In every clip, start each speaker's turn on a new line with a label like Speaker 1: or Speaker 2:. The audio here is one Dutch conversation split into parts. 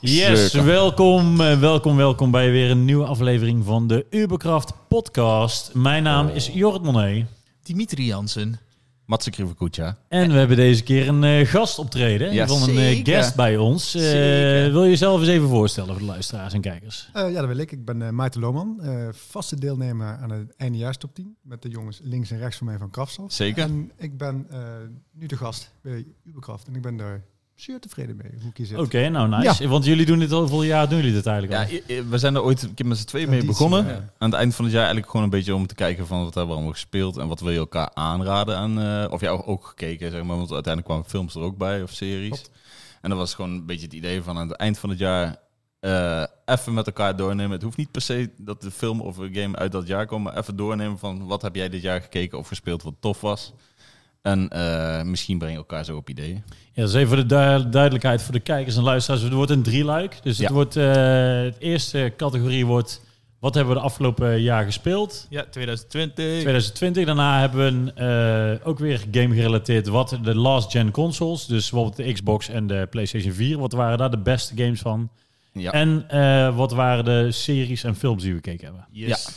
Speaker 1: Yes,
Speaker 2: Zeker.
Speaker 1: welkom, eh, welkom, welkom bij weer een nieuwe aflevering van de Uberkraft podcast. Mijn naam
Speaker 2: Oh.
Speaker 1: is Jorrit Monet
Speaker 3: Dimitri Jansen.
Speaker 2: Matze Krivakutja.
Speaker 1: en we hebben deze keer een eh, gastoptreden
Speaker 2: Ja,
Speaker 1: van een eh,
Speaker 3: zeker.
Speaker 1: guest bij ons. Eh,
Speaker 3: Zeker.
Speaker 1: wil je jezelf eens even voorstellen voor de luisteraars en kijkers?
Speaker 4: Eh, ja, dat wil ik. Ik ben eh Maarten Lohman, eh, vaste deelnemer aan het eindejaars top 10. Met de jongens links en rechts van mij van Kraftsel.
Speaker 2: Zeker.
Speaker 4: En ik ben eh, nu de gast bij Uberkraft. En ik ben daar zeer tevreden mee, hoe ik hier zit.
Speaker 1: Oké, nou nice. Want jullie doen dit al voor jaar, doen jullie dit eigenlijk
Speaker 2: Ja,
Speaker 1: al?
Speaker 2: i- i- we zijn er ooit een keer met z'n tweeën mee
Speaker 4: Traditie,
Speaker 2: begonnen.
Speaker 4: ja.
Speaker 2: Aan het eind van het jaar eigenlijk gewoon een beetje om te kijken van wat hebben we allemaal gespeeld en wat wil je elkaar aanraden aan. eh, of ja, ook- ook gekeken, zeg maar, want uiteindelijk kwamen films er ook bij of series.
Speaker 4: Klopt.
Speaker 2: En dat was gewoon een beetje het idee van aan het eind van het jaar eh, even met elkaar doornemen. Het hoeft niet per se dat de film of een game uit dat jaar komt, maar even doornemen van wat heb jij dit jaar gekeken of gespeeld wat tof was. En eh, misschien breng je elkaar zo op ideeën.
Speaker 1: Ja, dus even voor de du- duidelijkheid voor de kijkers en luisteraars. Het wordt een drieluik. Dus het
Speaker 2: Ja.
Speaker 1: wordt, eh, het eerste categorie wordt... Wat hebben we de afgelopen jaar gespeeld?
Speaker 3: Ja, 2020.
Speaker 1: 2020. Daarna hebben we een, eh, ook weer game gerelateerd. Wat de last gen consoles. Dus bijvoorbeeld de Xbox en de PlayStation 4. Wat waren daar de beste games van?
Speaker 2: Ja.
Speaker 1: En eh, wat waren de series en films die we gekeken hebben?
Speaker 3: Yes.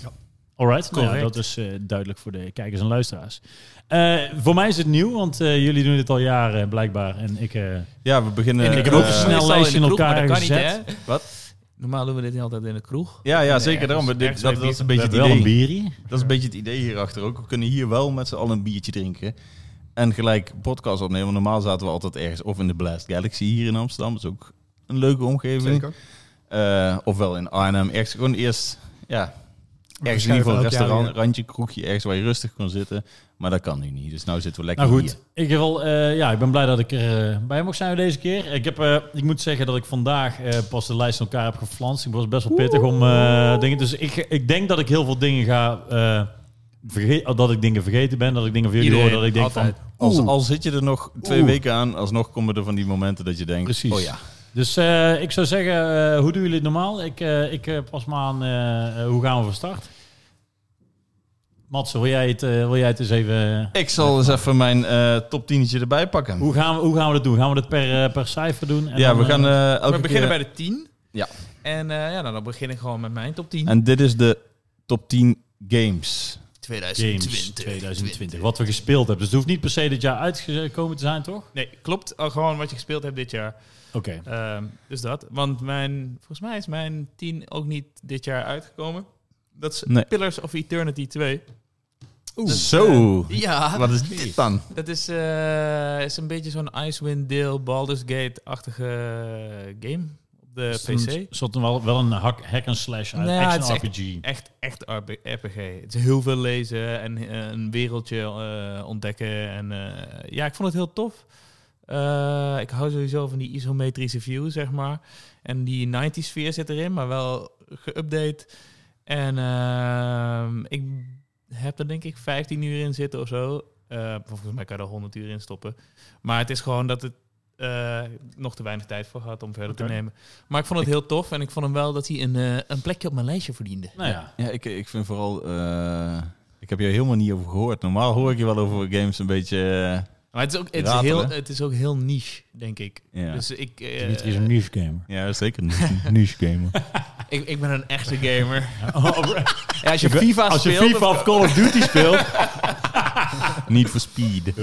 Speaker 1: Alright, nou ja,
Speaker 3: Correct.
Speaker 1: dat is eh, duidelijk voor de kijkers en luisteraars. Eh, voor mij is het nieuw, want eh, jullie doen dit al jaren blijkbaar. En ik, eh,
Speaker 2: Ja, we beginnen...
Speaker 1: En ik heb ook
Speaker 2: eh,
Speaker 1: een snel
Speaker 3: Meestal
Speaker 1: lijstje in
Speaker 3: de kroeg, maar
Speaker 1: elkaar
Speaker 3: dat kan niet,
Speaker 1: gezet.
Speaker 3: hè?
Speaker 2: Wat?
Speaker 3: Normaal doen we dit niet altijd in de kroeg.
Speaker 2: Ja, ja, zeker
Speaker 3: Nee,
Speaker 2: daarom.
Speaker 3: dat is
Speaker 2: Dit-
Speaker 3: echt
Speaker 2: dat,
Speaker 3: zo'n
Speaker 2: dat is een
Speaker 1: we
Speaker 2: beetje het
Speaker 1: dus hebben wel een
Speaker 2: idee.
Speaker 1: bier hier.
Speaker 2: Dat is een beetje het idee hierachter ook. We kunnen hier wel met z'n allen een biertje drinken. En gelijk podcast opnemen. Want normaal zaten we altijd ergens of in de Blast Galaxy hier in Amsterdam. Dat is ook een leuke omgeving.
Speaker 4: Zeker.
Speaker 2: Eh, ofwel in Arnhem. Ergens gewoon eerst, ja, ergens in
Speaker 4: schuiven
Speaker 2: ieder geval een
Speaker 4: elk jaar
Speaker 2: restaurant,
Speaker 4: weer.
Speaker 2: randje, kroegje. Ergens waar je rustig kon zitten. Maar dat kan nu niet. Dus nu zitten we lekker
Speaker 1: Nou
Speaker 2: hier.
Speaker 1: goed, ik, heb wel, eh, ja, ik ben blij dat ik er eh, bij mag zijn deze keer. Ik, heb, eh, ik moet zeggen dat ik vandaag eh, pas de lijst in elkaar heb geflanst. Ik was best wel pittig om eh, dingen... Dus ik, ik denk dat ik heel veel dingen ga... eh, verge- oh, dat ik dingen vergeten ben, dat ik dingen van jullie hoor,
Speaker 3: Iedereen,
Speaker 1: dat ik denk
Speaker 3: altijd.
Speaker 1: van...
Speaker 2: Als,
Speaker 1: oeh.
Speaker 2: al zit je er nog twee
Speaker 1: Oeh.
Speaker 2: weken aan, alsnog komen er van die momenten dat je denkt...
Speaker 1: Precies.
Speaker 2: Oh ja,
Speaker 1: Dus eh, ik zou zeggen, eh, hoe doen jullie het normaal? Ik, eh, ik eh, pas maar aan, eh, eh, hoe gaan we van start? Mats, wil jij het, eh, wil jij het eens even... eh,
Speaker 2: ik zal eens even mijn eh top 10 erbij pakken.
Speaker 1: Hoe gaan, we, hoe gaan we dat doen? Gaan we dat per, eh, per cijfer doen? En
Speaker 2: ja,
Speaker 1: dan,
Speaker 2: we
Speaker 1: eh,
Speaker 2: gaan eh, elke
Speaker 3: we beginnen
Speaker 2: keer...
Speaker 3: bij de 10.
Speaker 2: Ja.
Speaker 3: En eh, ja, nou, dan begin ik gewoon met mijn top 10.
Speaker 2: En dit is de top 10 games.
Speaker 1: Games 2020. Wat we gespeeld hebben. Dus het hoeft niet per se dit jaar uitgekomen te zijn, toch?
Speaker 3: Nee, klopt. Al gewoon wat je gespeeld hebt dit jaar.
Speaker 1: Oké.
Speaker 3: Ehm, dus dat. Want mijn, volgens mij is mijn 10 ook niet dit jaar uitgekomen. Dat is
Speaker 2: Nee.
Speaker 3: Pillars of Eternity 2.
Speaker 2: Zo.
Speaker 3: Ja,
Speaker 2: Dus, eh, Wat is dit dan?
Speaker 3: dat is, eh, is een beetje zo'n Icewind Dale, Baldur's Gate-achtige game op
Speaker 2: Eh,
Speaker 3: de
Speaker 1: Dus
Speaker 3: PC.
Speaker 1: een- soort wel, wel een hack, hack and slash uit
Speaker 3: Nou ja,
Speaker 1: action
Speaker 3: het
Speaker 1: RPG.
Speaker 3: Echt, echt RP- RPG. Het is heel veel lezen en eh, een wereldje eh, ontdekken. En eh, ja, ik vond het heel tof. Eh, ik hou sowieso van die isometrische view, zeg maar. En die 90s sfeer zit erin, maar wel geüpdate. En ehm, ik heb er denk ik 15 uur in zitten of zo. Eh, volgens mij kan je er 100 uur in stoppen. Maar het is gewoon dat het eh, nog te weinig tijd voor had om verder
Speaker 1: Oké.
Speaker 3: te nemen. Maar ik vond het heel tof en ik vond hem wel dat hij een, eh, een plekje op mijn lijstje verdiende.
Speaker 1: Nou ja.
Speaker 2: Ja, ik, ik vind vooral... eh, ik heb je helemaal niet over gehoord. Normaal hoor ik je wel over games een beetje... eh,
Speaker 3: Maar het is ook, het is
Speaker 2: Ratelen.
Speaker 3: heel, het is ook heel niche, denk ik.
Speaker 2: ja.
Speaker 3: Dus ik, eh,
Speaker 1: Dimitri is een niche gamer.
Speaker 2: ja, zeker een niche gamer.
Speaker 3: ik, ik ben een echte gamer.
Speaker 2: Ja, als je
Speaker 3: FIFA
Speaker 1: Oh, Als je
Speaker 3: speelt,
Speaker 1: FIFA of Call of Duty speelt...
Speaker 2: Niet voor speed.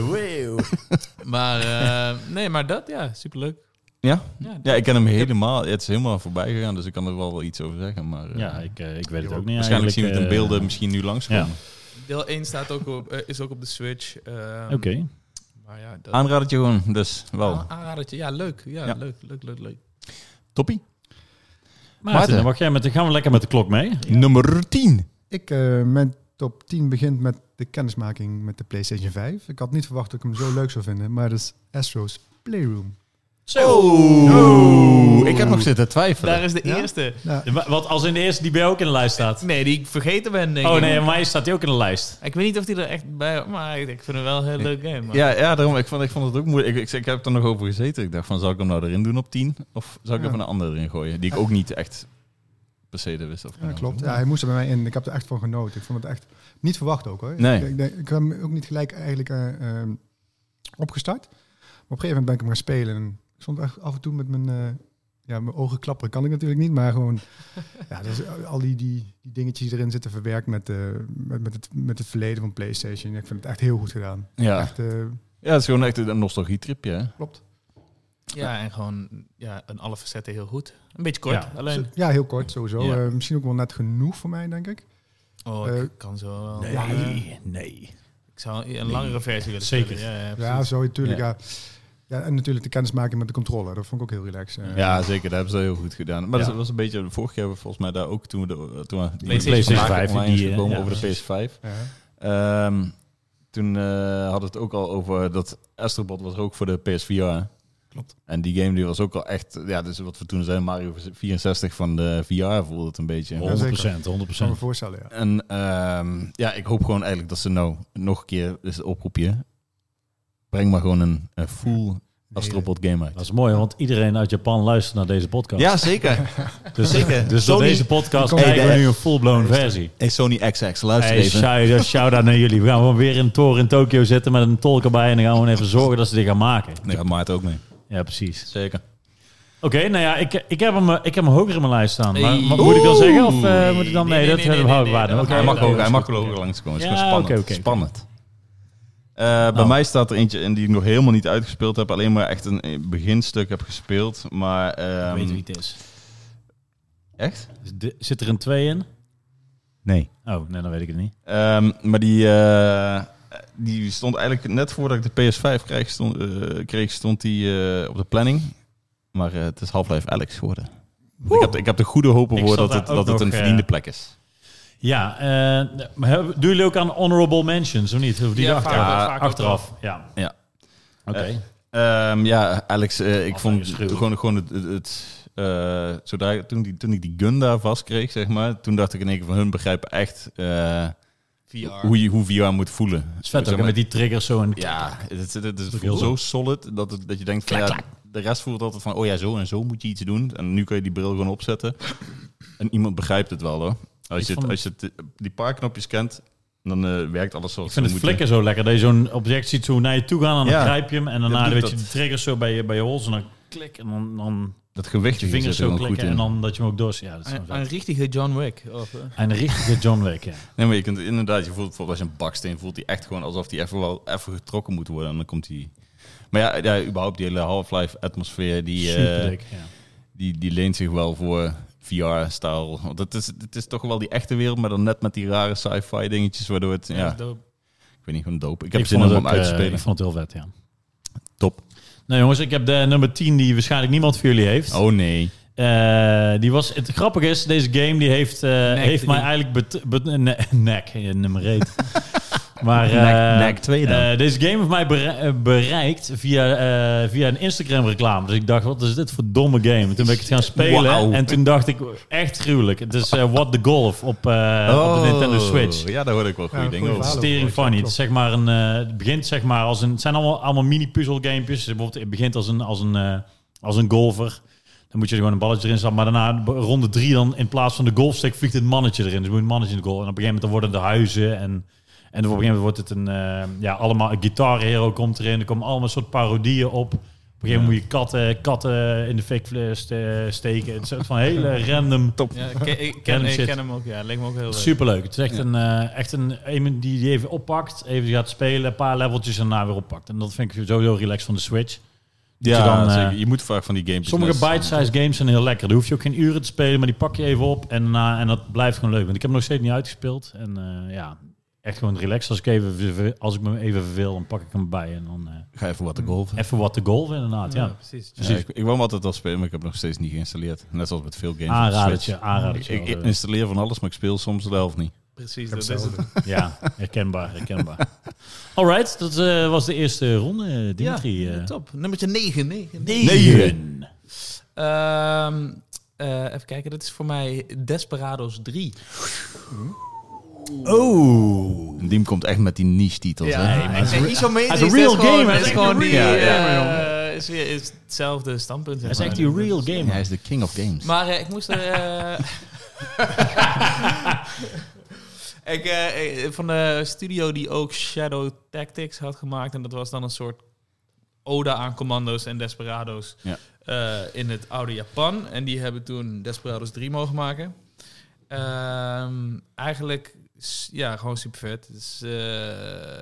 Speaker 3: Maar eh, nee, maar dat, ja, superleuk.
Speaker 2: Ja?
Speaker 3: Ja,
Speaker 2: Ja, ik ken hem helemaal... Het is helemaal voorbij gegaan, dus ik kan er wel, wel iets over zeggen. Maar eh,
Speaker 1: Ja, ik, eh, ik weet het ook niet
Speaker 2: waarschijnlijk zien we het in
Speaker 1: eigenlijk, eh,
Speaker 2: beelden misschien nu langskomen.
Speaker 3: Deel 1 staat ook op, eh, is ook op de Switch. ehm,
Speaker 1: eh, Oké.
Speaker 3: Maar ja, dat,
Speaker 2: Aanraad het je gewoon, dus wel.
Speaker 3: Aan- aanradertje. Ja, leuk. Ja,
Speaker 2: Ja.
Speaker 3: leuk, leuk, leuk, leuk.
Speaker 2: Toppie.
Speaker 1: Maarten, dan mag jij met, dan gaan we lekker met de klok mee.
Speaker 2: Nummer 10.
Speaker 4: Ik, eh, mijn top 10 begint met de kennismaking met de PlayStation 5. Ik had niet verwacht dat ik hem zo leuk zou vinden, maar dat is Astro's Playroom.
Speaker 1: Zo! Oh.
Speaker 2: Oeh. Ik heb nog zitten twijfelen.
Speaker 3: Daar is de
Speaker 4: Ja?
Speaker 3: eerste.
Speaker 4: Nou,
Speaker 1: Wat als in de eerste die bij jou ook in de lijst staat?
Speaker 3: Nee, die ik vergeten ben, denk
Speaker 1: Oh
Speaker 3: ik.
Speaker 1: nee, mij staat die ook in de lijst.
Speaker 3: Ik weet niet of die er echt bij... Maar ik, ik vind hem wel een heel leuk game. man.
Speaker 2: Ja, ja, daarom. Ik vond, ik vond het ook moeilijk. Ik, ik, ik heb er nog over gezeten. Ik dacht van, zou ik hem nou erin doen op 10? Of zou ik
Speaker 4: Ja.
Speaker 2: even een ander erin gooien? Die ik ook niet echt per se de wist. Of nou
Speaker 4: ja, klopt. Ja, hij moest er bij mij in. Ik heb er echt van genoten. Ik vond het echt niet verwacht ook hoor.
Speaker 2: Nee.
Speaker 4: Ik, ik, denk- ik heb hem ook niet gelijk eigenlijk eh, ehm, opgestart. Maar op een gegeven moment ben ik hem gaan spelen. En ik stond echt af en toe met mijn eh, ja, mijn ogen klapperen kan ik natuurlijk niet, maar gewoon ja, dus al die, die, die dingetjes die erin zitten verwerkt met, eh, met, met, het, met het verleden van PlayStation. Ik vind het echt heel goed gedaan.
Speaker 2: Ja.
Speaker 4: Echt, eh,
Speaker 2: ja, het is gewoon echt een nostalgietripje. hè.
Speaker 4: klopt.
Speaker 3: Ja, en gewoon ja, in alle facetten heel goed. Een beetje kort,
Speaker 1: Ja.
Speaker 3: alleen.
Speaker 4: Ja, heel kort sowieso.
Speaker 2: Ja.
Speaker 4: Eh, misschien ook wel net genoeg voor mij, denk ik.
Speaker 3: Oh, ik kan zo wel.
Speaker 4: Ja,
Speaker 3: eh,
Speaker 2: nee.
Speaker 3: ik zou een langere versie willen
Speaker 1: Zeker.
Speaker 3: spelen. Ja, ja,
Speaker 4: Ja,
Speaker 3: precies.
Speaker 4: zo natuurlijk.
Speaker 2: Ja.
Speaker 4: Ja. Ja. en natuurlijk de kennismaking met de controller. Dat vond ik ook heel relaxed. eh.
Speaker 2: Ja, zeker. Daar hebben ze heel goed gedaan. Maar
Speaker 1: Ja.
Speaker 2: dat was een beetje... Vorig jaar hebben we volgens mij daar ook... Toen we de toen we die
Speaker 3: PlayStation
Speaker 2: PlayStation
Speaker 1: 5
Speaker 2: 5 online is
Speaker 1: die, eh,
Speaker 2: gekomen
Speaker 1: ja,
Speaker 2: over de
Speaker 1: precies.
Speaker 2: PS5.
Speaker 4: Ja.
Speaker 2: Ehm, toen eh, hadden we het ook al over dat Astrobot was er ook voor de PSVR.
Speaker 4: Klopt.
Speaker 2: En die game die was ook al echt... Ja, dus wat we toen zeiden, Mario 64 van de VR voelde het een beetje.
Speaker 1: 100%, 100%.
Speaker 4: Kan me voorstellen, ja.
Speaker 2: En ehm, ja, ik hoop gewoon eigenlijk dat ze nou nog een keer, dus het oproepje, breng maar gewoon een, een full Astrobot game uit.
Speaker 1: Dat is mooi, want iedereen uit Japan luistert naar deze podcast.
Speaker 2: Ja, zeker.
Speaker 1: dus,
Speaker 2: zeker.
Speaker 1: Dus door
Speaker 2: Sony-
Speaker 1: deze podcast
Speaker 4: Kom,
Speaker 1: krijgen we
Speaker 2: eh,
Speaker 1: nu een full-blown versie.
Speaker 2: Hey Sony XX, luister
Speaker 1: Hey,
Speaker 2: even.
Speaker 1: shout- shout-out naar jullie. We gaan gewoon weer in een toren in Tokio zitten met een tolk erbij. En dan gaan we gewoon even zorgen dat ze dit gaan maken.
Speaker 2: Nee, gaat Maarten ook mee.
Speaker 1: Ja, precies.
Speaker 2: Zeker.
Speaker 1: Oké, nou ja, ik, ik, heb hem, eh, ik heb hem hoger in mijn lijst staan. Maar,
Speaker 3: Hey.
Speaker 1: maar moet ik dan
Speaker 2: Oeh.
Speaker 1: zeggen? Of eh, moet ik dan...
Speaker 3: Nee,
Speaker 1: Nee, dat
Speaker 3: nee,
Speaker 1: hebben
Speaker 3: nee,
Speaker 1: we
Speaker 3: nee,
Speaker 1: houden
Speaker 3: nee,
Speaker 1: waard.
Speaker 3: nee,
Speaker 1: Oké,
Speaker 3: dat
Speaker 2: hij mag
Speaker 1: oké,
Speaker 2: ook,
Speaker 1: dat
Speaker 2: hij
Speaker 1: is
Speaker 2: mag
Speaker 1: goed.
Speaker 2: er ook langs komen. Het
Speaker 1: Ja,
Speaker 2: is gewoon spannend.
Speaker 1: oké, oké, oké.
Speaker 2: spannend. Eh, bij
Speaker 1: Nou.
Speaker 2: mij staat er eentje in die ik nog helemaal niet uitgespeeld heb. Alleen maar echt een beginstuk heb gespeeld. Maar ehm,
Speaker 3: Ik eh, weet wie het is.
Speaker 2: echt?
Speaker 1: D- Ehm, Zit er een 2 in?
Speaker 2: Nee.
Speaker 1: Oh, nee, dan weet ik het niet.
Speaker 2: Ehm, maar die, eh, die stond eigenlijk net voordat ik de PS5 kreeg, stond, eh, kreeg, stond die eh, op de planning. Maar eh, het is Half-Life Alex geworden. Ik heb, ik heb de goede hopen
Speaker 1: Ik
Speaker 2: voor
Speaker 1: zat
Speaker 2: dat
Speaker 1: daar
Speaker 2: het,
Speaker 1: ook
Speaker 2: dat het
Speaker 1: nog,
Speaker 2: een
Speaker 1: eh,
Speaker 2: verdiende plek is.
Speaker 1: Ja, eh, maar hebben- doen jullie ook aan honorable mentions of niet? Of die
Speaker 3: Ja,
Speaker 1: erachter-
Speaker 3: vaak-
Speaker 1: ja,
Speaker 3: vaak ook
Speaker 1: achteraf? Ja.
Speaker 2: Ja.
Speaker 1: Oké.
Speaker 2: Eh, Ehm, ja, Alex, eh, ik
Speaker 1: Altijd
Speaker 2: vond
Speaker 1: geschreeuw.
Speaker 2: gewoon, gewoon het... het, het, eh, zodra, toen, die, toen ik die gun daar vastkreeg, zeg maar, toen dacht ik in één keer van hun begrijpen echt eh,
Speaker 3: VR.
Speaker 2: hoe, je, hoe VR moet voelen.
Speaker 1: Het is vet
Speaker 2: Zeg
Speaker 1: ook hè,
Speaker 2: maar,
Speaker 1: met die triggers zo. En
Speaker 2: Ja, het, het, het, het
Speaker 1: ook
Speaker 2: voelt
Speaker 1: heel
Speaker 2: zo solid dat, het, dat je denkt van
Speaker 1: Klak,
Speaker 2: ja, de rest voelt altijd van oh ja, zo en zo moet je iets doen. En nu kun je die bril gewoon opzetten. En iemand begrijpt het wel hoor. Als
Speaker 1: Ik
Speaker 2: je, het,
Speaker 1: vond-
Speaker 2: als je het, eh, die paar knopjes kent, dan eh, werkt alles zoals
Speaker 1: ik vind het
Speaker 2: ze moeten.
Speaker 1: flikken zo lekker. Dat je zo'n object ziet zo naar je toe gaan en dan
Speaker 2: Ja.
Speaker 1: grijp je hem. En daarna
Speaker 2: doet
Speaker 1: weet
Speaker 2: dat.
Speaker 1: je die triggers zo bij je, bij je hols en dan klik. En dan, dan
Speaker 2: Dat gewicht
Speaker 1: je vingers zo
Speaker 2: goed
Speaker 1: klikken
Speaker 2: in.
Speaker 1: en dan dat je hem ook door... Ja, dat is
Speaker 3: Een,
Speaker 1: zo vet.
Speaker 3: een richtige John Wick. Of, eh,
Speaker 1: En een richtige John Wick, ja.
Speaker 2: Nee, maar je kunt inderdaad, je voelt bijvoorbeeld als je een baksteen voelt, die echt gewoon alsof die even wel even getrokken moet worden. En dan komt die. Maar ja, ja überhaupt die hele Half-Life atmosfeer, die, eh,
Speaker 1: Superdik, ja.
Speaker 2: die, die leent zich wel voor VR-stijl. Want het is, het is toch wel die echte wereld, maar dan net met die rare sci-fi dingetjes, waardoor het, ja,
Speaker 3: dat is
Speaker 2: ik
Speaker 3: dope.
Speaker 2: weet niet, gewoon dope. Ik heb
Speaker 1: vond
Speaker 2: zin om
Speaker 1: het
Speaker 2: hem
Speaker 1: ook,
Speaker 2: uit te
Speaker 1: eh,
Speaker 2: spelen.
Speaker 1: Ik vond het heel vet, ja.
Speaker 2: Top.
Speaker 1: Nou jongens, ik heb de nummer 10 die waarschijnlijk niemand van jullie heeft.
Speaker 2: Oh nee.
Speaker 1: Eh, die was, het grappige is, deze game die heeft, eh, heeft
Speaker 3: drie.
Speaker 1: mij eigenlijk... Bet, bet- ne- nek, eh, nummer 1. maar eh,
Speaker 2: Nek- nek twee dan.
Speaker 1: eh, deze game heeft mij bere- eh, bereikt via, eh, via een Instagram reclame. Dus ik dacht, wat is dit voor domme game? Toen ben ik het gaan spelen
Speaker 2: Wauw.
Speaker 1: en toen dacht ik, echt gruwelijk. Het is eh, What the Golf op, eh,
Speaker 2: Oh.
Speaker 1: op de Nintendo Switch.
Speaker 2: Ja, daar hoor ik wel goede
Speaker 4: Ja,
Speaker 2: dingen
Speaker 4: goeie
Speaker 2: over.
Speaker 4: verhaal.
Speaker 1: Stering
Speaker 4: Klopt,
Speaker 1: funny. Het,
Speaker 4: klopt.
Speaker 1: is zeg maar een, eh, het begint zeg maar als een. Het zijn allemaal, allemaal mini puzzelgamepjes. Bijvoorbeeld, het begint als een, als, een, eh, als een golfer. Dan moet je er gewoon een balletje erin zetten. Maar daarna, b- ronde drie, dan in plaats van de golfstick vliegt het mannetje erin. Dus je moet een mannetje in de goal. En op een gegeven moment dan worden de huizen. En, en op een gegeven moment wordt het een. eh, ja, allemaal. Een Guitar Hero komt erin. Er komen allemaal soort parodieën op. Op een gegeven moment moet je katten, katten in de fik eh, ste- steken. Het is een soort van hele random. Top.
Speaker 3: Ja, ik ken, ik
Speaker 1: Random
Speaker 3: ken, ik
Speaker 1: shit.
Speaker 3: ken hem ook, ja. Leek me ook heel leuk.
Speaker 1: Superleuk. Het is echt, een, eh, echt een, een die die even oppakt, even gaat spelen, een paar leveltjes en daarna weer oppakt. En dat vind ik sowieso relaxed van de Switch.
Speaker 2: Ja,
Speaker 1: je dan, eh,
Speaker 2: zeker. je moet vaak van die games.
Speaker 1: Sommige bite-size games zijn heel lekker. Daar hoef je ook geen uren te spelen, maar die pak je even op en, daarna- en dat blijft gewoon leuk. Want ik heb hem nog steeds niet uitgespeeld. En eh, ja, echt gewoon relaxed. Als ik, even, verve- als ik me even verveel, dan pak ik hem bij en dan eh,
Speaker 2: Ga even wat te golven.
Speaker 1: even wat te golven inderdaad. Ja.
Speaker 3: precies.
Speaker 2: Ja, ik, ik wou hem altijd al spelen, maar ik heb hem nog steeds niet geïnstalleerd. Net zoals met veel games.
Speaker 1: Ah,
Speaker 2: op de
Speaker 1: Aanradertje,
Speaker 2: Switch.
Speaker 1: aanradertje.
Speaker 2: Ik, ik installeer van alles, maar ik speel soms de helft niet.
Speaker 3: Precies,
Speaker 4: heb
Speaker 3: dat is het.
Speaker 4: hetzelfde.
Speaker 1: Ja, herkenbaar, herkenbaar. Alright, dat eh, was de eerste ronde, Dimitri. eh.
Speaker 3: top. Nummertje 9. 9.
Speaker 1: Negen.
Speaker 3: Ehm, eh, even kijken, dat is voor mij Desperados 3.
Speaker 2: Oh. Diem komt echt met die niche-titels. hè?
Speaker 1: maar het is
Speaker 3: niet zo mee.
Speaker 1: het is een real game, hè?
Speaker 3: Het
Speaker 1: Het
Speaker 3: is
Speaker 1: is
Speaker 3: gewoon
Speaker 1: een
Speaker 3: die.
Speaker 2: real
Speaker 3: eh,
Speaker 1: game,
Speaker 3: is weer is hetzelfde standpunt.
Speaker 1: Dat is echt die real game.
Speaker 2: Hij is de king of games.
Speaker 3: Maar eh, ik moest er. eh, ik, eh, eh, van de studio die ook Shadow Tactics had gemaakt. En dat was dan een soort Oda aan commando's en desperados.
Speaker 2: Ja.
Speaker 3: eh, in het oude Japan. En die hebben toen Desperados 3 mogen maken. Ehm, eigenlijk, s- ja, gewoon super vet. Dus, eh,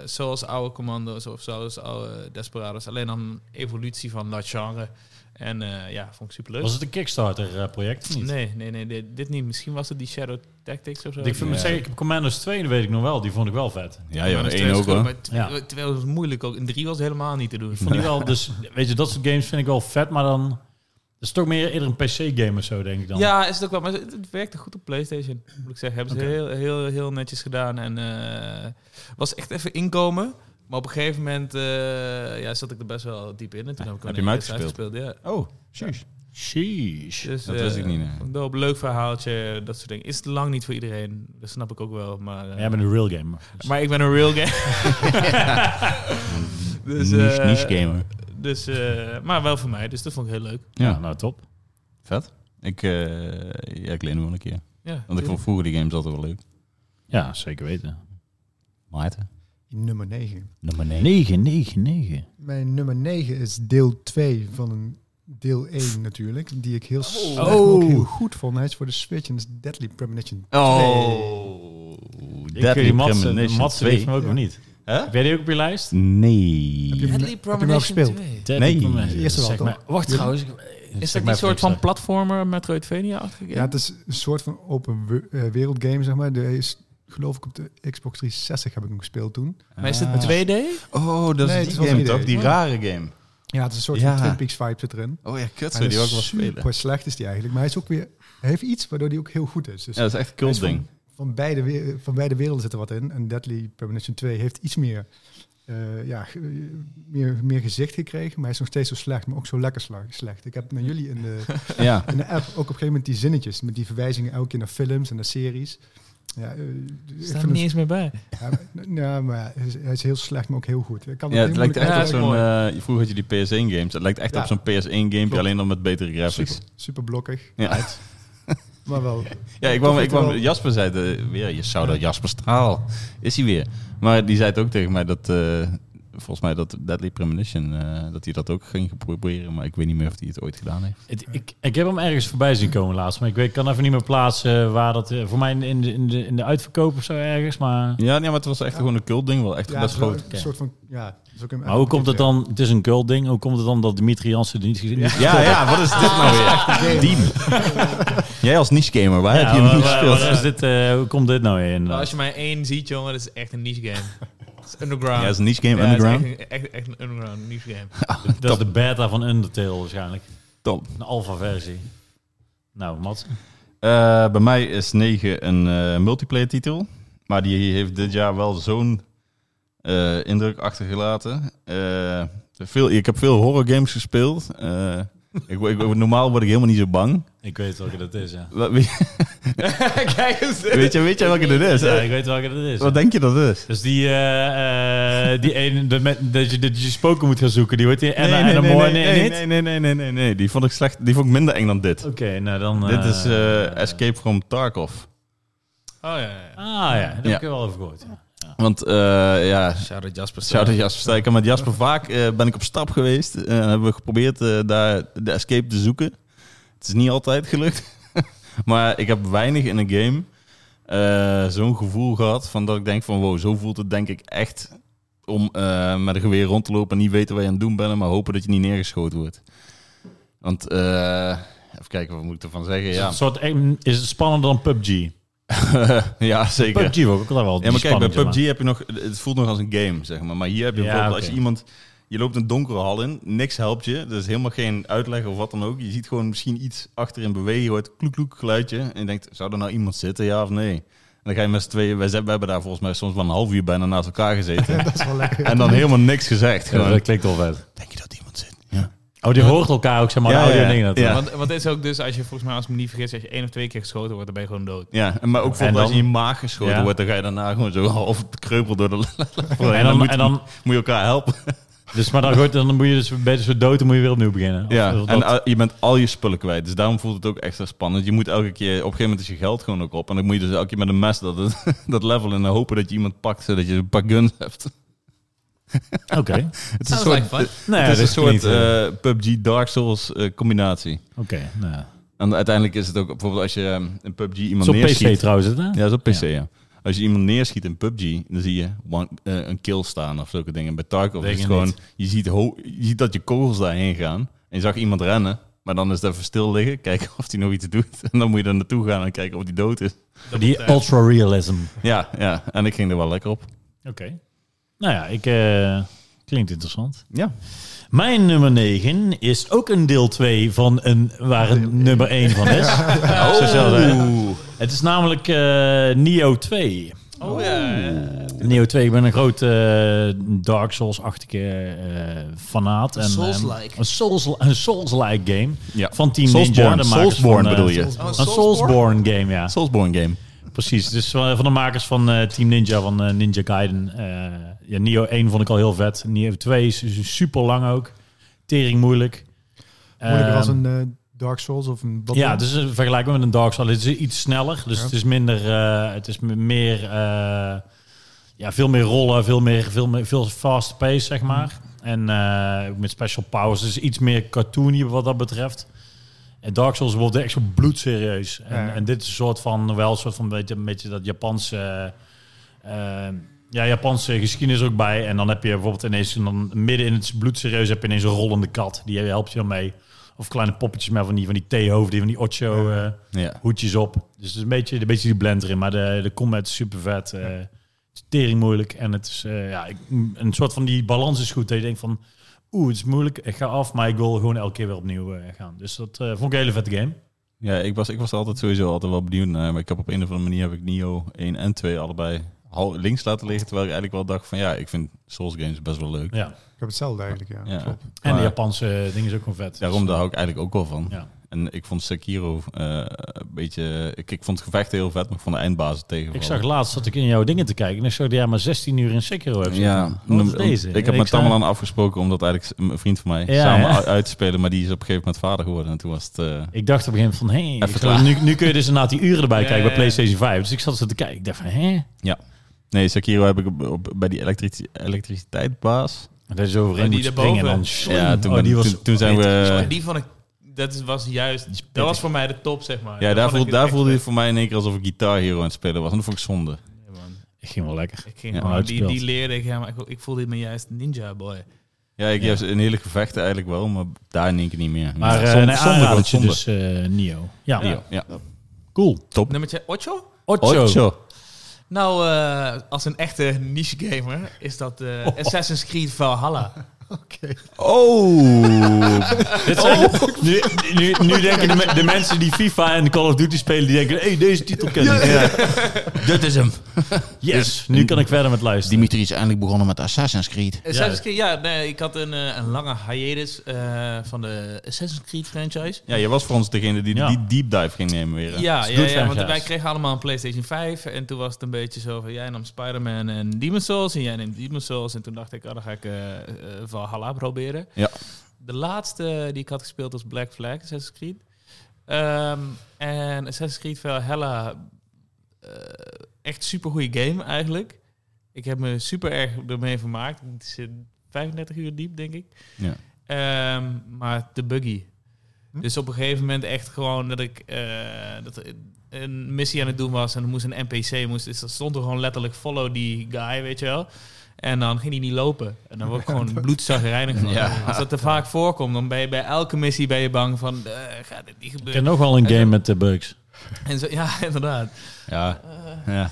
Speaker 3: zoals oude Commando's of zoals oude Desperados. Alleen dan een evolutie van dat genre. En eh, ja, vond ik super leuk.
Speaker 1: Was het een Kickstarter-project of niet?
Speaker 3: Nee, nee, nee, dit, dit niet. Misschien was het die Shadow Tactics of zo.
Speaker 1: Ik, vind, moet
Speaker 2: Ja.
Speaker 1: zeggen, ik heb Commandos 2, dat weet ik nog wel. Die vond ik wel vet.
Speaker 2: Ja, joh,
Speaker 3: maar dat is
Speaker 2: één ook hoor.
Speaker 3: Maar twee-
Speaker 1: Ja.
Speaker 3: twee was moeilijk ook. En drie was helemaal niet te doen.
Speaker 1: Ik vond die wel, dus weet je, dat soort games vind ik wel vet, maar dan... Dat is toch meer eerder een PC-game of zo, denk ik dan.
Speaker 3: Ja, is het ook wel. Maar het, het werkte goed op PlayStation, moet ik zeggen. Hebben ze heel, heel, heel netjes gedaan. En eh, was echt even inkomen. Maar op een gegeven moment eh, ja, zat ik er best wel diep in. En toen heb ik
Speaker 2: Heb je
Speaker 3: een
Speaker 2: hem
Speaker 3: eerste
Speaker 2: uitgespeeld?
Speaker 3: ja.
Speaker 2: Oh, sheesh. Sheesh.
Speaker 3: Dus,
Speaker 2: dat
Speaker 3: eh,
Speaker 2: wist ik niet. nee.
Speaker 3: een doop, leuk verhaaltje, dat soort dingen. Is lang niet voor iedereen, dat snap ik ook wel. Maar, eh,
Speaker 1: Jij bent een real gamer.
Speaker 3: maar ik ben een real game. dus,
Speaker 2: niche,
Speaker 3: eh,
Speaker 2: niche gamer.
Speaker 3: Dus, eh, maar wel voor mij, dus dat vond ik heel leuk.
Speaker 1: Ja,
Speaker 2: Ja,
Speaker 1: nou top.
Speaker 2: vet. Ik, eh ja, ik leen hem wel een keer.
Speaker 3: Ja,
Speaker 2: Want ik vond
Speaker 3: tuurlijk.
Speaker 2: vroeger die games altijd wel leuk.
Speaker 1: Ja, zeker weten.
Speaker 2: Maarten.
Speaker 4: Nummer 9.
Speaker 2: Nummer
Speaker 1: 9, 9, 9.
Speaker 4: Mijn nummer 9 is deel 2 van een deel 1 natuurlijk. Die ik heel, slecht, maar
Speaker 1: Oh.
Speaker 4: ook heel goed vond. Hij is voor de Switch en is Deadly Premonition.
Speaker 2: Oh.
Speaker 1: Ik weet die Matsen, Matsen weet hem ook
Speaker 4: Ja.
Speaker 1: nog niet.
Speaker 2: Hè?
Speaker 1: Heb jij die ook op je lijst?
Speaker 2: Nee.
Speaker 4: Heb je hem-
Speaker 3: Deadly
Speaker 4: heb je hem al gespeeld?
Speaker 3: 2.
Speaker 1: Deadly
Speaker 2: Nee.
Speaker 1: Premonition.
Speaker 4: De eerste wel,
Speaker 1: Zeg
Speaker 4: toch?
Speaker 1: maar- Wacht
Speaker 4: Ja.
Speaker 1: trouwens.
Speaker 3: Is dat die soort van platformer Metroidvania-achtige game?
Speaker 4: eh. Ja, het is een soort van open wo- eh, wereld game, zeg maar. De is, geloof ik op de Xbox 360 heb ik hem gespeeld toen.
Speaker 3: Maar is het
Speaker 2: Ah.
Speaker 3: 2D?
Speaker 2: Oh, dat
Speaker 4: Nee,
Speaker 2: is
Speaker 4: het is
Speaker 2: die
Speaker 4: wel
Speaker 2: game
Speaker 4: een idee.
Speaker 2: toch? Die rare game.
Speaker 4: Ja, het is een soort
Speaker 2: Ja.
Speaker 4: van Twin Peaks vibe zit erin.
Speaker 2: Oh ja, kut,
Speaker 4: Hij
Speaker 2: zou
Speaker 4: is
Speaker 2: die ook wel spelen.
Speaker 4: super slecht is die eigenlijk. Maar hij is ook weer, hij heeft iets waardoor hij ook heel goed is. Dus
Speaker 2: Ja, dat is echt een cult
Speaker 4: hij is
Speaker 2: ding.
Speaker 4: Van, van, beide, we- van beide werelden zit er wat in. En Deadly Premonition 2 heeft iets meer, eh, ja, ge- eh, meer, meer gezicht gekregen. Maar hij is nog steeds zo slecht, maar ook zo lekker sla- slecht. Ik heb naar jullie in de,
Speaker 2: Ja.
Speaker 4: in de app ook op een gegeven moment die zinnetjes. Met die verwijzingen elke keer naar films en naar series. Ja, eh, ik
Speaker 3: Staat
Speaker 4: vind
Speaker 3: er
Speaker 4: het-
Speaker 3: niet eens meer bij.
Speaker 4: Ja, maar- ja, maar hij is, hij is heel slecht, maar ook heel goed. Ik kan
Speaker 2: Ja, het
Speaker 4: heel
Speaker 2: lijkt
Speaker 4: moeilijk
Speaker 2: echt
Speaker 3: Ja,
Speaker 2: op
Speaker 4: uitleggen.
Speaker 2: zo'n... eh, vroeger had je die PS1 games. Het lijkt echt
Speaker 4: Ja.
Speaker 2: op zo'n PS1 gamepje,
Speaker 4: Klopt.
Speaker 2: alleen dan met betere graphics.
Speaker 4: super, super blokkig,
Speaker 2: Ja,
Speaker 4: maar wel.
Speaker 2: ja ik
Speaker 4: Toch
Speaker 2: kwam, ik
Speaker 4: het
Speaker 2: kwam,
Speaker 4: wel-
Speaker 2: Jasper zei het, eh, weer, je zou dat Jasper Straal. Is hij weer. Maar die zei het ook tegen mij dat, eh, volgens mij dat Deadly Premonition, eh, dat hij dat ook ging proberen. Maar ik weet niet meer of hij het ooit gedaan heeft.
Speaker 1: Het- ik, ik heb hem ergens voorbij zien komen laatst, maar ik weet, ik kan even niet meer plaatsen waar dat... eh, voor mij in, in, de- in, de, in de uitverkoop of zo ergens, maar...
Speaker 2: Ja, nee, maar het was echt gewoon een cult ding, wel echt
Speaker 4: Ja,
Speaker 2: best
Speaker 4: wel
Speaker 2: groot.
Speaker 4: Een soort van, ja, dat is ook een-
Speaker 1: Maar hoe komt het dan, het is een cult ding, hoe komt het dan dat Dimitri Jansen die niet gezien heeft?
Speaker 2: Ja, ja, wat is dit nou weer? Diem. Jij als niche gamer, waar heb je hem niet gespeeld?
Speaker 1: Is dit, eh, hoe komt dit nou weer in?
Speaker 3: Nou, als je maar één ziet, jongen, dat is echt een niche game. Het is underground.
Speaker 2: Ja, is een niche game,
Speaker 3: Ja, het is
Speaker 2: underground.
Speaker 3: echt, een- echt, echt een underground niche game.
Speaker 1: Dat is de beta van Undertale waarschijnlijk.
Speaker 2: Top.
Speaker 1: Een alpha versie. Nou, Mats.
Speaker 2: Eh, bij mij is 9 een eh, multiplayer titel. Maar die heeft dit jaar wel zo'n eh, indruk achtergelaten. Eh, veel, ik heb veel horror games gespeeld. Eh, ik, wo- ik, wo- normaal word ik helemaal niet zo bang.
Speaker 1: Ik weet welke dat is, ja.
Speaker 2: Wat- Weet,
Speaker 3: Kijk eens.
Speaker 2: weet je, weet je welke dit is?
Speaker 1: Ja, ik weet welke dat is. ja.
Speaker 2: Wat denk je dat het is?
Speaker 1: Dus die, eh, eh, die ene, dat, met- dat je, dat je spoken moet gaan zoeken, die wordt die Anna en Anna Moore, nee,
Speaker 2: nee,
Speaker 1: niet?
Speaker 2: nee, nee, nee, nee, nee, nee. Die vond ik slecht. Die vond ik minder eng dan dit.
Speaker 1: Oké, nou dan...
Speaker 2: Dit is eh,
Speaker 1: eh,
Speaker 2: Escape from Tarkov.
Speaker 3: Oh ja, ja.
Speaker 1: Ah ja, daar
Speaker 2: Ja.
Speaker 1: heb ik er wel over gehoord. ja.
Speaker 2: Want eh, ja,
Speaker 3: Shout out Jasper.
Speaker 2: Shout out Jasper Stijker. Met Jasper vaak eh, ben ik op stap geweest. En hebben we geprobeerd eh, daar de escape te zoeken. Het is niet altijd gelukt. maar ik heb weinig in een game eh, zo'n gevoel gehad... van dat ik denk van wow, zo voelt het denk ik echt... om eh, met een geweer rond te lopen en niet weten waar je aan het doen bent... maar hopen dat je niet neergeschoten wordt. Want, eh, even kijken, wat moet ik ervan zeggen?
Speaker 1: Is, het
Speaker 2: Ja,
Speaker 1: een soort, eh, is het spannender dan PUBG?
Speaker 2: ja zeker.
Speaker 1: PUBG ook, ook wel wel.
Speaker 2: Ja, maar
Speaker 1: die
Speaker 2: kijk, bij
Speaker 1: spanning, zeg maar.
Speaker 2: PUBG heb je nog... Het voelt nog als een game, zeg maar. Maar hier heb je
Speaker 1: Ja,
Speaker 2: bijvoorbeeld... Als
Speaker 1: oké.
Speaker 2: je iemand... Je loopt een donkere hal in, niks helpt je. Er is helemaal geen uitleg of wat dan ook. Je ziet gewoon misschien iets achterin bewegen. Je hoort kloek kloek geluidje. En je denkt, zou er nou iemand zitten, ja of nee? En dan ga je met z'n tweeën... Wij, zijn- we hebben daar volgens mij soms wel een half uur bijna naast elkaar gezeten.
Speaker 4: Dat is wel lekker.
Speaker 2: en dan helemaal niks gezegd.
Speaker 1: Ja,
Speaker 2: Gewoon.
Speaker 1: dat klinkt wel vet.
Speaker 2: Denk je dat iemand zit? Ja.
Speaker 1: Oh, die hoort elkaar ook, zeg maar,
Speaker 2: Ja,
Speaker 1: de audio
Speaker 2: ja,
Speaker 1: dingen. dat-
Speaker 2: ja.
Speaker 3: Want, want het is ook dus, als je volgens mij, als ik me niet vergis, als je één of twee keer geschoten wordt, dan ben je gewoon dood.
Speaker 2: Ja, en maar ook bijvoorbeeld
Speaker 1: dan?
Speaker 2: als je in je maag geschoten
Speaker 1: Ja.
Speaker 2: wordt... dan ga je daarna gewoon zo half kreupel door de... en
Speaker 1: En dan,
Speaker 2: moet,
Speaker 1: en dan,
Speaker 2: moet je elkaar helpen.
Speaker 1: dus, maar dan, goed, dan moet je dus beter zo dood, dan moet je weer opnieuw beginnen. Of-
Speaker 2: Ja,
Speaker 1: of dat-
Speaker 2: en al- je bent al je spullen kwijt. Dus daarom voelt het ook extra spannend. Je moet elke keer, op een gegeven moment is je geld gewoon ook op. En dan moet je dus elke keer met een mes dat, dat level in en hopen dat je iemand pakt, zodat je een paar guns hebt.
Speaker 1: Oké.
Speaker 2: Het is een
Speaker 3: Sounds
Speaker 2: soort,
Speaker 3: like fun.
Speaker 1: Nou ja,
Speaker 2: het
Speaker 1: dat
Speaker 2: is een soort
Speaker 1: klinkt, eh,
Speaker 2: eh, PUBG Dark Souls eh, combinatie.
Speaker 1: Oké, nou ja.
Speaker 2: En uiteindelijk is het ook bijvoorbeeld als je eh, een PUBG iemand
Speaker 1: Zo'n PC
Speaker 2: neerschiet.
Speaker 1: trouwens, hè?
Speaker 2: Ja, zo'n PC,
Speaker 1: Ja.
Speaker 2: ja. Als je iemand neerschiet in PUBG, dan zie je one- eh, een kill staan of zulke dingen. Bij Tarkov
Speaker 1: Denk
Speaker 2: is het
Speaker 1: je
Speaker 2: gewoon,
Speaker 1: niet.
Speaker 2: je ziet, ho- je ziet dat je kogels daarheen gaan. En je zag iemand rennen, maar dan is het even stil liggen, kijken of hij nog iets doet. En dan moet je er naartoe gaan en kijken of hij dood is.
Speaker 1: Die ultra-realism.
Speaker 2: Ja, ja, en ik ging er wel lekker op.
Speaker 1: Oké. Nou ja, ik, eh, klinkt interessant.
Speaker 2: Ja.
Speaker 1: Mijn nummer 9 is ook een deel 2 van een waar een nummer 1 van is. Zo zal het zijn. Het is namelijk eh Neo 2.
Speaker 3: Oh ja.
Speaker 1: Neo 2, ik ben een groot eh, Dark Souls-achtige eh, fanaat. En,
Speaker 3: Souls-like.
Speaker 1: ehm, Een, Souls, een Souls-like game
Speaker 2: Ja.
Speaker 1: van Team Ninja.
Speaker 2: Soulsborne,
Speaker 1: de makers
Speaker 2: Soulsborne
Speaker 1: van, eh,
Speaker 2: bedoel je?
Speaker 4: Soulsborne.
Speaker 1: Een Soulsborne game, ja.
Speaker 2: Soulsborne game.
Speaker 1: Precies, dus van van de makers van eh, Team Ninja, van eh, Ninja Gaiden. Eh, ja, Nio 1 vond ik al heel vet. Nio 2 is is super lang ook. Tering moeilijk.
Speaker 4: Moeilijker als
Speaker 1: Ehm,
Speaker 4: een eh, Dark Souls of een Bloodborne.
Speaker 1: ja, dus eh, vergelijkbaar met een Dark Souls. Het is iets sneller, dus
Speaker 4: Ja.
Speaker 1: het is minder... eh, het is me- meer... eh, ja, veel meer rollen, veel meer... Veel, meer, veel fast pace, zeg maar. En eh, ook met special powers. Dus iets meer cartoony wat dat betreft. En Dark Souls wordt echt zo bloedserieus. En,
Speaker 4: Ja.
Speaker 1: en dit is een soort van... Wel een soort van beetje, een beetje dat Japanse... eh, ja, Japanse geschiedenis ook bij. En dan heb je bijvoorbeeld ineens... een- Dan, midden in het bloedserieus heb je ineens een rollende kat. Die helpt je dan mee. Of kleine poppetjes met van die, van die theehoofden, die van die ocho eh,
Speaker 2: Ja.
Speaker 1: hoedjes op. Dus het is een beetje, een beetje die blend erin. Maar de, de combat is super vet. eh, het is tering moeilijk. En het is eh, ja, ik- een soort van die balans is goed. Dat je denkt van, oeh, het is moeilijk. Ik ga af, maar ik wil gewoon elke keer weer opnieuw eh, gaan. Dus dat eh, vond ik een hele vette game.
Speaker 2: Ja, ik was, ik was er altijd sowieso altijd wel benieuwd naar. Maar ik heb op een of andere manier heb ik Nio 1 en 2 allebei hal- links laten liggen. Terwijl ik eigenlijk wel dacht van ja, ik vind Souls games best wel leuk.
Speaker 1: Ja.
Speaker 4: Ik heb hetzelfde eigenlijk, ja.
Speaker 2: Ja.
Speaker 4: Klopt.
Speaker 1: En de
Speaker 2: Maar
Speaker 1: Japanse eh, ding is ook gewoon vet.
Speaker 2: Daarom daar
Speaker 1: Dus,
Speaker 2: hou ik eigenlijk ook wel van.
Speaker 1: Ja.
Speaker 2: En ik vond Sekiro eh, een beetje... Ik, ik vond het gevecht heel vet, maar ik vond de eindbazen tegen.
Speaker 1: eh, ik zag laatst dat ik in jouw dingen te kijken. En ik zag dat jij maar 16 uur in Sekiro hebt zitten.
Speaker 2: Ja,
Speaker 1: Wat is
Speaker 2: om-
Speaker 1: deze?
Speaker 2: ik heb
Speaker 1: En
Speaker 2: met
Speaker 1: zei-
Speaker 2: Tamerlan afgesproken om dat eigenlijk s- een vriend van mij
Speaker 1: Ja,
Speaker 2: samen
Speaker 1: hè?
Speaker 2: u- uit te spelen. Maar die is op een gegeven moment vader geworden. En toen was het... eh,
Speaker 1: Ik dacht op een gegeven moment van, hé,
Speaker 2: Even
Speaker 1: ik
Speaker 2: klaar.
Speaker 1: zal- nu, nu kun je dus inderdaad die uren erbij
Speaker 3: Ja,
Speaker 1: kijken
Speaker 3: ja,
Speaker 1: bij
Speaker 3: ja.
Speaker 1: PlayStation 5. Dus ik zat zo te kijken. Ik dacht van, hé,
Speaker 2: nee, Sekiro heb ik op, op- bij die elektrici- elektriciteitsbaas.
Speaker 1: dat is overheen
Speaker 3: die
Speaker 1: moet
Speaker 3: daarboven?
Speaker 1: springen en dan...
Speaker 2: Ja, toen,
Speaker 1: Oh,
Speaker 2: ben-
Speaker 1: die was-
Speaker 2: toen, toen zijn we...
Speaker 3: Maar die vond ik, dat is- was juist, dat was voor mij de top, zeg maar.
Speaker 2: Ja,
Speaker 3: Dat
Speaker 2: daar,
Speaker 3: vond
Speaker 2: voel,
Speaker 3: ik
Speaker 2: daar
Speaker 3: echt
Speaker 2: voelde
Speaker 3: vet.
Speaker 2: het voor mij in één keer alsof ik Guitar Hero aan het spelen was. En dat vond ik zonde.
Speaker 3: Ja, man.
Speaker 1: Ik ging wel lekker.
Speaker 3: Ik ging
Speaker 2: Ja,
Speaker 3: gewoon, die, die
Speaker 1: uitgespeeld.
Speaker 3: leerde ik, ja, maar ik, ik voelde me juist ninja boy.
Speaker 2: Ja, ik
Speaker 1: Ja.
Speaker 2: heb een hele gevechten eigenlijk wel, maar daar in één keer niet meer.
Speaker 1: Maar
Speaker 2: ja,
Speaker 1: eh
Speaker 2: zonde-
Speaker 1: nee,
Speaker 2: zonde,
Speaker 1: aanradertje
Speaker 2: want zonde.
Speaker 1: dus eh Nio. Ja,
Speaker 2: Ja. ja.
Speaker 1: cool.
Speaker 3: Nummertje Ocho?
Speaker 1: Ocho.
Speaker 2: Ocho.
Speaker 3: Nou, eh, als een echte niche gamer is dat eh, Assassin's Creed Valhalla.
Speaker 2: Oh!
Speaker 1: Dit zijn- nu, nu, nu denken de, me- de mensen die FIFA en Call of Duty spelen, die denken, hey, deze titel ken ik.
Speaker 2: Dat is hem.
Speaker 1: Yes, nu kan ik verder met luisteren.
Speaker 2: Dimitri is eindelijk begonnen met Assassin's Creed.
Speaker 3: Assassin's Creed, ja, nee, ik had een, eh, een lange hiatus eh, van de Assassin's Creed franchise.
Speaker 2: Ja, je was voor ons degene die
Speaker 1: Ja.
Speaker 2: die deep dive ging nemen weer. hè?
Speaker 3: Ja,
Speaker 1: Is
Speaker 3: ja,
Speaker 1: good
Speaker 3: ja want
Speaker 1: franchise.
Speaker 3: wij kregen allemaal een PlayStation 5. En toen was het een beetje zo van, jij nam Spider-Man en Demon's Souls. En jij neemt Demon's Souls. En toen dacht ik, oh, dan ga ik eh, eh, Valhalla proberen.
Speaker 2: Ja.
Speaker 3: De laatste die ik had gespeeld was Black Flag, Assassin's Creed. Ehm, en Assassin's Creed Valhalla, eh echt super goede game eigenlijk. Ik heb me super erg ermee vermaakt. Het zit 35 uur diep, denk ik.
Speaker 2: Ja.
Speaker 3: Ehm, maar te buggy.
Speaker 4: Hm?
Speaker 3: Dus op een gegeven moment echt gewoon dat ik eh, dat er een missie aan het doen was en er moest een NPC moest. Dus dan stond er gewoon letterlijk follow die guy, weet je wel. En dan ging hij niet lopen. En dan word ik gewoon bloedzagrijnig van.
Speaker 2: Ja.
Speaker 3: Als dat te vaak voorkomt, dan ben je bij elke missie ben je bang van... eh, gaat dit niet
Speaker 1: Ik
Speaker 3: gebeuren?
Speaker 1: ken nog wel een game met de bugs.
Speaker 3: En zo, ja, inderdaad. Eh,
Speaker 2: Ja. ja.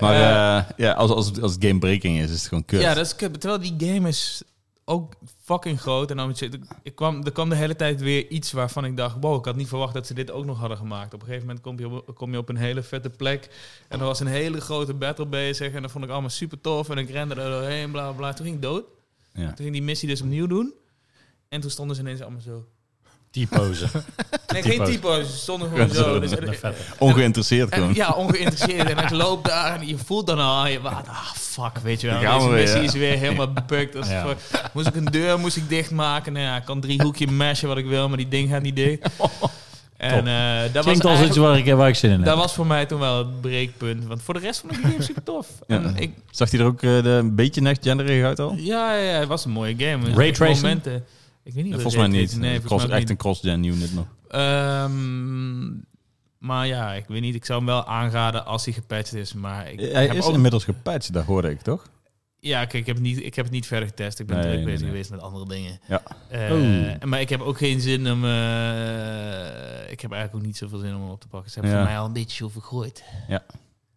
Speaker 2: Maar eh, ja, als, als, als het gamebreaking is, is het gewoon kut.
Speaker 3: Ja, dat is kut. Terwijl die game is ook fucking groot en ambitieus. Ik- Ik kwam, er kwam de hele tijd weer iets waarvan ik dacht... wow, ik had niet verwacht dat ze dit ook nog hadden gemaakt. Op een gegeven moment kom je op, kom je op een hele vette plek... en er was een hele grote battle bezig... en dat vond ik allemaal super tof... en ik rende er doorheen, bla bla, bla. Toen ging ik dood.
Speaker 2: Ja.
Speaker 3: Toen ging die missie dus opnieuw doen... en toen stonden ze ineens allemaal zo...
Speaker 1: Die pose.
Speaker 3: Nee,
Speaker 1: Typo's.
Speaker 3: geen typo's, ze stonden gewoon zo. Dus-
Speaker 1: Dat is vet.
Speaker 2: Ongeïnteresseerd
Speaker 3: en,
Speaker 2: gewoon.
Speaker 3: ja, ongeïnteresseerd. en ik loop daar en je voelt dan al, je wacht, ah fuck, weet je wel.
Speaker 2: Daar gaan
Speaker 3: Deze
Speaker 2: we weer,
Speaker 3: missie
Speaker 2: ja.
Speaker 3: is weer helemaal bugged. als
Speaker 1: Ja.
Speaker 3: fuck. Moest ik
Speaker 2: Oh,
Speaker 3: een deur moest ik dichtmaken. Nou ja, ik kan drie hoekje meshen wat ik wil, maar die ding gaat niet dicht. En
Speaker 1: top.
Speaker 3: En, eh, dat
Speaker 1: Klinkt
Speaker 3: was
Speaker 1: als iets
Speaker 3: eigenlijk-
Speaker 1: waar ik, waar ik zin in heb.
Speaker 3: Dat was voor mij toen wel het breekpunt. Want voor de rest vond ik die game super tof.
Speaker 2: Ja.
Speaker 3: En ik,
Speaker 2: Zag hij er ook eh, de, een beetje next-genderig uit al?
Speaker 3: ja, ja, het was een mooie game.
Speaker 1: Ray
Speaker 3: Op
Speaker 1: tracing?
Speaker 3: Momenten, ik weet niet. of
Speaker 2: volgens mij
Speaker 3: het ray
Speaker 2: niet.
Speaker 3: tracing- Nee,
Speaker 2: Het cross,
Speaker 3: volgens mij ook
Speaker 2: echt
Speaker 3: niet.
Speaker 2: een cross-gen unit nog.
Speaker 3: Ehm, maar ja, ik weet niet. Ik zou hem wel aanraden als hij gepatcht is. Maar ik
Speaker 2: Hij
Speaker 3: heb
Speaker 2: is
Speaker 3: ook
Speaker 2: inmiddels gepatcht, dat hoorde ik toch?
Speaker 3: Ja, kijk, ik heb, niet, ik heb het niet verder getest. Ik ben
Speaker 2: Nee,
Speaker 3: druk
Speaker 2: nee,
Speaker 3: bezig
Speaker 2: nee.
Speaker 3: geweest met andere dingen.
Speaker 2: Ja. Oh.
Speaker 3: Eh,
Speaker 1: Oeh.
Speaker 3: Maar ik heb ook geen zin om... eh, ik heb eigenlijk ook niet zoveel zin om hem op te pakken. Ze hebben
Speaker 2: Ja.
Speaker 3: voor mij al een beetje zo vergooid.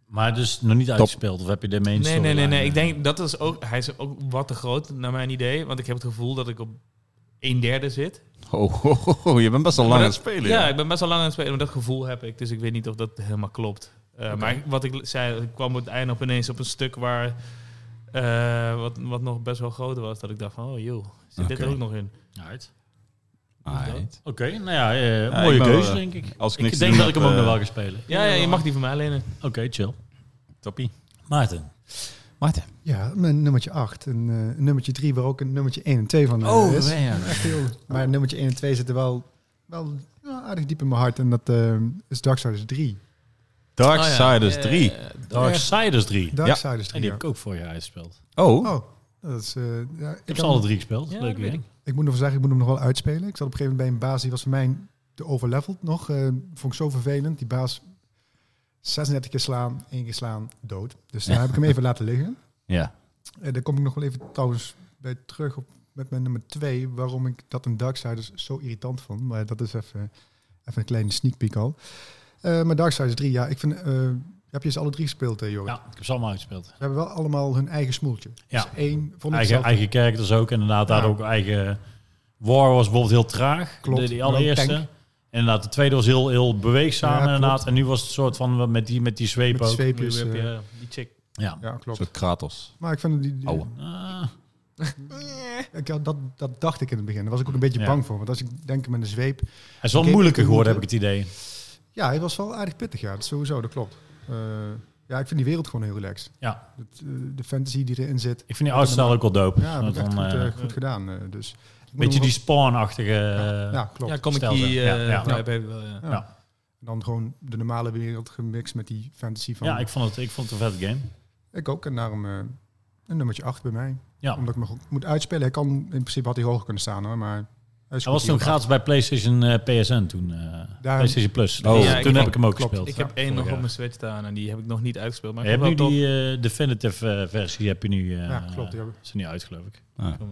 Speaker 1: Maar dus nog niet uitgespeeld. Of heb je de main
Speaker 3: Nee, nee, nee,
Speaker 1: storyline,
Speaker 3: nee.
Speaker 1: eh?
Speaker 3: Ik denk dat is ook... Hij is ook wat te groot, naar mijn idee. Want ik heb het gevoel dat ik op een derde zit.
Speaker 2: Oh, oh, oh, oh, je bent best al lang
Speaker 3: Maar
Speaker 2: aan het
Speaker 3: dat-
Speaker 2: spelen.
Speaker 3: Ja,
Speaker 2: ja.
Speaker 3: ik ben best wel lang aan het spelen. Maar dat gevoel heb ik. Dus ik weet niet of dat helemaal klopt. Eh, Maar wat ik zei, ik kwam op het einde op ineens op een stuk waar... eh, wat, wat nog best wel groot was. Dat ik dacht van, oh joh, zit dit
Speaker 2: Oké.
Speaker 3: er ook nog in?
Speaker 1: Alright.
Speaker 2: Alright.
Speaker 1: Oké, nou ja, eh,
Speaker 2: Ja,
Speaker 1: mooie
Speaker 2: ik ben
Speaker 1: keuze
Speaker 2: wel, eh,
Speaker 1: denk ik.
Speaker 2: Als ik niks
Speaker 1: Ik
Speaker 2: te
Speaker 1: denk
Speaker 2: doen
Speaker 1: dat ik hem
Speaker 2: heb,
Speaker 1: ook nog
Speaker 2: eh,
Speaker 1: wel ga spelen.
Speaker 3: Ja, ja, je mag die van mij lenen.
Speaker 1: Oké, chill.
Speaker 2: Toppie.
Speaker 1: Maarten.
Speaker 2: Maarten.
Speaker 4: Ja, mijn nummertje 8. En eh, nummertje 3 waar ook een nummertje 1 en 2 van eh,
Speaker 1: Oh,
Speaker 4: is. Echt heel. Maar nummertje 1 en 2 zitten wel, wel ja, aardig diep in mijn hart. En dat eh, is Darksiders 3.
Speaker 2: Darksiders
Speaker 3: Oh ja,
Speaker 2: 3.
Speaker 3: eh,
Speaker 1: Darksiders 3. En
Speaker 4: Darksiders
Speaker 1: die
Speaker 4: 3.
Speaker 1: heb ik ook voor je uitgespeeld.
Speaker 2: Oh,
Speaker 4: Oh, dat is... eh, ja, ik,
Speaker 1: Ik heb ze
Speaker 4: kan-
Speaker 1: alle drie gespeeld.
Speaker 3: Ja,
Speaker 1: Leuk
Speaker 3: dat weet
Speaker 1: game.
Speaker 4: ik moet nog zeggen, ik moet hem nog wel uitspelen. Ik zat op een gegeven moment bij een baas, die was voor mij te overleveld nog. Eh, vond ik zo vervelend. Die baas 36 keer slaan, één keer slaan, dood. Dus daar heb ik hem even laten liggen.
Speaker 2: ja.
Speaker 4: Eh, daar kom ik nog wel even trouwens bij terug op met mijn nummer twee, waarom ik dat in Darksiders zo irritant vond. Maar dat is even, even een kleine sneak peek al. Eh, maar Darksiders 3, ja, ik vind... eh, heb je ze alle drie gespeeld, hè, Joris?
Speaker 1: Ja, ik heb ze allemaal uitgespeeld.
Speaker 4: Ze hebben wel allemaal hun eigen smoeltje.
Speaker 1: Ja.
Speaker 4: Dus één vond ik
Speaker 1: Eigen,
Speaker 4: zelf-
Speaker 1: eigen characters ook. Inderdaad, daar
Speaker 4: Ja.
Speaker 1: ook eigen... eh, War was bijvoorbeeld heel traag.
Speaker 4: Klopt,
Speaker 1: De, die
Speaker 4: maar ook
Speaker 1: allereerste.
Speaker 4: tank.
Speaker 1: Inderdaad, de tweede was heel, heel beweegzaam
Speaker 4: Ja, klopt.
Speaker 1: inderdaad. En nu was het een soort van met die, met die zweep
Speaker 4: Met die
Speaker 1: ook.
Speaker 4: zweepjes.
Speaker 3: die heb
Speaker 4: eh,
Speaker 3: je, die chick.
Speaker 1: Ja.
Speaker 4: ja,
Speaker 2: Een
Speaker 4: klopt.
Speaker 2: soort Kratos.
Speaker 4: Maar ik vind die... die-
Speaker 2: Ouwe.
Speaker 1: Ah,
Speaker 4: ik, had- dat, dat dacht ik in het begin. Daar was ik ook een beetje
Speaker 1: Ja.
Speaker 4: bang voor. Want als ik denk met een zweep...
Speaker 1: hij is wel
Speaker 4: Oké,
Speaker 1: moeilijker geworden, heb ik
Speaker 4: moeten-
Speaker 1: het idee.
Speaker 4: Ja, hij was wel aardig pittig, ja. Dat sowieso, dat klopt. Eh, ja, ik vind die wereld gewoon heel relaxed.
Speaker 1: Ja.
Speaker 4: Het, eh, de fantasy die erin zit.
Speaker 1: Ik vind die artstijl ook wel dope.
Speaker 4: Ja, dat
Speaker 1: Want
Speaker 4: heb ik echt
Speaker 1: dan,
Speaker 4: goed,
Speaker 1: eh,
Speaker 4: eh, goed gedaan. eh, dus. Ik moet
Speaker 1: beetje
Speaker 4: hem
Speaker 1: die spawn-achtige...
Speaker 4: wel-
Speaker 1: eh,
Speaker 4: Ja, klopt.
Speaker 3: Ja, kom ik
Speaker 1: Stel ze.
Speaker 3: die.
Speaker 1: Ja,
Speaker 3: eh,
Speaker 1: ja. Oh,
Speaker 3: vibe heb ik wel, ja.
Speaker 4: Ja.
Speaker 1: Ja.
Speaker 4: Dan gewoon de normale wereld gemixt met die fantasy van...
Speaker 1: eh, Ja, ik vond het, ik vond het een vet game.
Speaker 4: Ik ook. En daarom eh, een nummertje 8 bij mij.
Speaker 1: Ja.
Speaker 4: Omdat ik me goed moet uitspelen. Hij kan, in principe had hij hoger kunnen staan hoor, maar... Hij is
Speaker 1: Hij
Speaker 4: goed
Speaker 1: was
Speaker 4: hier
Speaker 1: toen
Speaker 4: op acht.
Speaker 1: gratis bij PlayStation eh, PSN toen. eh, PlayStation Plus.
Speaker 2: Oh,
Speaker 1: Dus
Speaker 3: ja,
Speaker 1: toen
Speaker 3: ik-
Speaker 1: heb ik hem ook
Speaker 4: klopt.
Speaker 1: gespeeld.
Speaker 3: Ik heb één
Speaker 1: vorig
Speaker 3: nog
Speaker 1: jaar.
Speaker 3: op mijn Switch staan en die heb ik nog niet uitgespeeld. Maar
Speaker 1: Je
Speaker 3: ik
Speaker 1: hebt nu
Speaker 3: vond wel
Speaker 1: die eh, definitive eh, versie heb je nu. eh,
Speaker 4: Ja, klopt. Die heb, ik-
Speaker 1: Is er niet uit, geloof ik.
Speaker 3: tof. Kom wel.
Speaker 4: die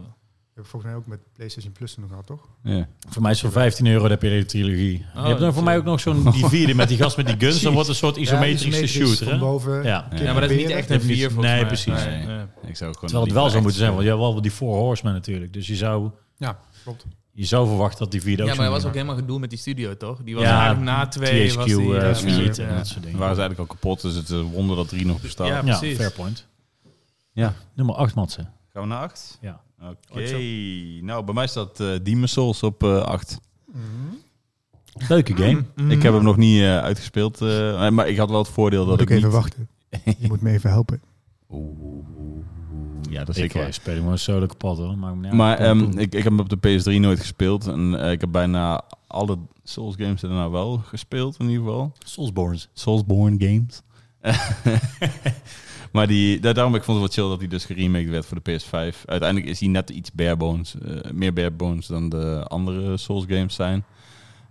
Speaker 4: heb ik volgens mij ook met PlayStation Plus toen gehad, toch?
Speaker 2: Ja.
Speaker 1: Voor mij is voor 15 euro dan heb je de hele trilogie. je hebt dan
Speaker 3: Oh, dat eh,
Speaker 1: voor
Speaker 3: is-
Speaker 1: mij ook nog zo'n die vierde met die gast met die guns. Dan wordt een soort
Speaker 4: Ja,
Speaker 1: isometrische
Speaker 4: isometrisch
Speaker 1: shooter.
Speaker 4: Van
Speaker 1: hè?
Speaker 4: boven.
Speaker 1: Ja.
Speaker 2: Ja.
Speaker 3: Ja, maar dat is niet
Speaker 4: Proberen.
Speaker 3: echt een
Speaker 1: Dat is niet-
Speaker 3: 4 volgens
Speaker 1: nee,
Speaker 3: mij.
Speaker 1: precies.
Speaker 3: Nee, nee.
Speaker 2: Ik zou gewoon
Speaker 1: Terwijl het wel zou moeten zijn, want je had wel die Four Horsemen natuurlijk. Dus je zou,
Speaker 4: Ja, klopt.
Speaker 1: je zou verwachten dat die vierde ook
Speaker 3: Ja, maar
Speaker 1: zo'n
Speaker 3: dat was ook
Speaker 1: ding
Speaker 3: helemaal gedoe met die studio, toch? Die was
Speaker 1: Ja,
Speaker 3: eigenlijk na twee.
Speaker 1: had.
Speaker 3: was
Speaker 1: THQ
Speaker 3: die, eh,
Speaker 1: eh,
Speaker 4: ja,
Speaker 1: failliet en
Speaker 3: ja.
Speaker 1: dat soort
Speaker 2: Waren
Speaker 1: dingen.
Speaker 2: ze eigenlijk al kapot, dus het is een wonder dat 3 nog bestaat.
Speaker 3: Ja.
Speaker 1: Ja,
Speaker 3: precies.
Speaker 1: fair point.
Speaker 2: Ja.
Speaker 1: Nummer 8, Matsen.
Speaker 2: Gaan we naar 8?
Speaker 1: Ja.
Speaker 2: Oké.
Speaker 1: Ooit zo.
Speaker 2: Nou, bij mij staat eh Demon's Souls op 8.
Speaker 1: Leuke game.
Speaker 2: Ik heb hem nog niet eh, uitgespeeld, eh, maar ik had wel het voordeel dat
Speaker 4: Moet
Speaker 2: ik
Speaker 4: ik even
Speaker 2: niet...
Speaker 4: wachten. Je moet me even helpen.
Speaker 2: Ja, dat is
Speaker 1: Ik
Speaker 2: zeker waar.
Speaker 1: eh, speel hem gewoon solo kapot hoor. Maakt me niet uit.
Speaker 2: maar
Speaker 1: Kan
Speaker 2: ehm,
Speaker 1: doen.
Speaker 2: ik, ik heb hem op de PS3 nooit gespeeld. En eh, ik heb bijna alle Souls games daarna wel gespeeld, in ieder geval.
Speaker 1: Soulsborns.
Speaker 2: Soulsborne games. maar die, daar, daarom ik vond het wel chill dat hij dus geremaked werd voor de PS5. Uiteindelijk is hij net iets bare bones, eh, meer bare bones dan de andere Souls games zijn.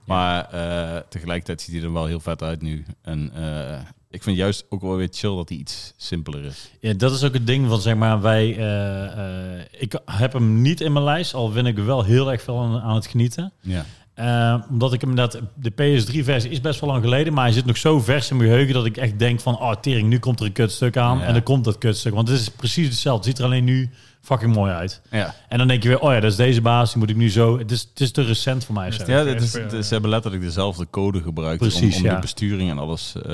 Speaker 2: Maar eh, tegelijkertijd ziet hij er wel heel vet uit nu. En eh, ik vind juist ook wel weer chill dat hij iets simpeler is.
Speaker 1: Ja, dat is ook het ding van zeg maar wij. eh, eh, ik heb hem niet in mijn lijst, al ben ik er wel heel erg veel aan, aan het genieten.
Speaker 2: Ja.
Speaker 1: Eh, omdat ik hem dat de PS3-versie is best wel lang geleden, maar hij zit nog zo vers in mijn geheugen dat ik echt denk van, oh tering, nu komt er een kutstuk aan
Speaker 2: Ja.
Speaker 1: en dan komt dat kutstuk, want het is precies hetzelfde. Het ziet er alleen nu fucking mooi uit.
Speaker 2: Ja,
Speaker 1: En dan denk je weer, oh ja, dat is deze baas, die moet ik nu zo. Het is, het is te recent voor mij. of zo.
Speaker 2: ja dit is, dit- ze hebben letterlijk dezelfde code gebruikt
Speaker 1: eh, Precies,
Speaker 2: om, om
Speaker 1: ja.
Speaker 2: de besturing en alles eh,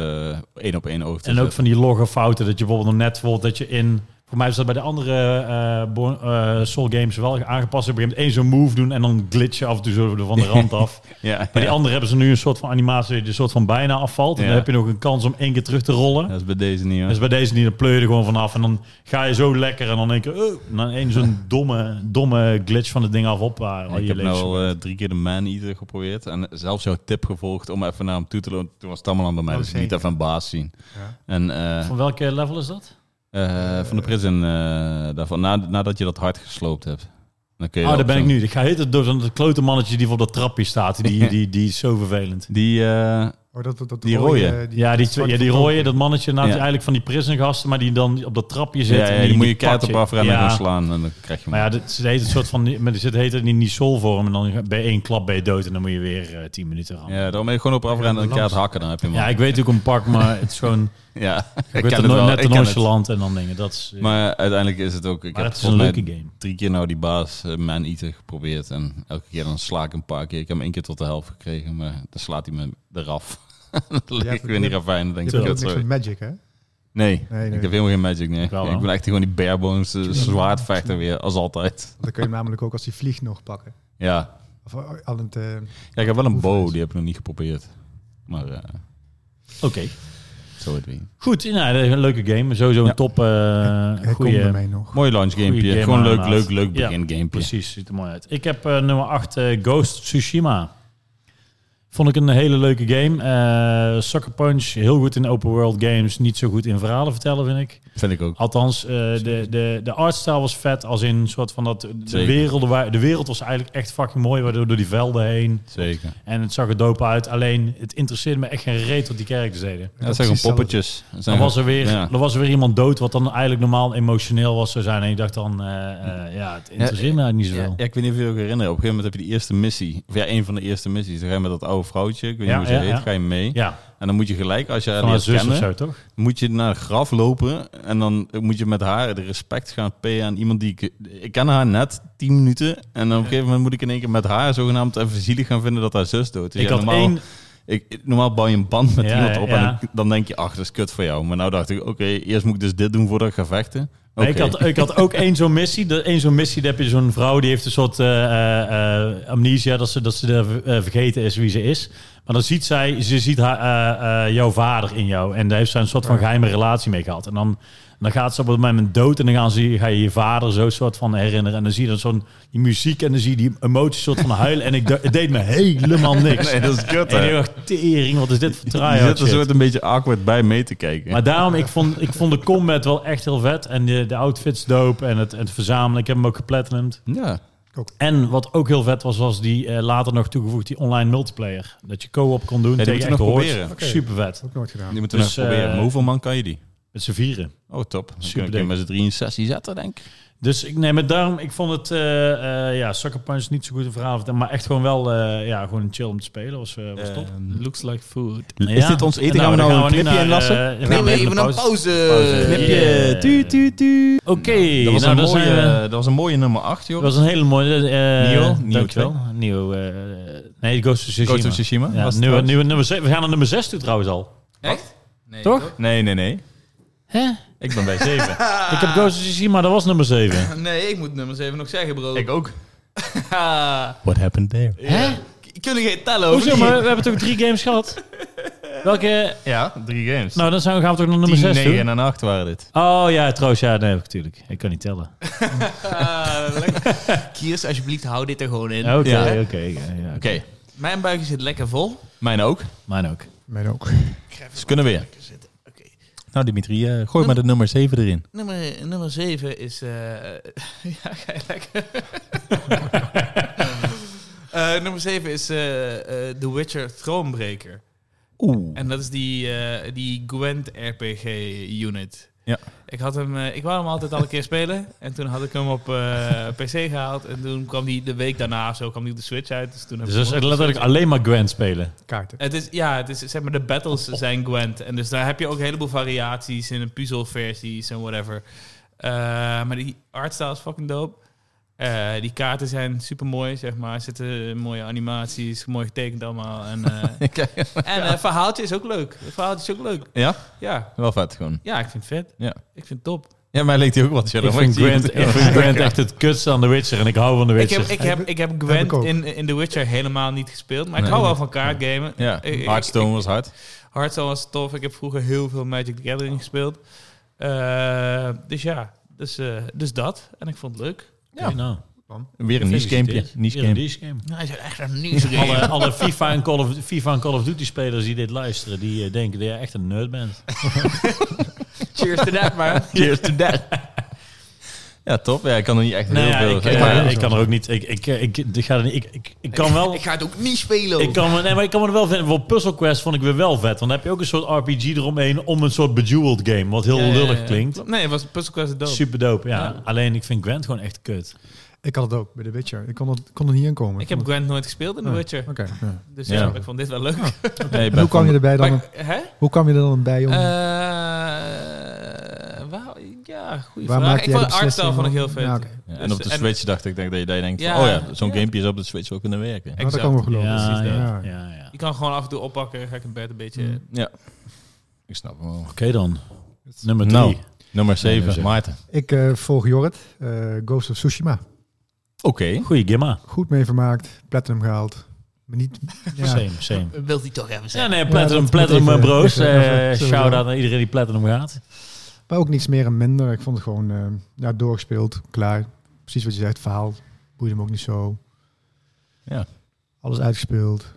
Speaker 2: één op één oog te
Speaker 1: En ook
Speaker 2: zetten.
Speaker 1: van die logge fouten, dat je bijvoorbeeld nog net bijvoorbeeld dat je in Voor mij is dat bij de andere eh, Born- eh, Soul Games wel aangepast. Op een gegeven moment één zo'n move doen en dan glitchen af en toe zo er van de rand af.
Speaker 2: Ja,
Speaker 1: Bij die
Speaker 2: ja.
Speaker 1: andere hebben ze nu een soort van animatie die een soort van bijna afvalt. En
Speaker 2: Ja.
Speaker 1: dan heb je nog een kans om één keer terug te rollen.
Speaker 2: Dat is bij deze niet, hoor.
Speaker 1: Dus bij deze niet, dan pleur je er gewoon vanaf. En dan ga je zo lekker en dan één keer... oh, en dan één zo'n domme, domme glitch van het ding af op. Waar, waar
Speaker 2: ik
Speaker 1: je
Speaker 2: heb
Speaker 1: leven
Speaker 2: nou al
Speaker 1: zo-
Speaker 2: eh, drie keer de Man Eater geprobeerd. En zelfs jouw tip gevolgd om even naar hem toe te lopen. Toen was het allemaal aan bij mij,
Speaker 4: Oh,
Speaker 2: dus niet
Speaker 4: zeker.
Speaker 2: even een baas zien.
Speaker 4: Ja.
Speaker 2: En eh,
Speaker 1: Van welke level is dat?
Speaker 2: eh, van de prison eh, daarvan, na, nadat je dat hard gesloopt hebt. Dan kun je
Speaker 1: Oh, daar
Speaker 2: op
Speaker 1: ben ik
Speaker 2: zo'n-
Speaker 1: nu. Ik ga heet het door zo'n klote mannetje die op dat trapje staat. Die, die, die is zo vervelend.
Speaker 2: Die, eh,
Speaker 4: Oh, dat, dat, dat
Speaker 2: Die rode.
Speaker 1: Ja, die, twee- ja, die
Speaker 4: zwarte
Speaker 1: rooie, dat mannetje, nou,
Speaker 2: Ja.
Speaker 1: eigenlijk van die prisongasten, maar die dan op dat trapje zit.
Speaker 2: ja, ja,
Speaker 1: en
Speaker 2: die, moet je
Speaker 1: pakt
Speaker 2: kaart op afrennen en
Speaker 1: Ja.
Speaker 2: gewoon slaan. En dan krijg je hem.
Speaker 1: Maar ja, dit heet een soort van, maar dit heet het in die soulvorm en dan bij één klap ben je dood en dan moet je weer eh, tien minuten gaan. Ja.
Speaker 2: Ja, daarom ben je gewoon op afrennen en een kaart hakken. Dan heb je hem. al.
Speaker 1: ik weet ook een pak, maar het is gewoon
Speaker 2: ja, ik
Speaker 1: ik
Speaker 2: ken
Speaker 1: weet
Speaker 2: het
Speaker 1: er no-
Speaker 2: wel,
Speaker 1: net
Speaker 2: ik
Speaker 1: een
Speaker 2: ken het.
Speaker 1: nonchalant en dan dingen. Dat is, eh, maar
Speaker 2: Maar uiteindelijk is het ook... Ik heb
Speaker 1: het is een
Speaker 2: volgens mij
Speaker 1: leuke game.
Speaker 2: drie keer nou die baas eh, Man Eater geprobeerd. En elke keer dan sla ik een paar keer. Ik heb hem één keer tot de helft gekregen, maar dan slaat hij me eraf. dan lig ik
Speaker 4: hebt-
Speaker 2: weer in die ravijn. Dan denk
Speaker 4: Je
Speaker 2: ik, kut,
Speaker 4: hebt ook niks
Speaker 2: sorry.
Speaker 4: met Magic, hè?
Speaker 2: Nee,
Speaker 4: nee.
Speaker 2: ik heb helemaal geen magic, nee.
Speaker 1: Ik wel,
Speaker 2: ik ben echt gewoon die bare bones eh, zwaardvechter weer, als altijd.
Speaker 4: Want dan kun je namelijk ook als die vliegt nog pakken.
Speaker 2: Ja.
Speaker 4: Of eh, al het, eh,
Speaker 2: ja, ik heb wel een
Speaker 4: Hoeveel
Speaker 2: bow,
Speaker 4: is-
Speaker 2: die heb ik nog niet geprobeerd. Maar eh,
Speaker 1: Oké,
Speaker 2: zo het weer.
Speaker 1: goed. Nou, dat is een leuke game. Sowieso een
Speaker 2: Ja.
Speaker 1: top, eh
Speaker 4: hij komt bij
Speaker 1: goede...
Speaker 4: mij nog.
Speaker 2: Mooi launch
Speaker 1: Goeie
Speaker 2: gamepje.
Speaker 1: game
Speaker 2: gewoon leuk,
Speaker 1: aanraad.
Speaker 2: leuk, leuk
Speaker 1: Ja,
Speaker 2: begin gamepje.
Speaker 1: Precies, ziet er mooi uit. Ik heb eh, nummer 8, Ghost Tsushima. Vond ik een hele leuke game. Eh Sucker Punch, heel goed in open world games. Niet zo goed in verhalen vertellen, vind ik.
Speaker 2: Vind ik ook.
Speaker 1: Althans, eh, de, de, de artstyle was vet. Als in een soort van dat... De,
Speaker 2: Zeker.
Speaker 1: werelden waar, de wereld was eigenlijk echt fucking mooi. Waardoor door die velden heen.
Speaker 2: Zeker. Ja,
Speaker 1: En het zag er dope uit. Alleen, het interesseerde me echt geen reet wat die karakters deden.
Speaker 2: dat zijn
Speaker 4: precies
Speaker 2: gewoon poppetjes. Dat
Speaker 1: Dan
Speaker 2: zijn
Speaker 1: was, er weer,
Speaker 2: Ja.
Speaker 1: dan was er weer iemand dood wat dan eigenlijk normaal emotioneel was zou zijn. En ik dacht dan, eh, eh, ja, het interesseert me eigenlijk niet
Speaker 2: Ja,
Speaker 1: zoveel.
Speaker 2: ja, ik weet niet of je je ook herinnert. Op een gegeven moment heb je de eerste missie. Of ja, een van de eerste missies. Dan ga je met dat oude vrouwtje, ik weet
Speaker 1: Ja,
Speaker 2: niet hoe ze
Speaker 1: ja,
Speaker 2: heet,
Speaker 1: ja.
Speaker 2: ga je mee.
Speaker 1: Ja,
Speaker 2: En dan moet je gelijk, als je haar
Speaker 1: van haar
Speaker 2: leert
Speaker 1: zus of
Speaker 2: kennen,
Speaker 1: zo, toch?
Speaker 2: moet je naar het graf lopen. En dan moet je met haar de respect gaan payen aan iemand die ik... Ik ken haar net 10 minuten. En dan op een gegeven moment moet ik in één keer met haar zogenaamd even zielig gaan vinden dat haar zus dood is.
Speaker 1: ik
Speaker 2: Dus
Speaker 1: had
Speaker 2: Ja, normaal,
Speaker 1: één...
Speaker 2: ik, normaal bouw je een band met
Speaker 1: Ja,
Speaker 2: iemand op
Speaker 1: ja.
Speaker 2: en dan denk je, ach, dat is kut voor jou. Maar nou dacht ik, oké, eerst moet ik dus dit doen voordat ik ga vechten.
Speaker 1: nee,
Speaker 2: Oké.
Speaker 1: ik, had, ik had ook één zo'n missie. De- één zo'n missie, daar heb je zo'n vrouw die heeft een soort eh, eh, eh, amnesia, dat ze, dat ze eh, vergeten is wie ze is. Maar dan ziet zij, ze ziet haar, eh, eh, jouw vader in jou. En daar heeft zij een soort van geheime relatie mee gehad. En dan, dan gaat ze op het moment dood en dan gaan ze, ga je je vader zo soort van herinneren. En dan zie je dan zo'n die muziek en dan zie je die emotie soort van huilen. En ik, dacht- het deed me helemaal niks.
Speaker 2: Nee, dat is kut,
Speaker 1: en
Speaker 2: hè?
Speaker 1: ik dacht, tering, wat is dit voor
Speaker 2: Je
Speaker 1: tryhard
Speaker 2: zit er
Speaker 1: shit?
Speaker 2: zo een beetje awkward bij mee te kijken.
Speaker 1: Maar daarom, ik vond, ik vond de combat wel echt heel vet. En de, de outfits dope en het, het verzamelen. Ik heb hem ook geplatinumd.
Speaker 2: ja.
Speaker 1: En wat ook heel vet was, was die eh, later nog toegevoegd, die online multiplayer. Dat je co-op kon doen
Speaker 2: die
Speaker 1: tegen
Speaker 2: moeten
Speaker 1: echt
Speaker 2: we nog
Speaker 1: hoort.
Speaker 2: proberen.
Speaker 4: Oké.
Speaker 1: Super vet.
Speaker 4: Ook nooit gedaan.
Speaker 2: Die moeten we
Speaker 1: Dus,
Speaker 2: nog proberen.
Speaker 1: eh,
Speaker 2: Maar hoeveel man kan je die?
Speaker 1: Met z'n vieren.
Speaker 2: Oh, top. Dan
Speaker 1: Super
Speaker 2: kun je
Speaker 1: ding.
Speaker 2: met z'n drie in sessie zetten, denk ik.
Speaker 1: Dus ik neem het daarom, ik vond het, eh, eh, ja, Sucker Punch niet zo goed een verhaal. Maar echt gewoon wel, eh, ja, gewoon chill om te spelen. Was, eh, was top.
Speaker 3: Looks like food.
Speaker 2: Is dit ons eten? Gaan we nou een clipje inlassen?
Speaker 1: Neem eh, even een pauze. Knipje. Oké,
Speaker 2: Dat
Speaker 1: nou, dan
Speaker 2: was, een
Speaker 1: zijn
Speaker 2: mooie,
Speaker 1: we-
Speaker 2: dat was een mooie nummer 8, joh.
Speaker 1: Dat was een hele mooie. eh
Speaker 2: Nio, Nio
Speaker 1: dankjewel. Nio, eh nee, Ghost of Tsushima.
Speaker 2: Ghost of Tsushima.
Speaker 1: Ja,
Speaker 2: was het
Speaker 1: nieuwe,
Speaker 2: trouwens.
Speaker 1: nieuwe nummer zes- we gaan naar nummer 6 toe trouwens al.
Speaker 2: Echt?
Speaker 3: Nee,
Speaker 1: Toch?
Speaker 2: Nee, nee, nee.
Speaker 1: Hè?
Speaker 2: Ik ben bij 7.
Speaker 1: Ik heb Ghost of Tsushima, dat was nummer 7.
Speaker 3: Nee, ik moet nummers even nog zeggen, bro.
Speaker 2: ik ook.
Speaker 3: Haha.
Speaker 2: What happened there?
Speaker 1: Hè?
Speaker 3: Kunnen geen tellen over
Speaker 1: Hoezo, maar we hebben toch drie games gehad? Welke?
Speaker 2: Ja, drie games.
Speaker 1: Nou, dan zijn we, gaan we toch naar nummer
Speaker 2: 10,
Speaker 1: 6
Speaker 2: 9
Speaker 1: toe.
Speaker 2: en 8 waren dit.
Speaker 1: Oh ja, trouwens, ja, nee, natuurlijk. Ik kan niet tellen.
Speaker 3: Ah, Kiers, alsjeblieft, hou dit er gewoon in.
Speaker 1: Ja, Oké,
Speaker 2: Ja.
Speaker 1: oké. ja, ja, oké.
Speaker 2: Oké,
Speaker 3: Mijn buikje zit lekker vol.
Speaker 2: mijn ook.
Speaker 1: Mijn ook.
Speaker 4: Mijn ook.
Speaker 2: Dus kunnen weer.
Speaker 3: Zitten. Oké.
Speaker 2: Nou, Dimitri, eh, gooi maar de nummer 7 erin.
Speaker 3: Nummer, nummer 7 is. eh, ja, ga je lekker. Eh, nummer 7 is eh, eh, The Witcher Thronebreaker.
Speaker 2: Oeh.
Speaker 3: En dat is die, eh, die Gwent RPG unit.
Speaker 2: Ja.
Speaker 3: Ik, had hem, eh, ik wou hem altijd al een keer spelen. En toen had ik hem op eh, PC gehaald. En toen kwam die de week daarna of zo kwam die op de Switch uit. Dus toen heb
Speaker 1: Dus
Speaker 3: ik
Speaker 1: dat is
Speaker 3: hem op de
Speaker 1: letterlijk alleen maar Gwen spelen.
Speaker 4: Kaarten.
Speaker 3: het is, ja, het is, zeg maar, de battles
Speaker 2: Oh.
Speaker 3: zijn Gwent. En dus daar heb je ook een heleboel variaties in een puzzelversies en whatever. Eh, maar die artstyle is fucking dope. Eh, die kaarten zijn super mooi, zeg maar. Er zitten mooie animaties, mooi getekend allemaal. En, eh en eh, verhaaltje is ook leuk. Het verhaaltje is ook leuk.
Speaker 2: Ja,
Speaker 3: Ja,
Speaker 2: wel vet gewoon.
Speaker 3: ja ik vind het vet.
Speaker 2: Ja.
Speaker 3: Ik vind het top.
Speaker 2: Ja, mij leek die ook wat.
Speaker 1: Ik vind, Grant, ik vind Grant echt het kutste aan The Witcher en ik hou van The
Speaker 3: Ik
Speaker 1: Witcher.
Speaker 3: heb, ik, heb, ik heb
Speaker 4: Heb ik
Speaker 3: Gwent
Speaker 4: ook.
Speaker 3: in, in The Witcher helemaal niet gespeeld. Maar ik
Speaker 2: Nee.
Speaker 3: hou wel van kaartgamen.
Speaker 2: Ja,
Speaker 3: Ik- ik-
Speaker 2: Hearthstone was hard.
Speaker 3: Hearthstone was tof. Ik heb vroeger heel veel Magic the Gathering gespeeld. Eh, dus ja, dus, eh, dus dat. En ik vond het leuk.
Speaker 1: ja. nou,
Speaker 2: Weer een niche gamepje. Niche
Speaker 1: Hier een
Speaker 2: game.
Speaker 1: niche game.
Speaker 3: Nou, hij zei echt een nieuws
Speaker 1: Alle, alle FIFA, en Call of, FIFA en Call of Duty spelers die dit luisteren, die eh, denken dat je echt een nerd bent.
Speaker 3: Cheers to that, man.
Speaker 2: Cheers to that. Ja, top. Ja, ik kan er niet echt
Speaker 1: Nou ja,
Speaker 2: heel
Speaker 1: ik,
Speaker 2: veel
Speaker 1: eh,
Speaker 2: zeggen.
Speaker 1: ik kan er ook niet. Ik, ik, ik, ik, ga er niet- ik, ik, ik kan wel.
Speaker 5: Ik ga het ook niet spelen.
Speaker 1: Ik kan, me- nee, maar ik kan me er wel vinden. Voor Puzzle Quest vond ik weer wel vet. Want dan heb je ook een soort RPG eromheen om een soort Bejeweled game. Wat heel lullig klinkt.
Speaker 3: Nee, het was Puzzle Quest dood.
Speaker 1: Super dope, ja.
Speaker 3: Ja.
Speaker 1: Alleen ik vind Gwent gewoon echt kut.
Speaker 4: Ik had het ook bij The Witcher. Ik kon, het, kon er niet in komen.
Speaker 3: Ik heb
Speaker 4: vond
Speaker 3: Gwent nooit gespeeld in The
Speaker 4: Nee.
Speaker 3: Witcher.
Speaker 4: het- Oké. ja.
Speaker 3: Dus
Speaker 2: Ja.
Speaker 3: ja, ik vond dit wel leuk.
Speaker 2: Nee, ik
Speaker 4: En
Speaker 2: ben
Speaker 4: Hoe kwam je
Speaker 2: van-
Speaker 4: erbij dan?
Speaker 3: Maar, hè?
Speaker 4: Hoe kwam je er dan bij om?
Speaker 3: Eh, waar- ja, goede
Speaker 4: waar
Speaker 3: vraag. Ik vond
Speaker 4: maakte jij de beslissing
Speaker 3: Artstyle vond ik heel
Speaker 4: van?
Speaker 3: vet.
Speaker 4: Ja, oké. Nou,
Speaker 2: Ja, en op de
Speaker 3: Dus- en-
Speaker 2: Switch dacht ik denk, dat je daar denkt van,
Speaker 3: Ja.
Speaker 2: oh ja, zo'n
Speaker 3: Ja.
Speaker 2: gamepje is op de Switch wel kunnen werken.
Speaker 4: Nou, dat
Speaker 3: Exact.
Speaker 4: kan wel geloven.
Speaker 1: ja,
Speaker 4: precies,
Speaker 1: ja,
Speaker 4: ja.
Speaker 1: ja, ja.
Speaker 3: Je kan gewoon af en toe oppakken. Ga ik in bed een beetje...
Speaker 4: Mm.
Speaker 2: Ja, ik snap hem wel.
Speaker 1: Oké dan. Nummer drie.
Speaker 2: Nou, Nummer 7,
Speaker 1: zeven.
Speaker 2: Maarten.
Speaker 4: Ik eh, volg Jorrit, eh, Ghost of Tsushima.
Speaker 2: Oké.
Speaker 1: Goeie gimma.
Speaker 4: Goed mee vermaakt, platinum gehaald. Maar niet... Ja,
Speaker 1: Same, same.
Speaker 5: Wilt hij toch even
Speaker 1: Ja,
Speaker 5: zeggen?
Speaker 1: nee, Platinum,
Speaker 4: dat-
Speaker 1: platinum eh,
Speaker 4: dat even-
Speaker 1: bro's.
Speaker 4: even- even-
Speaker 1: Eh
Speaker 4: sowieso.
Speaker 1: Shout-out naar iedereen die Platinum gaat.
Speaker 4: maar ook niets meer en minder. Ik vond het gewoon eh, ja, doorgespeeld, klaar. Precies wat je zegt, verhaal. Boeide me ook niet zo.
Speaker 2: Ja.
Speaker 4: Alles uitgespeeld.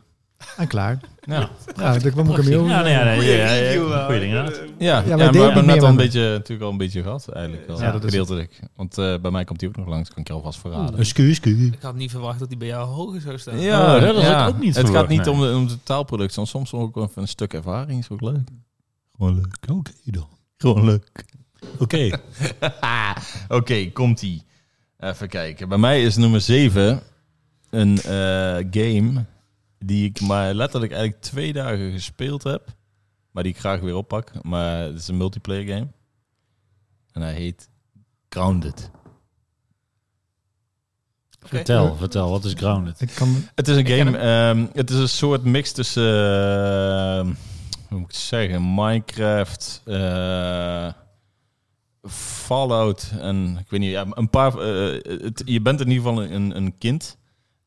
Speaker 4: En klaar.
Speaker 2: Ja,
Speaker 4: Ja, dat kwam ik hem heel...
Speaker 1: Ja, nee, nee,
Speaker 5: Goeie
Speaker 1: ja, ja, ja.
Speaker 5: review, eh.
Speaker 1: Goeie ding, inderdaad.
Speaker 2: ja,
Speaker 4: maar
Speaker 2: ja, maar
Speaker 4: deed
Speaker 2: we
Speaker 4: ik
Speaker 2: hebben hem
Speaker 4: niet
Speaker 2: net al
Speaker 4: meer
Speaker 2: een
Speaker 4: met-
Speaker 2: beetje, natuurlijk al een beetje gehad eigenlijk. Wel,
Speaker 4: Ja,
Speaker 2: ja,
Speaker 4: dat is het.
Speaker 2: gedeeltelijk. Want eh, bij mij komt hij ook nog langs, kan ik je alvast verraden.
Speaker 1: Excuse, excuse.
Speaker 3: Ik had niet verwacht dat die bij jou hoger zou staan.
Speaker 1: Oh, dat had ik ook niet
Speaker 2: Het
Speaker 1: verwacht,
Speaker 2: gaat niet
Speaker 1: nee.
Speaker 2: om, de, om het totaalproduct, want soms ook even een stuk ervaring is ook leuk. Gewoon leuk.
Speaker 1: Oké dan.
Speaker 2: Gewoon leuk.
Speaker 1: Oké.
Speaker 2: Oké, komt ie. Even kijken. Bij mij is nummer 7 een eh, game die ik maar letterlijk eigenlijk twee dagen gespeeld heb. Maar die ik graag weer oppak. Maar het is een multiplayer game. En hij heet Grounded.
Speaker 1: Vertel, vertel. Wat is Grounded?
Speaker 4: Ik kan...
Speaker 2: Het is een
Speaker 3: ken
Speaker 2: game. ehm, het is een soort mix tussen. ehm, hoe moet ik het zeggen? Minecraft. eh, Fallout. En ik weet niet. ja, Een paar. eh, het- je bent in ieder geval een, een kind.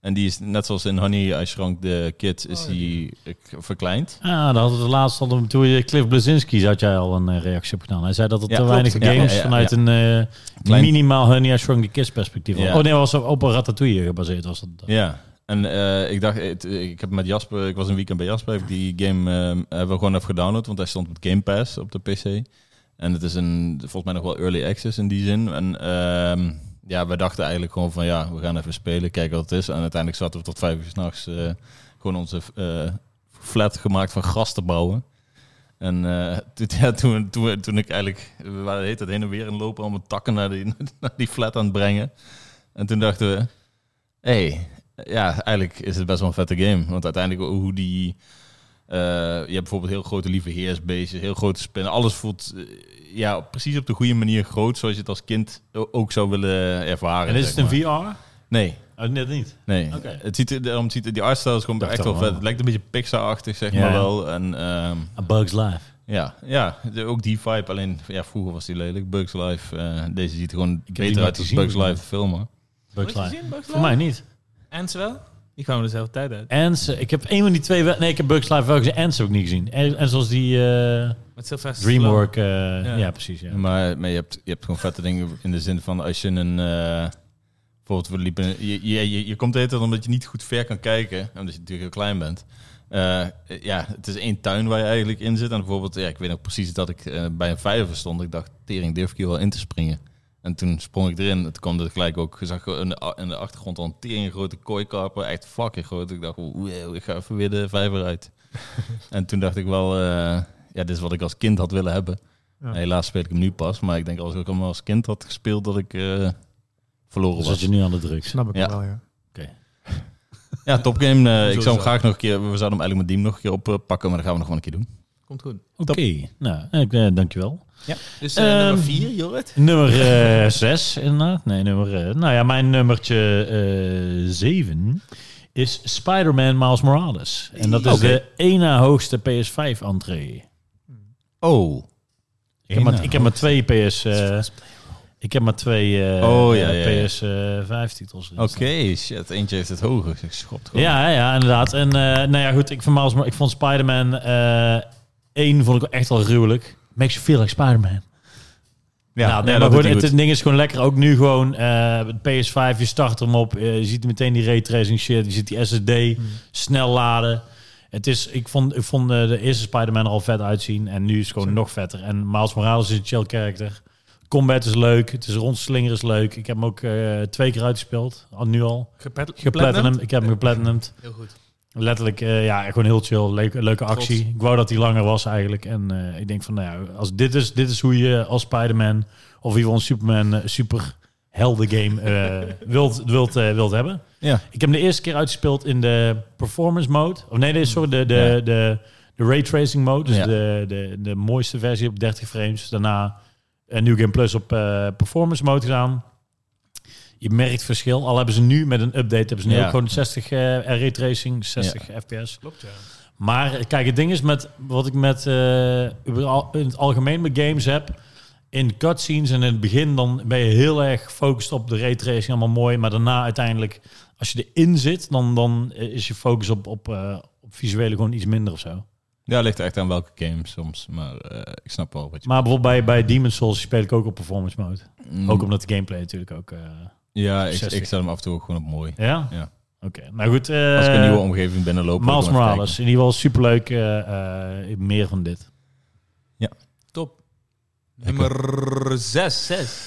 Speaker 2: En die is net zoals in Honey I Shrunk the Kid. Is die eh, verkleind.
Speaker 1: Ah, dan hadden we het laatst hadden we, toen je Cliff Blazinski zat jij al een eh, reactie op gedaan. Hij zei dat er
Speaker 2: Ja,
Speaker 1: te
Speaker 2: klopt.
Speaker 1: weinig
Speaker 2: Ja,
Speaker 1: games
Speaker 2: ja, ja,
Speaker 1: vanuit een eh,
Speaker 2: Klein-
Speaker 1: minimaal Honey I Shrunk the Kids perspectief.
Speaker 2: Ja.
Speaker 1: Oh nee, dat was op- op een Ratatouille gebaseerd was dat.
Speaker 2: Ja, en eh, ik dacht, het- ik heb met Jasper, ik was een weekend bij Jasper, heb ik die game eh, hebben we gewoon even gedownload, want hij stond op Game Pass op de PC. En het is een, volgens mij nog wel early access in die zin. En ehm, ja, we dachten eigenlijk gewoon van ja, we gaan even spelen, kijken wat het is. En uiteindelijk zaten we tot vijf uur s'nachts eh gewoon onze eh, flat gemaakt van gras te bouwen. En eh, toen, ja, toen, toen, toen ik eigenlijk, we waren de hele tijd heen en weer en lopen, allemaal takken naar die, naar die flat aan het brengen. En toen dachten we, hey, ja, eigenlijk is het best wel een vette game. Want uiteindelijk hoe die... eh, je hebt bijvoorbeeld heel grote lieve heersbeestjes, heel grote spinnen. Alles voelt eh, ja, precies op de goede manier groot, zoals je het als kind o- ook zou willen eh, ervaren.
Speaker 1: En is
Speaker 2: zeg
Speaker 1: het een
Speaker 2: maar.
Speaker 1: VR?
Speaker 2: Nee,
Speaker 1: Oh, net niet.
Speaker 2: nee.
Speaker 1: Oké.
Speaker 2: Het ziet, er- daarom ziet er- die artstyle is gewoon
Speaker 1: Dacht
Speaker 2: echt
Speaker 1: al
Speaker 2: wel
Speaker 1: wel.
Speaker 2: vet. Het lijkt een beetje Pixar-achtig, zeg
Speaker 1: Ja,
Speaker 2: maar
Speaker 1: ja.
Speaker 2: wel. En, ehm,
Speaker 1: A Bug's Life.
Speaker 2: ja, ja, de- ook die vibe. Alleen, ja, vroeger was die lelijk. Bugs Life. eh, deze ziet er gewoon
Speaker 1: die
Speaker 2: beter
Speaker 1: nooit
Speaker 2: uit als
Speaker 1: gezien,
Speaker 2: Bugs
Speaker 1: volgens
Speaker 2: Life de film, hoor.
Speaker 1: Bug's Life. Voor
Speaker 3: mij.
Speaker 1: mij niet.
Speaker 3: En ze wel? Die kwamen dezelfde tijd uit.
Speaker 1: En ze- ik heb één van die twee... wel- Nee, ik heb Bug's Life wel gezien. En ze ook niet gezien. En, en zoals die eh,
Speaker 3: Met Sylvester
Speaker 1: Dreamwork... eh, ja.
Speaker 3: Ja.
Speaker 1: precies. Ja.
Speaker 2: Maar, maar je, hebt, je hebt gewoon vette dingen in de zin van als je een... eh, bijvoorbeeld, we liepen... Je, je, je, je komt de hele tijd omdat je niet goed ver kan kijken. Omdat je natuurlijk heel klein bent. Eh, ja, het is één tuin waar je eigenlijk in zit. En bijvoorbeeld, ja, ik weet nog precies dat ik eh, bij een vijver stond. Ik dacht, tering, durf ik hier wel in te springen? En toen sprong ik erin. Het kwam er gelijk ook. Ik zag in de, a- in de achtergrond al een tering grote kooikarper. Echt fucking groot. Ik dacht, wow, ik ga even weer de vijver uit. en toen dacht ik wel, eh, ja, dit is wat ik als kind had willen hebben.
Speaker 4: Ja.
Speaker 2: Helaas speel ik hem nu pas. Maar ik denk, als ik hem als kind had gespeeld, dat ik eh, verloren
Speaker 1: Dus dat
Speaker 2: was.
Speaker 1: je nu aan de drugs.
Speaker 4: Snap ik
Speaker 2: Ja.
Speaker 4: wel, ja.
Speaker 2: Ja, topgame. eh, ik
Speaker 3: is
Speaker 2: zou
Speaker 3: dat.
Speaker 2: hem graag nog een keer... We zouden hem eigenlijk met Diem nog een keer oppakken. maar dat gaan we nog wel een keer doen.
Speaker 3: Komt goed.
Speaker 1: Oké. Nou, ik, eh, dankjewel.
Speaker 3: Dus
Speaker 1: eh, nummer
Speaker 3: nummer
Speaker 1: vier,
Speaker 3: 4, Jorrit.
Speaker 1: Nummer 6 inderdaad. Nee, nummer... eh, nou ja, mijn nummertje 7 is Spider-Man Miles Morales. En dat is
Speaker 2: Oké.
Speaker 1: de ene na hoogste PS5-entree.
Speaker 2: Oh.
Speaker 1: Ik, heb maar- ik heb maar twee PS... eh, Ik heb maar twee eh,
Speaker 2: Oh, ja, ja, ja.
Speaker 1: PS5-titels.
Speaker 2: Oké, shit. Eentje heeft het hoger geschopt. gewoon.
Speaker 1: Ja, ja, inderdaad. En eh, nou ja, goed, ik vond, Miles, Mo- ik vond Spider-Man eh 1 vond ik wel echt al gruwelijk. Makes you feel like Spider-Man. Ja, nou, nee, maar
Speaker 2: ja, doet
Speaker 1: gewoon,
Speaker 2: hij
Speaker 1: het,
Speaker 2: goed.
Speaker 1: ding is gewoon lekker. Ook nu gewoon eh, PS5, je start hem op. eh, je ziet meteen die raytracing shit. Je ziet die SSD
Speaker 2: Mm.
Speaker 1: snel laden. Het is, ik vond, ik vond eh, de eerste Spider-Man er al vet uitzien. En nu is het gewoon nog vetter. En Miles Morales is een chill character. Combat is leuk. Het is rondslingeren is leuk. Ik heb hem ook eh, twee keer uitgespeeld. Al, nu al.
Speaker 3: Gepet-
Speaker 1: Geplatinum. Ik heb hem geplatinumd.
Speaker 5: Heel goed.
Speaker 1: Letterlijk, eh, ja, gewoon heel chill. Leuk, leuke actie. Ik wou dat hij langer was eigenlijk. En eh, ik denk van, nou ja, als dit, is, dit is hoe je als Spider-Man of iemand Superman eh, super helden game eh, wilt, wilt, eh, wilt hebben.
Speaker 2: Ja.
Speaker 1: Ik heb hem de eerste keer uitgespeeld in de performance mode. Of nee, nee sorry, de, de,
Speaker 2: Ja.
Speaker 1: de, de, ray tracing mode. Dus
Speaker 2: Ja.
Speaker 1: de, de, de mooiste versie op 30 frames. Daarna een New Game Plus op eh, performance mode gedaan. Je merkt verschil. Al hebben ze nu met een update hebben ze nu
Speaker 2: Ja.
Speaker 1: ook gewoon 60 eh ray tracing, 60 fps.
Speaker 3: Klopt, ja.
Speaker 1: Maar eh, kijk, het ding is met wat ik met eh, überal- in het algemeen met games heb. In cutscenes en in het begin dan ben je heel erg gefocust op de raytracing, allemaal mooi. Maar daarna uiteindelijk, als je erin zit, dan, dan eh, is je focus op, op, eh, op visuele gewoon iets minder of zo.
Speaker 2: ja, ligt echt aan welke game soms. Maar eh, ik snap wel wat je...
Speaker 1: Maar bijvoorbeeld bij, bij Demon's Souls speel ik ook op performance mode.
Speaker 2: Mm,
Speaker 1: Ook omdat de gameplay natuurlijk ook... eh,
Speaker 2: Ja, ik,
Speaker 1: 60.
Speaker 2: ik zet hem af en toe ook gewoon op mooi.
Speaker 1: ja?
Speaker 2: Ja.
Speaker 1: Oké, nou goed. eh,
Speaker 2: Als ik een nieuwe omgeving binnenloop... wil ik
Speaker 1: Miles
Speaker 2: hem even
Speaker 1: Morales, in ieder geval superleuk. eh, eh, meer van dit.
Speaker 3: Top. Nummer 6. 6.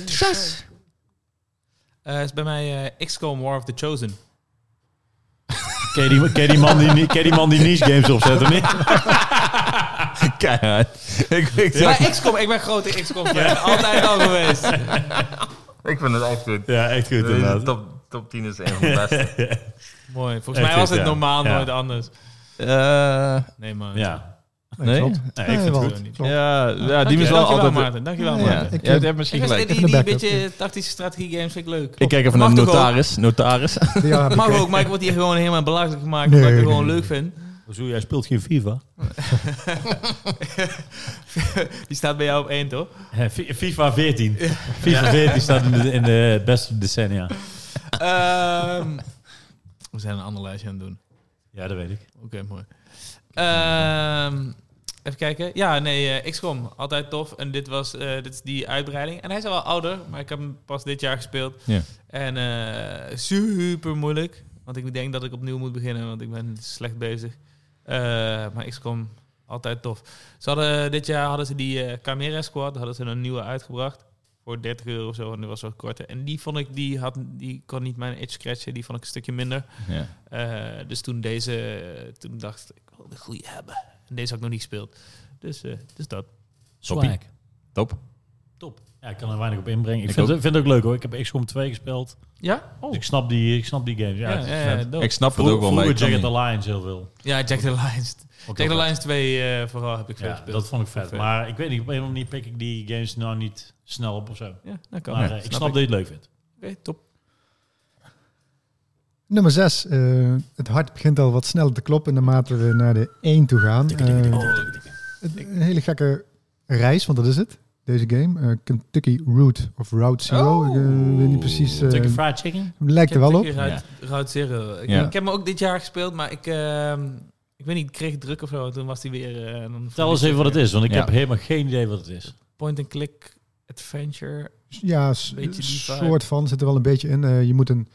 Speaker 3: is bij mij eh XCOM War of the Chosen.
Speaker 1: Ken je die, ken je die, man, die, ni- ken je die man die niche games opzet, of niet?
Speaker 2: kijken. Keihard. ik, ik,
Speaker 3: Ja, XCOM. Ik ben grote XCOM fan. Altijd al geweest.
Speaker 2: ik vind het echt goed.
Speaker 1: Ja, echt goed inderdaad.
Speaker 2: top, top 10 is een van de beste.
Speaker 3: Mooi. Volgens
Speaker 1: Echt
Speaker 3: mij was
Speaker 1: is,
Speaker 3: het
Speaker 1: ja.
Speaker 3: normaal
Speaker 1: Ja.
Speaker 3: nooit anders. Nee, man.
Speaker 1: Ja.
Speaker 2: Nee?
Speaker 4: klopt.
Speaker 1: Nee, ik
Speaker 4: Nee,
Speaker 1: vind het
Speaker 4: wel,
Speaker 3: goed.
Speaker 4: klopt.
Speaker 2: ja, ja, die
Speaker 3: Dank
Speaker 2: is wel
Speaker 3: je- dankjewel,
Speaker 2: altijd...
Speaker 3: Maarten. Dankjewel,
Speaker 4: Ja,
Speaker 2: Ja,
Speaker 3: Maarten.
Speaker 2: je
Speaker 4: ik,
Speaker 2: hebt-
Speaker 4: eh,
Speaker 2: je hebt misschien
Speaker 3: Ik vind
Speaker 2: gelijk.
Speaker 3: die,
Speaker 4: Ik
Speaker 3: die
Speaker 4: heb de
Speaker 3: beetje tactische strategie games vind ik leuk.
Speaker 2: Ik kijk even naar
Speaker 3: Mag
Speaker 2: de
Speaker 3: toch ook?
Speaker 2: notaris. Notaris.
Speaker 4: Ja,
Speaker 3: Mag ook, maar ik word hier gewoon helemaal belachelijk gemaakt.
Speaker 4: Nee,
Speaker 3: omdat ik het
Speaker 4: nee,
Speaker 3: gewoon
Speaker 4: nee.
Speaker 3: leuk vind.
Speaker 1: Zo, jij speelt geen FIFA?
Speaker 3: Die staat bij jou op één, toch?
Speaker 1: FIFA 14. FIFA 14 staat in de, in de beste decennia.
Speaker 3: Ehm, we zijn een ander lijstje aan het doen.
Speaker 1: Ja, dat weet ik.
Speaker 3: Oké, mooi. Ehm, even kijken. Ja, nee, eh, XCOM. Altijd tof. En dit, was, eh, dit is die uitbreiding. En hij is al wel ouder, maar ik heb hem pas dit jaar gespeeld.
Speaker 2: Ja.
Speaker 3: En eh, super moeilijk. Want ik denk dat ik opnieuw moet beginnen, want ik ben slecht bezig. Eh, maar XCOM, altijd tof. Ze hadden, dit jaar hadden ze die eh Chimera Squad, hadden ze een nieuwe uitgebracht. Voor 30 euro of zo, en die was wat korter. En die vond ik, die, had, die kon niet mijn itch scratchen, die vond ik een stukje minder.
Speaker 2: Ja.
Speaker 3: Eh, dus toen deze, eh, toen dacht ik, ik wil de goede hebben. En deze had ik nog niet gespeeld. Dus, eh, dus dat.
Speaker 2: Toppie.
Speaker 1: Swag.
Speaker 2: Top.
Speaker 1: Top. Ja, ik kan er weinig op inbrengen. Ik,
Speaker 2: Ik
Speaker 1: vind,
Speaker 2: ook.
Speaker 1: het, vind het ook leuk hoor. Ik heb XCOM 2 gespeeld.
Speaker 3: Ja? Oh.
Speaker 1: Dus ik snap die, ik snap die games. Ja,
Speaker 3: Ja,
Speaker 1: het is
Speaker 3: ja, ja,
Speaker 1: vet.
Speaker 3: dope.
Speaker 2: Ik snap het
Speaker 1: Vroeger,
Speaker 2: ook wel, maar ik kan
Speaker 1: Jagged
Speaker 2: niet.
Speaker 1: Alliance heel veel.
Speaker 3: ja, Jack the Lions.
Speaker 1: Ook
Speaker 3: Jack the
Speaker 1: wel vet.
Speaker 3: Lions 2 eh, vooral heb ik veel
Speaker 1: Ja,
Speaker 3: gespeeld.
Speaker 1: dat vond ik vet.
Speaker 3: Vet.
Speaker 1: Maar ik weet niet, op een of andere manier pik ik die games nou niet snel op of zo.
Speaker 3: Ja, dat kan.
Speaker 1: Maar
Speaker 3: Ja,
Speaker 1: eh, ik snap dat je het leuk vindt.
Speaker 3: Oké, top.
Speaker 4: Nummer 6. het hart begint al wat sneller te kloppen naarmate we naar de 1 toe gaan. Eh, het- een hele gekke reis, want dat is het. Deze game. Eh, Kentucky Route of Route Zero.
Speaker 3: Oh.
Speaker 4: Ik eh, weet niet precies. eh,
Speaker 1: Kentucky Fried Chicken?
Speaker 4: lijkt er wel op.
Speaker 3: Kentucky Route, Route Zero. Ik,
Speaker 2: Ja.
Speaker 3: ik heb hem ook dit jaar gespeeld, maar ik, ehm, ik weet niet, ik kreeg het druk of zo. Toen was hij weer... eh, en dan
Speaker 1: Vertel eens even wat het is, want ik
Speaker 2: Ja.
Speaker 1: heb helemaal geen idee wat het is.
Speaker 3: Point-and-click adventure.
Speaker 4: Ja, s-
Speaker 3: Beetje die
Speaker 4: soort van. Zit er wel een beetje in. Eh, je moet een,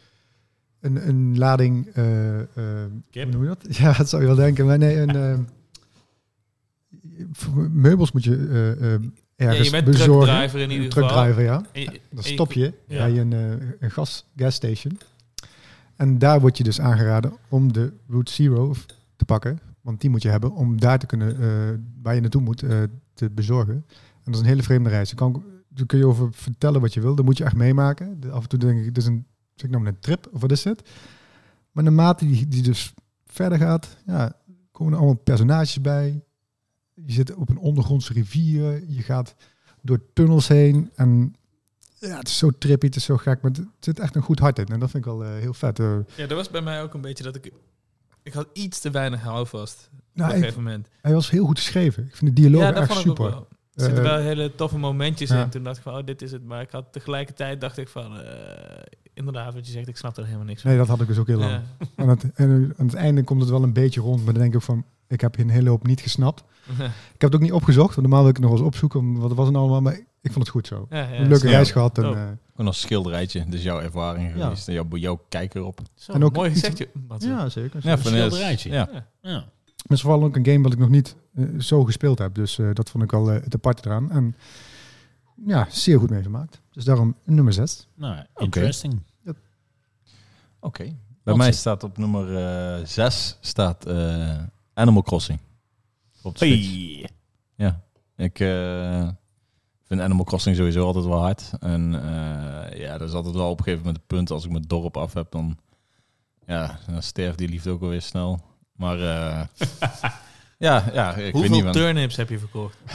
Speaker 4: een, een lading... eh, eh,
Speaker 1: Kip?
Speaker 4: Hoe noem je dat? Ja, dat zou je wel denken. Maar nee, een... eh, voor meubels moet je eh, eh,
Speaker 3: Ja,
Speaker 4: ergens
Speaker 3: je bent
Speaker 4: bezorgen.
Speaker 3: truckdriver in ieder geval.
Speaker 4: Truckdriver, ja.
Speaker 3: En je-
Speaker 4: Dan
Speaker 3: en je-
Speaker 4: stop je
Speaker 1: Ja.
Speaker 4: bij een, eh, een gas, gas station. En daar word je dus aangeraden om de Route Zero f- te pakken. Want die moet je hebben om daar te kunnen, eh, waar je naartoe moet, eh, te bezorgen. En dat is een hele vreemde reis. Daar, kan, ik- daar kun je over vertellen wat je wil. Dat moet je echt meemaken. De- Af en toe denk ik, dit is een, zeg ik nou een trip of wat is dit? Maar naarmate die, die dus verder gaat, ja, komen er allemaal personages bij. Je zit op een ondergrondse rivier. Je gaat door tunnels heen. En ja, het is zo trippy, het is zo gek, maar het zit echt een goed hart in. En dat vind ik wel eh, heel vet. eh.
Speaker 3: Ja, dat was bij mij ook een beetje dat ik... Ik had iets te weinig houvast op
Speaker 4: nou,
Speaker 3: een
Speaker 4: hij,
Speaker 3: gegeven moment.
Speaker 4: hij was heel goed geschreven. Ik vind de dialoog
Speaker 3: Ja, dat
Speaker 4: echt
Speaker 3: vond ik ook
Speaker 4: super.
Speaker 3: wel. Er zitten
Speaker 4: Eh,
Speaker 3: wel hele toffe momentjes
Speaker 4: ja.
Speaker 3: in. Toen dacht ik van, oh, dit is het. Maar ik had tegelijkertijd dacht ik van, eh, inderdaad, wat je zegt, ik snap er helemaal niks van.
Speaker 4: Nee, dat had ik dus ook heel lang.
Speaker 3: Ja.
Speaker 4: En aan, het, en aan het einde komt het wel een beetje rond, maar dan denk ik ook van, ik heb hier een hele hoop niet gesnapt. Ik heb het ook niet opgezocht, want normaal wil ik het nog wel eens opzoeken, om wat was het nou allemaal, maar ik vond het goed zo.
Speaker 3: Ja, ja,
Speaker 4: Een leuke
Speaker 3: zo.
Speaker 2: Ja.
Speaker 4: reis gehad. En,
Speaker 3: Oh.
Speaker 4: eh,
Speaker 2: Gewoon als schilderijtje. Dus jouw ervaring
Speaker 1: Ja.
Speaker 2: geweest. en Jouw, jouw kijker op.
Speaker 3: Zo,
Speaker 4: En ook
Speaker 3: mooi
Speaker 4: iets-
Speaker 3: gezegd. joh. Wat een-
Speaker 4: ja, zeker.
Speaker 2: Ja, van, eh,
Speaker 1: schilderijtje.
Speaker 2: Ja.
Speaker 1: Ja.
Speaker 4: Maar het is vooral ook een game dat ik nog niet eh, zo gespeeld heb. Dus eh, dat vond ik wel eh, het aparte eraan. En ja, zeer goed meegemaakt. Dus daarom nummer 6.
Speaker 1: Nou, interesting.
Speaker 2: Oké. Bij
Speaker 1: Wat
Speaker 2: mij
Speaker 1: zit-
Speaker 2: staat op nummer 6 staat eh, Animal Crossing. Op de Switch. Ja. Ik eh, vind Animal Crossing sowieso altijd wel hard. En eh, ja, dat is altijd wel op een gegeven moment het punt. Als ik mijn dorp af heb, dan, ja, dan sterft die liefde ook alweer snel. Maar eh, ja, ja, ik weet niet
Speaker 3: Hoeveel
Speaker 2: van-
Speaker 3: turnips heb je verkocht?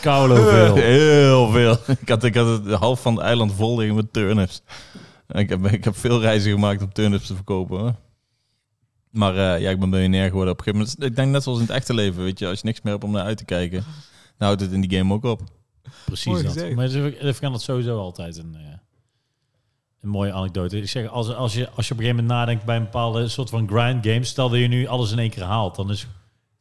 Speaker 1: Koude veel.
Speaker 2: Heel veel. Ik had, ik had het half van het eiland vol liggen met turnips. Ik heb, ik heb veel reizen gemaakt om turnips te verkopen. Hoor. Maar eh, ja, ik ben miljonair geworden op een gegeven moment. Ik denk net zoals in het echte leven, weet je. Als je niks meer hebt om naar uit te kijken, dan houdt het in die game ook op.
Speaker 1: Precies
Speaker 3: Mooi
Speaker 1: dat.
Speaker 3: gezegd.
Speaker 1: Maar het is- ik vind dat sowieso altijd een, eh, een mooie anekdote. Ik zeg, als, als, je, als je op een gegeven moment nadenkt bij een bepaalde soort van grind game, stel dat je nu alles in één keer haalt, dan is,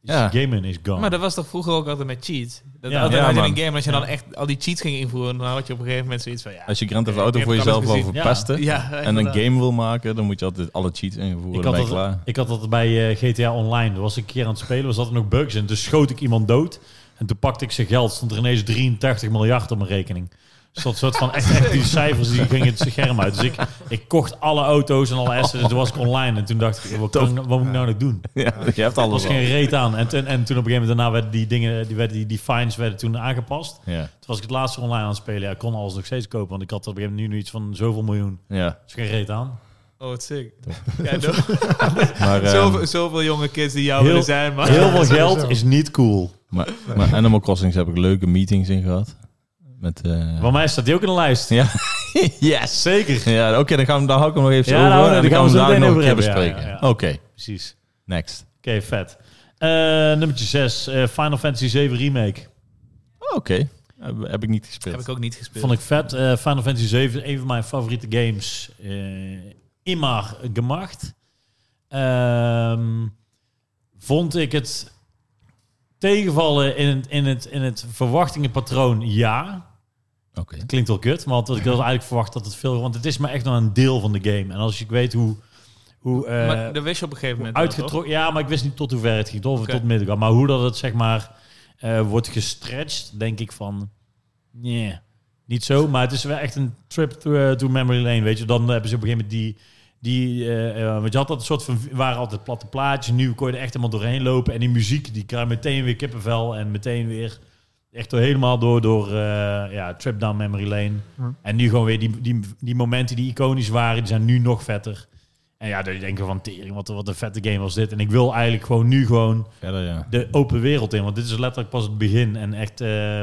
Speaker 1: is
Speaker 2: Ja.
Speaker 1: de game in is gone.
Speaker 3: Maar dat was toch vroeger ook altijd met cheats? Dat
Speaker 1: Ja,
Speaker 3: altijd
Speaker 2: ja,
Speaker 3: had je
Speaker 2: man.
Speaker 3: een game, als je dan
Speaker 1: Ja.
Speaker 3: echt al die cheats ging invoeren, dan had je op een gegeven moment zoiets van, ja...
Speaker 2: Als je Grand Theft
Speaker 3: Ja,
Speaker 2: Auto
Speaker 3: ik
Speaker 2: voor
Speaker 3: heb het
Speaker 2: jezelf wil
Speaker 3: alles
Speaker 1: gezien.
Speaker 2: verpesten
Speaker 3: ja,
Speaker 2: en een
Speaker 3: inderdaad.
Speaker 2: game wil maken, dan moet je altijd alle cheats invoeren.
Speaker 1: ik,
Speaker 2: Dan
Speaker 1: had
Speaker 2: ben je
Speaker 1: dat,
Speaker 2: klaar.
Speaker 1: ik had dat bij eh, GTA Online. Daar was ik een keer aan het spelen, was dat er nog bugs in. Dus schoot ik iemand dood en toen pakte ik zijn geld. Stond er ineens 83 miljard op mijn rekening. Dus dat soort van echt, echt die cijfers die gingen het scherm uit. Dus ik, ik kocht alle auto's en alle assets. Dus toen was ik online en toen dacht ik, wat, kan, wat moet ik nou nog doen?
Speaker 2: Ja, je hebt
Speaker 1: Er was
Speaker 2: alles al.
Speaker 1: geen reet aan. En, toen- en toen op een gegeven moment daarna werden die dingen, die, werden, die, die fines werden toen aangepast. Toen
Speaker 2: Ja,
Speaker 1: was ik het laatste online aan het spelen. Ja, ik kon alles nog steeds kopen, want ik had op een gegeven moment nu nu iets van zoveel miljoen.
Speaker 2: ja.
Speaker 1: Er is geen reet aan.
Speaker 3: Oh, wat sick. Ja, no-
Speaker 2: Maar, eh,
Speaker 3: zoveel, zoveel jonge kids die jou
Speaker 1: Heel-
Speaker 3: willen zijn, maar...
Speaker 1: Heel veel geld
Speaker 4: sowieso.
Speaker 1: is niet cool.
Speaker 2: maar, maar Animal Crossing heb ik leuke meetings in gehad. Met, eh,
Speaker 1: Bij mij staat die ook in de lijst.
Speaker 2: Ja, yes. Zeker. Ja, oké, dan, gaan we- dan hou ik hem nog even
Speaker 1: Ja,
Speaker 2: over.
Speaker 1: nou,
Speaker 2: en
Speaker 1: daar gaan
Speaker 2: dan gaan we
Speaker 1: we zo
Speaker 2: daar
Speaker 1: meteen
Speaker 2: nog een
Speaker 1: over
Speaker 2: keer
Speaker 1: hebben. Ja,
Speaker 2: bespreken.
Speaker 1: ja,
Speaker 2: Oké,
Speaker 1: ja. Precies.
Speaker 2: next.
Speaker 1: Oké, vet. Eh nummertje 6. Final Fantasy 7 Remake.
Speaker 2: Oké, heb, heb ik niet gespeeld.
Speaker 3: Heb ik ook niet gespeeld.
Speaker 1: Vond ik vet. Eh, Final Fantasy 7 is een van mijn favoriete games. eh immer gemacht. Ehm, vond ik het tegenvallen in het, in het, in het verwachtingenpatroon? Ja.
Speaker 2: Oké.
Speaker 1: Klinkt wel kut, maar had ik had eigenlijk verwacht dat het veel... Want het is maar echt nog een deel van de game. En als ik weet hoe... hoe eh,
Speaker 3: maar dat wist je op een gegeven moment wel, toch?
Speaker 1: uitgetrokken. Ja, maar ik wist niet tot hoe ver het ging. Of het
Speaker 3: Oké.
Speaker 1: tot midden kwam. Maar hoe dat het zeg maar eh, wordt gestretched, denk ik van. Nee, niet zo. Maar het is wel echt een trip to, eh, to memory lane. Weet je, dan hebben ze op een gegeven moment die. Die, eh, eh, want je had dat soort van, waren altijd platte plaatjes. Nu kon je er echt helemaal doorheen lopen. En die muziek, die krijg je meteen weer kippenvel. En meteen weer echt door, helemaal door, door eh, ja, trip down memory lane.
Speaker 4: Ja.
Speaker 1: En nu gewoon weer die, die, die momenten die iconisch waren, die zijn nu nog vetter. En ja, dan denk je van tering, wat, een- wat een vette game was dit. En ik wil eigenlijk gewoon nu gewoon
Speaker 2: Verder, ja.
Speaker 1: de open wereld in. Want dit is letterlijk pas het begin. En echt eh,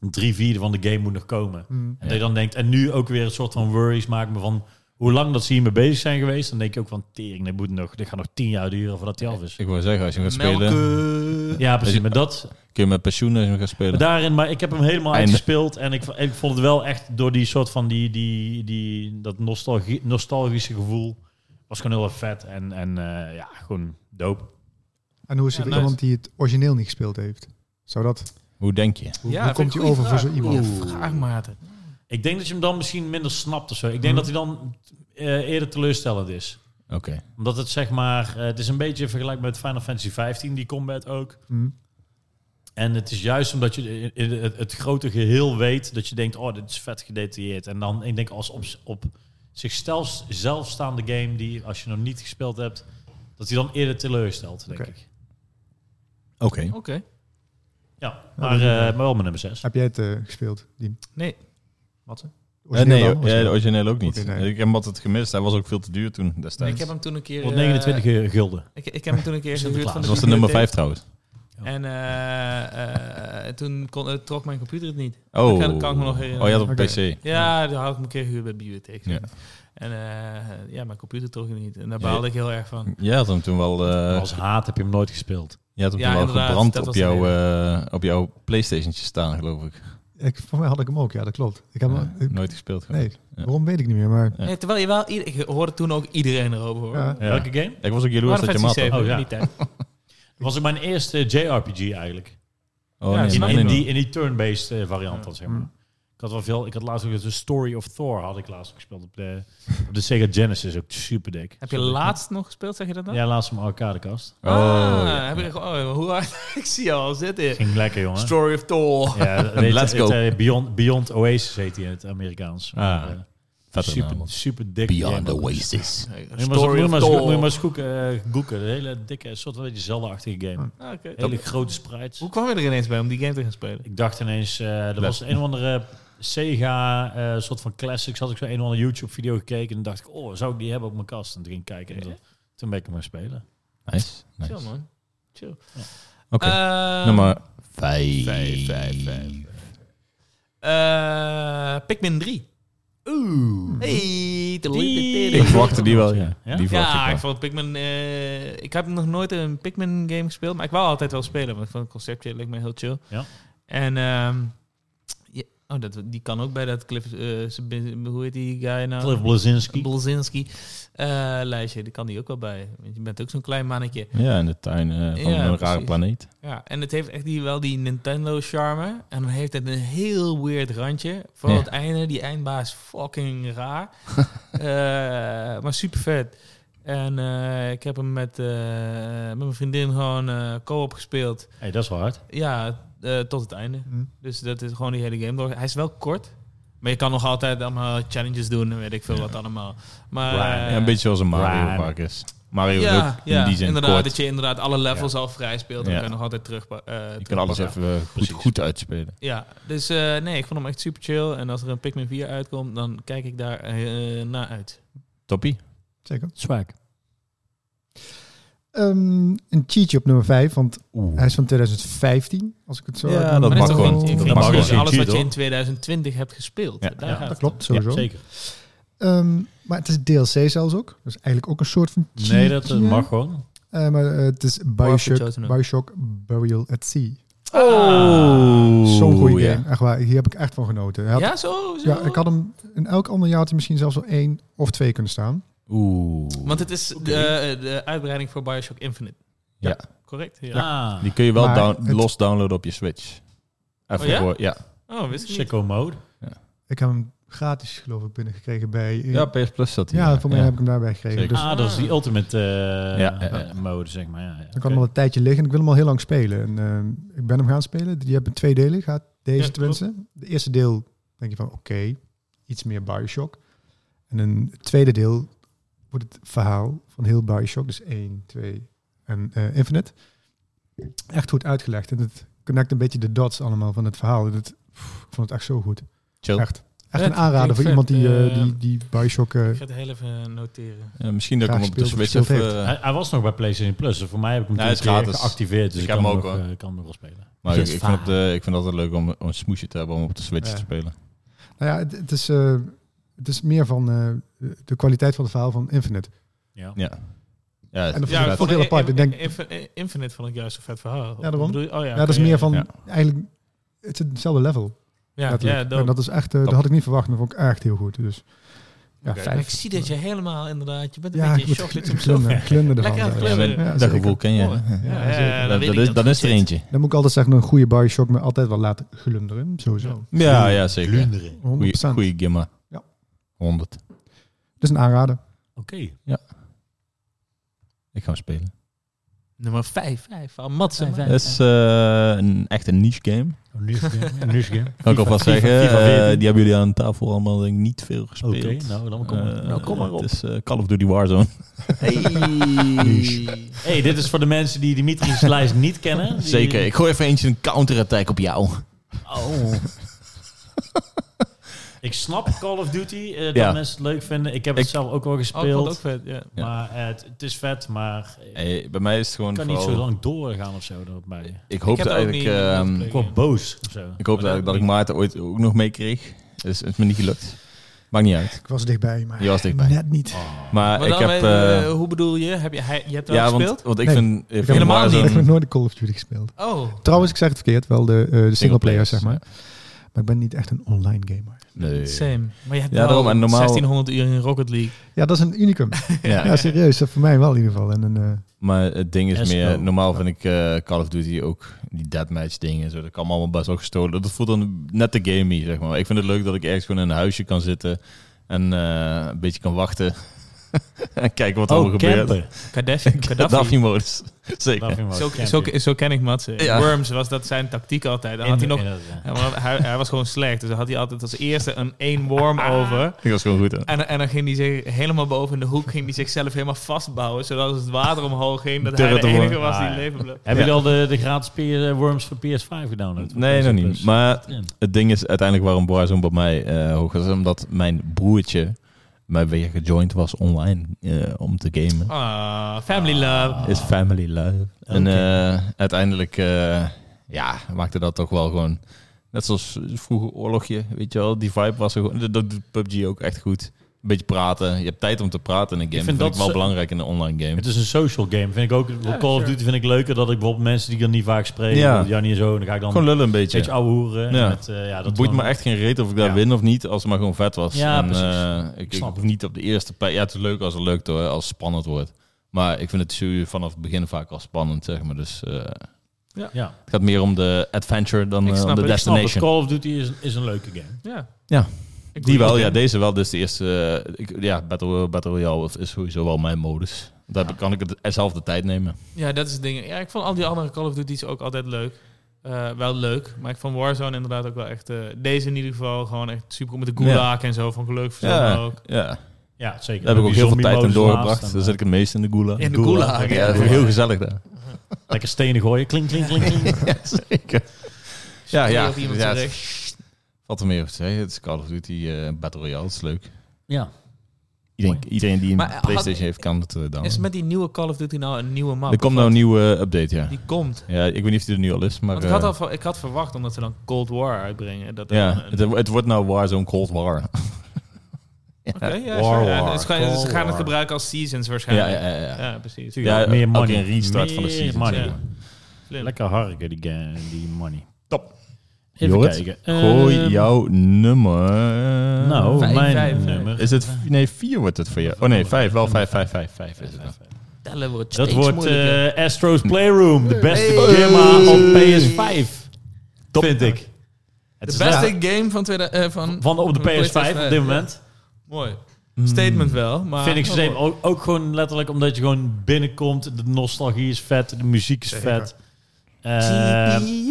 Speaker 1: drie vierde van de game moet nog komen.
Speaker 4: Mm.
Speaker 1: En dat je dan denkt, en nu ook weer een soort van worries maken me van hoe lang dat ze hiermee bezig zijn geweest. Dan denk je ook van tering, dit moet nog, dit gaat nog tien jaar duren voordat die af is.
Speaker 2: Ik wil zeggen, als je gaat spelen,
Speaker 3: Melken.
Speaker 1: Ja, precies. Maar dat,
Speaker 2: kun je met pensioen als je gaat spelen.
Speaker 1: maar daarin, maar ik heb hem helemaal
Speaker 2: Einde.
Speaker 1: uitgespeeld. En ik, ik vond het wel echt door die soort van die, die, die, dat nostalgie, nostalgische gevoel. Was gewoon heel erg vet. En, en eh, ja, gewoon dope.
Speaker 4: En hoe is
Speaker 3: Ja,
Speaker 4: het
Speaker 3: nice.
Speaker 4: iemand die het origineel niet gespeeld heeft? Zou dat...
Speaker 2: Hoe denk je?
Speaker 4: Hoe,
Speaker 3: Ja,
Speaker 4: hoe
Speaker 3: vind
Speaker 4: komt
Speaker 3: ik
Speaker 4: je
Speaker 3: goeie
Speaker 4: over voor
Speaker 3: vraag.
Speaker 4: zo iemand?
Speaker 3: Goeie Vraag, Maarten.
Speaker 1: Ik denk dat je hem dan misschien minder snapt of zo. Ik denk
Speaker 4: Mhm.
Speaker 1: dat hij dan eh, eerder teleurstellend is.
Speaker 2: Oké.
Speaker 1: Omdat het zeg maar, eh, het is een beetje vergelijkbaar met Final Fantasy 15, die combat ook.
Speaker 4: Mm.
Speaker 1: En het is juist omdat je in- in het, het grote geheel weet dat je denkt, oh, dit is vet gedetailleerd. En dan, ik denk als op, op zichzelf zelf staande game, die als je nog niet gespeeld hebt, dat die dan eerder teleurstelt, denk
Speaker 4: Oké.
Speaker 1: ik.
Speaker 2: Oké.
Speaker 3: Oké.
Speaker 1: Ja,
Speaker 4: dat
Speaker 1: maar,
Speaker 4: is
Speaker 1: eh,
Speaker 4: een-
Speaker 1: maar wel mijn nummer 6.
Speaker 4: Heb jij het eh, gespeeld, Dien?
Speaker 3: Nee.
Speaker 4: Wat?
Speaker 2: Eh, nee, eh, de origineel ook niet.
Speaker 4: Oké, nee.
Speaker 2: Ik heb hem altijd gemist. Hij was ook veel te duur toen destijds.
Speaker 3: Ik heb hem toen een keer...
Speaker 1: Wordt
Speaker 3: eh,
Speaker 1: 29 gulden.
Speaker 3: ik, ik heb hem toen een keer gehuurd
Speaker 1: Sinterklaas.
Speaker 3: van de
Speaker 2: Dat Dus was de nummer 5
Speaker 3: bibliotheek.
Speaker 2: trouwens.
Speaker 3: En eh, eh, eh, toen kon, eh, trok mijn computer het niet.
Speaker 2: Oh,
Speaker 3: Dat kan- kan ik me nog herinneren.
Speaker 2: Oh, je had op
Speaker 4: Oké.
Speaker 2: PC.
Speaker 3: Ja, daar had ik me een keer gehuurd bij de bibliotheek.
Speaker 2: Ja.
Speaker 3: En eh, ja, mijn computer trok het niet. En daar baalde ik heel erg van.
Speaker 2: Jij had hem toen wel, eh,
Speaker 1: Als haat heb je hem nooit gespeeld.
Speaker 2: je had hem
Speaker 3: Ja,
Speaker 2: toen wel
Speaker 3: inderdaad,
Speaker 2: gebrand
Speaker 3: dat
Speaker 2: op
Speaker 3: was de
Speaker 2: jouw, eh, op jouw Playstationtje staan, geloof ik.
Speaker 4: Ik, voor mij had ik hem ook, ja, dat klopt. Ik heb,
Speaker 2: Ja,
Speaker 4: hem- ik-
Speaker 2: nooit gespeeld. geloof ik.
Speaker 4: nee, waarom weet ik niet meer, maar...
Speaker 2: Ja.
Speaker 3: Nee, terwijl je wel... ieder- Ik hoorde toen ook iedereen erover, hoor.
Speaker 4: Ja.
Speaker 3: Ja.
Speaker 2: Ja.
Speaker 1: Welke game?
Speaker 2: Ik was ook jaloers dat je mat had.
Speaker 1: Oh,
Speaker 3: oh,
Speaker 1: ja.
Speaker 3: ja. niet tijd.
Speaker 1: Dat was ook mijn eerste JRPG eigenlijk.
Speaker 2: Oh,
Speaker 3: Ja,
Speaker 2: nee,
Speaker 1: In,
Speaker 3: snap
Speaker 2: nee,
Speaker 3: ik
Speaker 1: in,
Speaker 2: nee.
Speaker 1: die, in die turn-based eh, variant dan, zeg maar.
Speaker 4: Mm.
Speaker 1: Ik had wel veel... Ik had laatst ook de Story of Thor had ik laatst ook gespeeld op de, op de Sega Genesis. Ook super dik.
Speaker 3: Heb je laatst nog gespeeld, zeg je dat dan?
Speaker 1: Ja, laatst op mijn arcadekast.
Speaker 2: Oh,
Speaker 3: ah,
Speaker 2: ja.
Speaker 3: heb ik, oh, hoe hard? ik zie je al zitten.
Speaker 1: Ging lekker, jongen.
Speaker 3: Story of Thor.
Speaker 1: Ja, dat heet-
Speaker 2: Let's
Speaker 1: het,
Speaker 2: go.
Speaker 1: eh, Beyond, Beyond Oasis heet hij in het Amerikaans.
Speaker 2: Ah,
Speaker 1: Maar, eh,
Speaker 2: Vette naam,
Speaker 1: super,
Speaker 2: man.
Speaker 1: super dik.
Speaker 2: Beyond
Speaker 1: game.
Speaker 2: Oasis.
Speaker 1: Moet je maar, moet
Speaker 3: Story
Speaker 1: je
Speaker 3: of
Speaker 1: maar, zo- moet je maar
Speaker 3: Thor.
Speaker 1: eens goeken, eh, goeken. Een hele dikke, soort van een beetje Zelda-achtige game.
Speaker 3: Ah, oké.
Speaker 1: Hele grote sprites.
Speaker 3: Hoe kwam je er ineens bij om die game te gaan spelen?
Speaker 1: Ik dacht ineens, eh er was een of andere Sega, eh, soort van classics. Had ik zo een of andere YouTube-video gekeken. En dacht ik, oh, zou ik die hebben op mijn kast? En toen ging ik kijken. En
Speaker 3: Ja.
Speaker 1: toen, toen ben ik hem gaan spelen.
Speaker 2: Nice. nice.
Speaker 3: Chill, man. Chill.
Speaker 2: Oké,
Speaker 3: Eh,
Speaker 2: nummer vijf.
Speaker 3: vijf, vijf, vijf. eh, Pikmin 3. Oeh. Hey,
Speaker 2: Ik
Speaker 3: die...
Speaker 2: verwachtte die wel, ja.
Speaker 1: Ja?
Speaker 2: Die verwachtte
Speaker 3: Ja,
Speaker 2: ik
Speaker 3: ik
Speaker 2: wel.
Speaker 3: vond Pikmin... eh, ik heb nog nooit een Pikmin game gespeeld, maar ik wou altijd wel spelen, want ik vond het conceptje leek me heel chill.
Speaker 1: Ja.
Speaker 3: En ehm, ja, oh, dat, die kan ook bij dat Cliff... eh, Sib- hoe heet die guy nou?
Speaker 1: Cliff Blazinski.
Speaker 3: Bolzinski eh, lijstje, daar kan die ook wel bij. Want je bent ook zo'n klein mannetje.
Speaker 2: Ja, in de tuin eh, van
Speaker 3: Ja,
Speaker 2: een rare
Speaker 3: precies.
Speaker 2: planeet.
Speaker 3: Ja, en het heeft echt die, wel die Nintendo-charme. En dan heeft het een heel weird randje. Vooral
Speaker 2: Ja.
Speaker 3: het einde, die eindbaas is fucking raar. Eh, maar super vet. En eh, ik heb hem met, eh, met mijn vriendin gewoon eh, co-op gespeeld.
Speaker 1: Hey, dat is wel hard.
Speaker 3: Ja, eh, tot het einde.
Speaker 2: Mhm.
Speaker 4: Hm.
Speaker 3: Dus dat is gewoon die hele game door. Hij is wel kort. Maar je kan nog altijd allemaal challenges doen en weet ik veel wat allemaal. Maar,
Speaker 1: Right.
Speaker 3: eh,
Speaker 2: Ja, een beetje zoals een Mario
Speaker 1: Ryan.
Speaker 2: vaak is. Mario is
Speaker 3: ja,
Speaker 2: ook in
Speaker 3: ja
Speaker 2: die zin
Speaker 3: inderdaad.
Speaker 2: kort.
Speaker 3: Dat je inderdaad alle levels al vrij speelt. En
Speaker 2: Ja.
Speaker 3: dan kan je nog altijd terug. eh,
Speaker 2: Je
Speaker 3: terug
Speaker 2: kan alles
Speaker 3: pakken.
Speaker 2: even eh, goed,
Speaker 1: Precies.
Speaker 2: goed uitspelen.
Speaker 3: Ja, dus eh, nee, ik vond hem echt super chill. En als er een Pikmin 4 uitkomt, dan kijk ik daar eh, naar uit.
Speaker 2: Toppie?
Speaker 4: Zeker.
Speaker 1: Swag.
Speaker 4: Ehm, een cheatje op nummer 5, want hij is van 2015, als ik het zo
Speaker 2: Ja,
Speaker 4: uit
Speaker 2: dat
Speaker 4: mijn
Speaker 3: Maar
Speaker 2: mag
Speaker 4: hoofd
Speaker 3: is toch
Speaker 4: heb.
Speaker 2: gewoon.
Speaker 3: in- in
Speaker 1: Dat
Speaker 3: principe
Speaker 1: mag gewoon.
Speaker 3: alles wat je in
Speaker 1: hoor.
Speaker 3: 2020 hebt gespeeld.
Speaker 2: Ja.
Speaker 3: Daar
Speaker 1: Ja,
Speaker 3: gaat
Speaker 4: Dat
Speaker 3: het
Speaker 4: klopt,
Speaker 1: Ja,
Speaker 4: sowieso.
Speaker 1: zeker.
Speaker 4: Ehm, maar het is DLC zelfs ook. Dus eigenlijk ook een soort van cheatje.
Speaker 1: Nee, dat eh, mag gewoon.
Speaker 4: Eh, maar eh, het is Bioshock,
Speaker 3: chosen ook.
Speaker 4: Bioshock Burial at Sea.
Speaker 3: om. Ah.
Speaker 4: Zo'n goede
Speaker 2: ja.
Speaker 4: game. Echt waar. Hier heb ik echt van genoten. Hij had-
Speaker 3: Ja, zo, zo.
Speaker 4: ja, ik had hem in elk ander jaar had hij misschien zelfs wel één of twee kunnen staan.
Speaker 2: Oeh.
Speaker 3: Want het is de, eh, de uitbreiding voor Bioshock Infinite.
Speaker 2: Ja.
Speaker 3: Correct? Ja.
Speaker 1: Ja.
Speaker 2: Die kun je wel
Speaker 4: Maar
Speaker 2: down-
Speaker 4: het-
Speaker 2: los downloaden op je Switch. Even
Speaker 3: Oh ja?
Speaker 2: voor, ja.
Speaker 3: Oh, wist ik niet.
Speaker 1: Sicko mode.
Speaker 4: Ik heb hem gratis geloof ik binnengekregen bij...
Speaker 2: Ja, PS Plus zat
Speaker 4: Ja, voor mij heb ik hem daarbij gekregen.
Speaker 2: Zeker.
Speaker 4: Dus
Speaker 1: ah, dat is die ultimate eh,
Speaker 2: Ja, ja, ja.
Speaker 1: mode, zeg maar. Ja, ja.
Speaker 4: dan kan hem al een tijdje liggen. Ik wil hem al heel lang spelen. En, eh, ik ben hem gaan spelen. Die hebben twee delen gehad. Deze
Speaker 3: Ja,
Speaker 4: tenminste. De eerste deel denk je van oké, iets meer Bioshock. En in het tweede deel wordt het verhaal van heel Bioshock. Dus 1, 2 en eh, Infinite. Echt goed uitgelegd. En het connect een beetje de dots allemaal van het verhaal. En het, pff, ik vond het echt zo goed.
Speaker 2: Chill.
Speaker 4: Echt, echt
Speaker 3: Vet,
Speaker 4: een aanrader
Speaker 3: klinkt
Speaker 4: voor
Speaker 3: vet.
Speaker 4: iemand die, eh,
Speaker 3: Eh,
Speaker 4: die, die Bioshock... eh,
Speaker 3: Ik ga het heel even noteren.
Speaker 2: Eh, misschien dat ik
Speaker 4: Graag
Speaker 2: hem op de
Speaker 4: gespeeld of
Speaker 2: Switch even...
Speaker 4: gespeeld
Speaker 2: eh,
Speaker 1: Hij, hij was nog bij PlayStation Plus. dus voor mij heb ik hem
Speaker 2: Ja,
Speaker 1: toen
Speaker 2: het is
Speaker 1: een keer
Speaker 2: gratis.
Speaker 1: geactiveerd. Dus ik,
Speaker 2: Ik heb
Speaker 1: kan
Speaker 2: hem
Speaker 1: hem
Speaker 2: ook,
Speaker 1: nog,
Speaker 2: hoor.
Speaker 1: eh, kan hem nog wel spelen.
Speaker 2: maar ik,
Speaker 1: Yes,
Speaker 2: ik vind
Speaker 1: va.
Speaker 2: het, eh, ik vind het altijd leuk om om een smoesje te hebben om op de Switch
Speaker 4: Ja.
Speaker 2: te spelen.
Speaker 4: Nou ja, het, het is, eh, het is meer van eh, de kwaliteit van het verhaal van Infinite.
Speaker 1: Ja.
Speaker 2: Ja. Ja, het
Speaker 4: En
Speaker 2: is
Speaker 4: Ja,
Speaker 2: vet.
Speaker 4: ik vond het heel apart. Ik denk-
Speaker 3: Infinite vond ik juist een vet verhaal.
Speaker 4: Ja, daarom.
Speaker 3: Bedoel je- Oh, ja,
Speaker 4: Ja, dat is
Speaker 3: oké,
Speaker 4: meer van
Speaker 2: ja.
Speaker 4: eigenlijk het is hetzelfde level.
Speaker 3: Ja,
Speaker 4: letterlijk.
Speaker 3: ja,
Speaker 4: en
Speaker 3: dope.
Speaker 4: dat is echt, eh, dat
Speaker 2: Top.
Speaker 4: had ik niet verwacht. En dat vond ik echt heel goed. Dus ja,
Speaker 2: Oké.
Speaker 4: vijf.
Speaker 3: Ik zie dat je helemaal inderdaad... Je bent een
Speaker 4: ja,
Speaker 3: beetje
Speaker 4: ik
Speaker 3: in
Speaker 4: moet
Speaker 3: shock. dat je
Speaker 4: gl-
Speaker 3: hem zo-
Speaker 4: glunderen, glunderen ervan.
Speaker 3: Lekker aan het
Speaker 4: Ja,
Speaker 3: glunderen.
Speaker 4: ja,
Speaker 2: dat
Speaker 4: zeker.
Speaker 2: gevoel ken je.
Speaker 3: Oh,
Speaker 2: hè?
Speaker 4: Ja,
Speaker 3: Ja,
Speaker 4: zeker.
Speaker 3: ja, dat
Speaker 2: dat
Speaker 3: weet
Speaker 2: dat
Speaker 3: ik
Speaker 2: is, dat is er
Speaker 3: nog steeds.
Speaker 2: eentje.
Speaker 4: Dan moet ik altijd zeggen, een goede Bioshock me altijd wel laten glunderen. Sowieso.
Speaker 2: Ja, ja, zeker.
Speaker 1: Glunderen. Oké.
Speaker 4: 100%.
Speaker 2: Goeie gimma.
Speaker 4: Ja.
Speaker 2: 100.
Speaker 4: Dus een aanrader.
Speaker 2: Ik ga hem spelen.
Speaker 3: Nummer 5. 5 van Mats.
Speaker 1: Vijf, vijf.
Speaker 2: Dat is eh, een, echt een niche game.
Speaker 1: Een nieuws game. Een nieuws game.
Speaker 2: Kan ik
Speaker 1: FIFA,
Speaker 2: alvast
Speaker 1: FIFA,
Speaker 2: zeggen.
Speaker 1: FIFA
Speaker 2: eh,
Speaker 1: 14.
Speaker 2: die hebben jullie aan tafel allemaal denk ik, niet veel
Speaker 1: Oké,
Speaker 2: gespeeld.
Speaker 1: nou, dan kom maar.
Speaker 2: Eh,
Speaker 1: nou, kom maar op.
Speaker 2: Het is eh, Call of Duty Warzone.
Speaker 5: Hey.
Speaker 1: hey, dit is voor de mensen die Dimitri's lijst niet kennen. Die-
Speaker 2: Zeker. Ik gooi even eentje een counterattack op jou.
Speaker 1: Oh. Ik snap Call of Duty, eh, dat
Speaker 2: Ja.
Speaker 1: mensen het leuk vinden. Ik heb het
Speaker 2: Ik-
Speaker 1: zelf ook wel
Speaker 3: Oh, ik vond het
Speaker 1: gespeeld.
Speaker 3: ook vet, ja.
Speaker 2: Ja.
Speaker 1: Maar eh, het, het is vet, maar ik
Speaker 2: Hey, bij mij is het gewoon
Speaker 1: kan niet
Speaker 2: vooral-
Speaker 1: zo lang doorgaan of zo. Dat bij.
Speaker 2: Ik
Speaker 3: Ik heb
Speaker 2: hoopte
Speaker 3: er ook
Speaker 2: eigenlijk,
Speaker 3: niet-
Speaker 2: ehm,
Speaker 3: niet
Speaker 1: Ik word boos of zo.
Speaker 2: ik hoopte
Speaker 1: Maar
Speaker 2: eigenlijk dat ik Maarten ooit ook nog meekreeg. Dus het is me niet gelukt. Maakt niet uit.
Speaker 4: Ik was dichtbij, maar
Speaker 2: Je was dichtbij.
Speaker 4: net niet.
Speaker 2: Maar,
Speaker 3: Maar
Speaker 2: ik
Speaker 3: dan,
Speaker 2: heb...
Speaker 3: eh,
Speaker 2: eh,
Speaker 3: hoe bedoel je? Heb je, hij, je hebt wel
Speaker 2: ja, want,
Speaker 3: gespeeld?
Speaker 2: want ik
Speaker 4: Nee,
Speaker 2: vind... ik
Speaker 4: ik
Speaker 2: vind
Speaker 4: heb
Speaker 3: helemaal
Speaker 2: Maarten
Speaker 3: niet.
Speaker 4: Ik heb nog
Speaker 2: een-
Speaker 4: nooit de Call of Duty gespeeld.
Speaker 3: Oh,
Speaker 4: Trouwens, ik zeg het verkeerd, wel de, eh de singleplayer,
Speaker 2: Singleplayers,
Speaker 4: zeg maar. Maar ik ben niet echt een online gamer.
Speaker 2: Nee.
Speaker 3: same. Maar je hebt
Speaker 2: Ja,
Speaker 3: wel
Speaker 2: daarom, en normaal-
Speaker 3: 1600 uur in Rocket League.
Speaker 4: Ja, dat is een unicum.
Speaker 2: Ja.
Speaker 4: ja, serieus. dat Voor mij wel in ieder geval. En een, eh,
Speaker 2: Maar het ding is
Speaker 1: SO.
Speaker 2: meer, normaal vind ik eh, Call of Duty ook die deathmatch dingen en zo. Dat kan me allemaal best wel gestolen. Dat voelt dan net te gamey, zeg maar. Ik vind het leuk dat ik ergens gewoon in een huisje kan zitten en eh, een beetje kan wachten. en kijken wat er
Speaker 1: Oh,
Speaker 2: allemaal gebeurt.
Speaker 1: campen.
Speaker 3: Gaddafi. Gaddafi.
Speaker 2: Gaddafi-modus. Zeker.
Speaker 1: Dat vind ik wel
Speaker 3: Zo,
Speaker 1: campen.
Speaker 3: zo, zo ken ik Mats.
Speaker 2: Ja.
Speaker 3: Worms was dat zijn tactiek altijd. Dan had hij
Speaker 1: In-
Speaker 3: nog
Speaker 1: in dat, ja.
Speaker 3: Ja, maar hij, hij was gewoon slecht. Dus dan had hij altijd als eerste een één worm
Speaker 2: Ah.
Speaker 3: over.
Speaker 2: Ik was gewoon goed, hè?
Speaker 3: En, en dan ging hij zich helemaal boven in de hoek ging hij zichzelf helemaal vastbouwen. Zodat als het water omhoog ging, dat hij
Speaker 2: Turret
Speaker 3: de
Speaker 2: omhoog.
Speaker 3: enige was die
Speaker 1: Ah, ja.
Speaker 3: leven bleef.
Speaker 1: Heb je
Speaker 2: Ja.
Speaker 1: al de, de gratis peer- eh, Worms voor PS5 gedownload?
Speaker 2: Nee, nog niet.
Speaker 1: Maar...
Speaker 2: Maar het ding is uiteindelijk waarom Warzone bij mij eh hoog is. Omdat mijn broertje mij weer gejoind was online eh, om te gamen.
Speaker 3: Ah, family love.
Speaker 2: Is family love. En
Speaker 1: Oké.
Speaker 2: eh, uiteindelijk eh, ja, maakte dat toch wel gewoon... Net zoals vroeger oorlogje, weet je wel. Die vibe was er gewoon... Dat, dat doet PUBG ook echt goed. Een beetje praten. Je hebt tijd om te praten in een game.
Speaker 1: vind
Speaker 2: dat vind
Speaker 1: dat
Speaker 2: ik wel
Speaker 1: zo-
Speaker 2: belangrijk in een online game.
Speaker 1: Het is een social game, vind ik ook. Call of
Speaker 3: sure.
Speaker 1: Duty vind ik leuker dat ik bijvoorbeeld mensen die ik dan niet vaak spreek,
Speaker 2: Ja.
Speaker 1: ja, niet zo, en dan ga ik dan
Speaker 2: Gewoon lullen een beetje.
Speaker 1: steeds ouwe hoeren.
Speaker 2: Ja.
Speaker 1: Ja. Met, eh, ja,
Speaker 2: Het
Speaker 1: ah, dat
Speaker 2: boeit me
Speaker 1: gewoon-
Speaker 2: echt geen reet of ik daar
Speaker 1: Ja.
Speaker 2: win of niet, als het maar gewoon vet was.
Speaker 1: Ja,
Speaker 2: en,
Speaker 1: precies.
Speaker 2: eh, ik, ik
Speaker 1: snap
Speaker 2: hoef niet op de eerste plek. Ja, het is leuk als het lukt hoor, als het spannend wordt. Maar ik vind het serie vanaf het begin vaak al spannend, zeg maar. Dus eh,
Speaker 1: Ja.
Speaker 2: het gaat meer om de adventure dan
Speaker 3: Ik
Speaker 2: eh, om
Speaker 3: snap
Speaker 2: de
Speaker 3: het, ik
Speaker 1: Snap, het,
Speaker 2: destination.
Speaker 1: Call of Duty is, is een leuke game.
Speaker 3: Ja.
Speaker 2: Ja.
Speaker 3: Ik
Speaker 2: Die
Speaker 3: doe
Speaker 2: wel,
Speaker 3: ook,
Speaker 2: ja,
Speaker 3: hè.
Speaker 2: deze wel. Dus de eerste, eh, ik, ja, Battle, Battle Royale is sowieso wel mijn modus. Daar kan ik het zelf de tijd nemen.
Speaker 3: Ja, dat is het ding. Ja, ik vond al die andere Call of Duty's ook altijd leuk. Eh, wel leuk, maar ik vond Warzone inderdaad ook wel echt... eh, deze in ieder geval gewoon echt super. Met de gulag en zo, vond ik leuk.
Speaker 2: Ja,
Speaker 3: Ja. ook.
Speaker 2: ja.
Speaker 1: Ja, zeker.
Speaker 2: daar heb ik ook
Speaker 1: Die
Speaker 2: heel veel tijd in
Speaker 1: zombie-modus laatst
Speaker 2: doorgebracht. Dus
Speaker 1: en,
Speaker 2: Dan zit ik het meest in de gulag.
Speaker 3: In de gulag,
Speaker 2: Ja,
Speaker 3: ja.
Speaker 2: dat vind ik heel gezellig daar.
Speaker 1: eh, Lekker stenen gooien. Klink, klink, klink, klink.
Speaker 2: Ja, zeker. Ja, ja.
Speaker 3: Op iemand
Speaker 2: ja,
Speaker 3: terecht.
Speaker 2: Wat er meer over te zeggen. Het is Call of Duty eh, Battle Royale. Het is leuk.
Speaker 1: Ja.
Speaker 2: Iedereen, iedereen die een
Speaker 3: Maar had-
Speaker 2: PlayStation heeft, kan het eh,
Speaker 3: Is
Speaker 2: downloaden.
Speaker 3: met die nieuwe Call of Duty nou een nieuwe map?
Speaker 2: Er komt nou een nieuwe eh, update, ja.
Speaker 3: Die komt.
Speaker 2: Ja, ik weet niet of die er nu al is, maar...
Speaker 3: Want ik had,
Speaker 2: eh,
Speaker 3: al, ver- ik had verwacht, omdat ze dan Cold War uitbrengen. Dat er
Speaker 2: ja,
Speaker 3: een-
Speaker 2: het, het wordt nou Warzone Cold War. ja.
Speaker 3: Oké, ja,
Speaker 1: War,
Speaker 3: sure. Ja,
Speaker 1: war,
Speaker 3: dus ga- dus ze
Speaker 1: Cold
Speaker 3: gaan het
Speaker 1: War.
Speaker 3: gebruiken als
Speaker 2: Ja,
Speaker 3: seasons
Speaker 2: ja,
Speaker 3: waarschijnlijk.
Speaker 2: ja. ja.
Speaker 3: ja precies.
Speaker 2: Ja,
Speaker 1: meer
Speaker 2: ook
Speaker 1: money.
Speaker 2: een restart van de
Speaker 1: Meer
Speaker 2: season.
Speaker 1: money.
Speaker 2: zeg maar.
Speaker 3: Slim.
Speaker 1: Lekker harken, die, game, die money.
Speaker 2: Top.
Speaker 1: Even
Speaker 2: Jorrit,
Speaker 1: kijken.
Speaker 2: Gooi
Speaker 1: Ehm,
Speaker 2: jouw nummer.
Speaker 1: Nou,
Speaker 3: Vijf,
Speaker 1: mijn
Speaker 3: vijf,
Speaker 1: nummer.
Speaker 2: Is het... Nee, vier wordt het voor jou. Oh nee, vijf. Wel vijf, vijf, vijf, vijf is het dan.
Speaker 5: Tellen wordt
Speaker 1: Dat
Speaker 5: steeds
Speaker 1: wordt
Speaker 5: moeilijker.
Speaker 1: eh, Astro's Playroom. De beste gamma op PS5. Top. Vind ik. Het
Speaker 3: De
Speaker 1: is
Speaker 3: beste
Speaker 1: leuk.
Speaker 3: game van, tweede, eh, van,
Speaker 1: van op de PS5 op dit
Speaker 3: Ja,
Speaker 1: moment.
Speaker 3: Mooi.
Speaker 1: Hmm.
Speaker 3: Statement wel, maar...
Speaker 1: Vind ik
Speaker 3: oh,
Speaker 1: ze
Speaker 3: mooi.
Speaker 1: ook, ook gewoon letterlijk omdat je gewoon binnenkomt. De nostalgie is vet. De muziek is vet. Eh,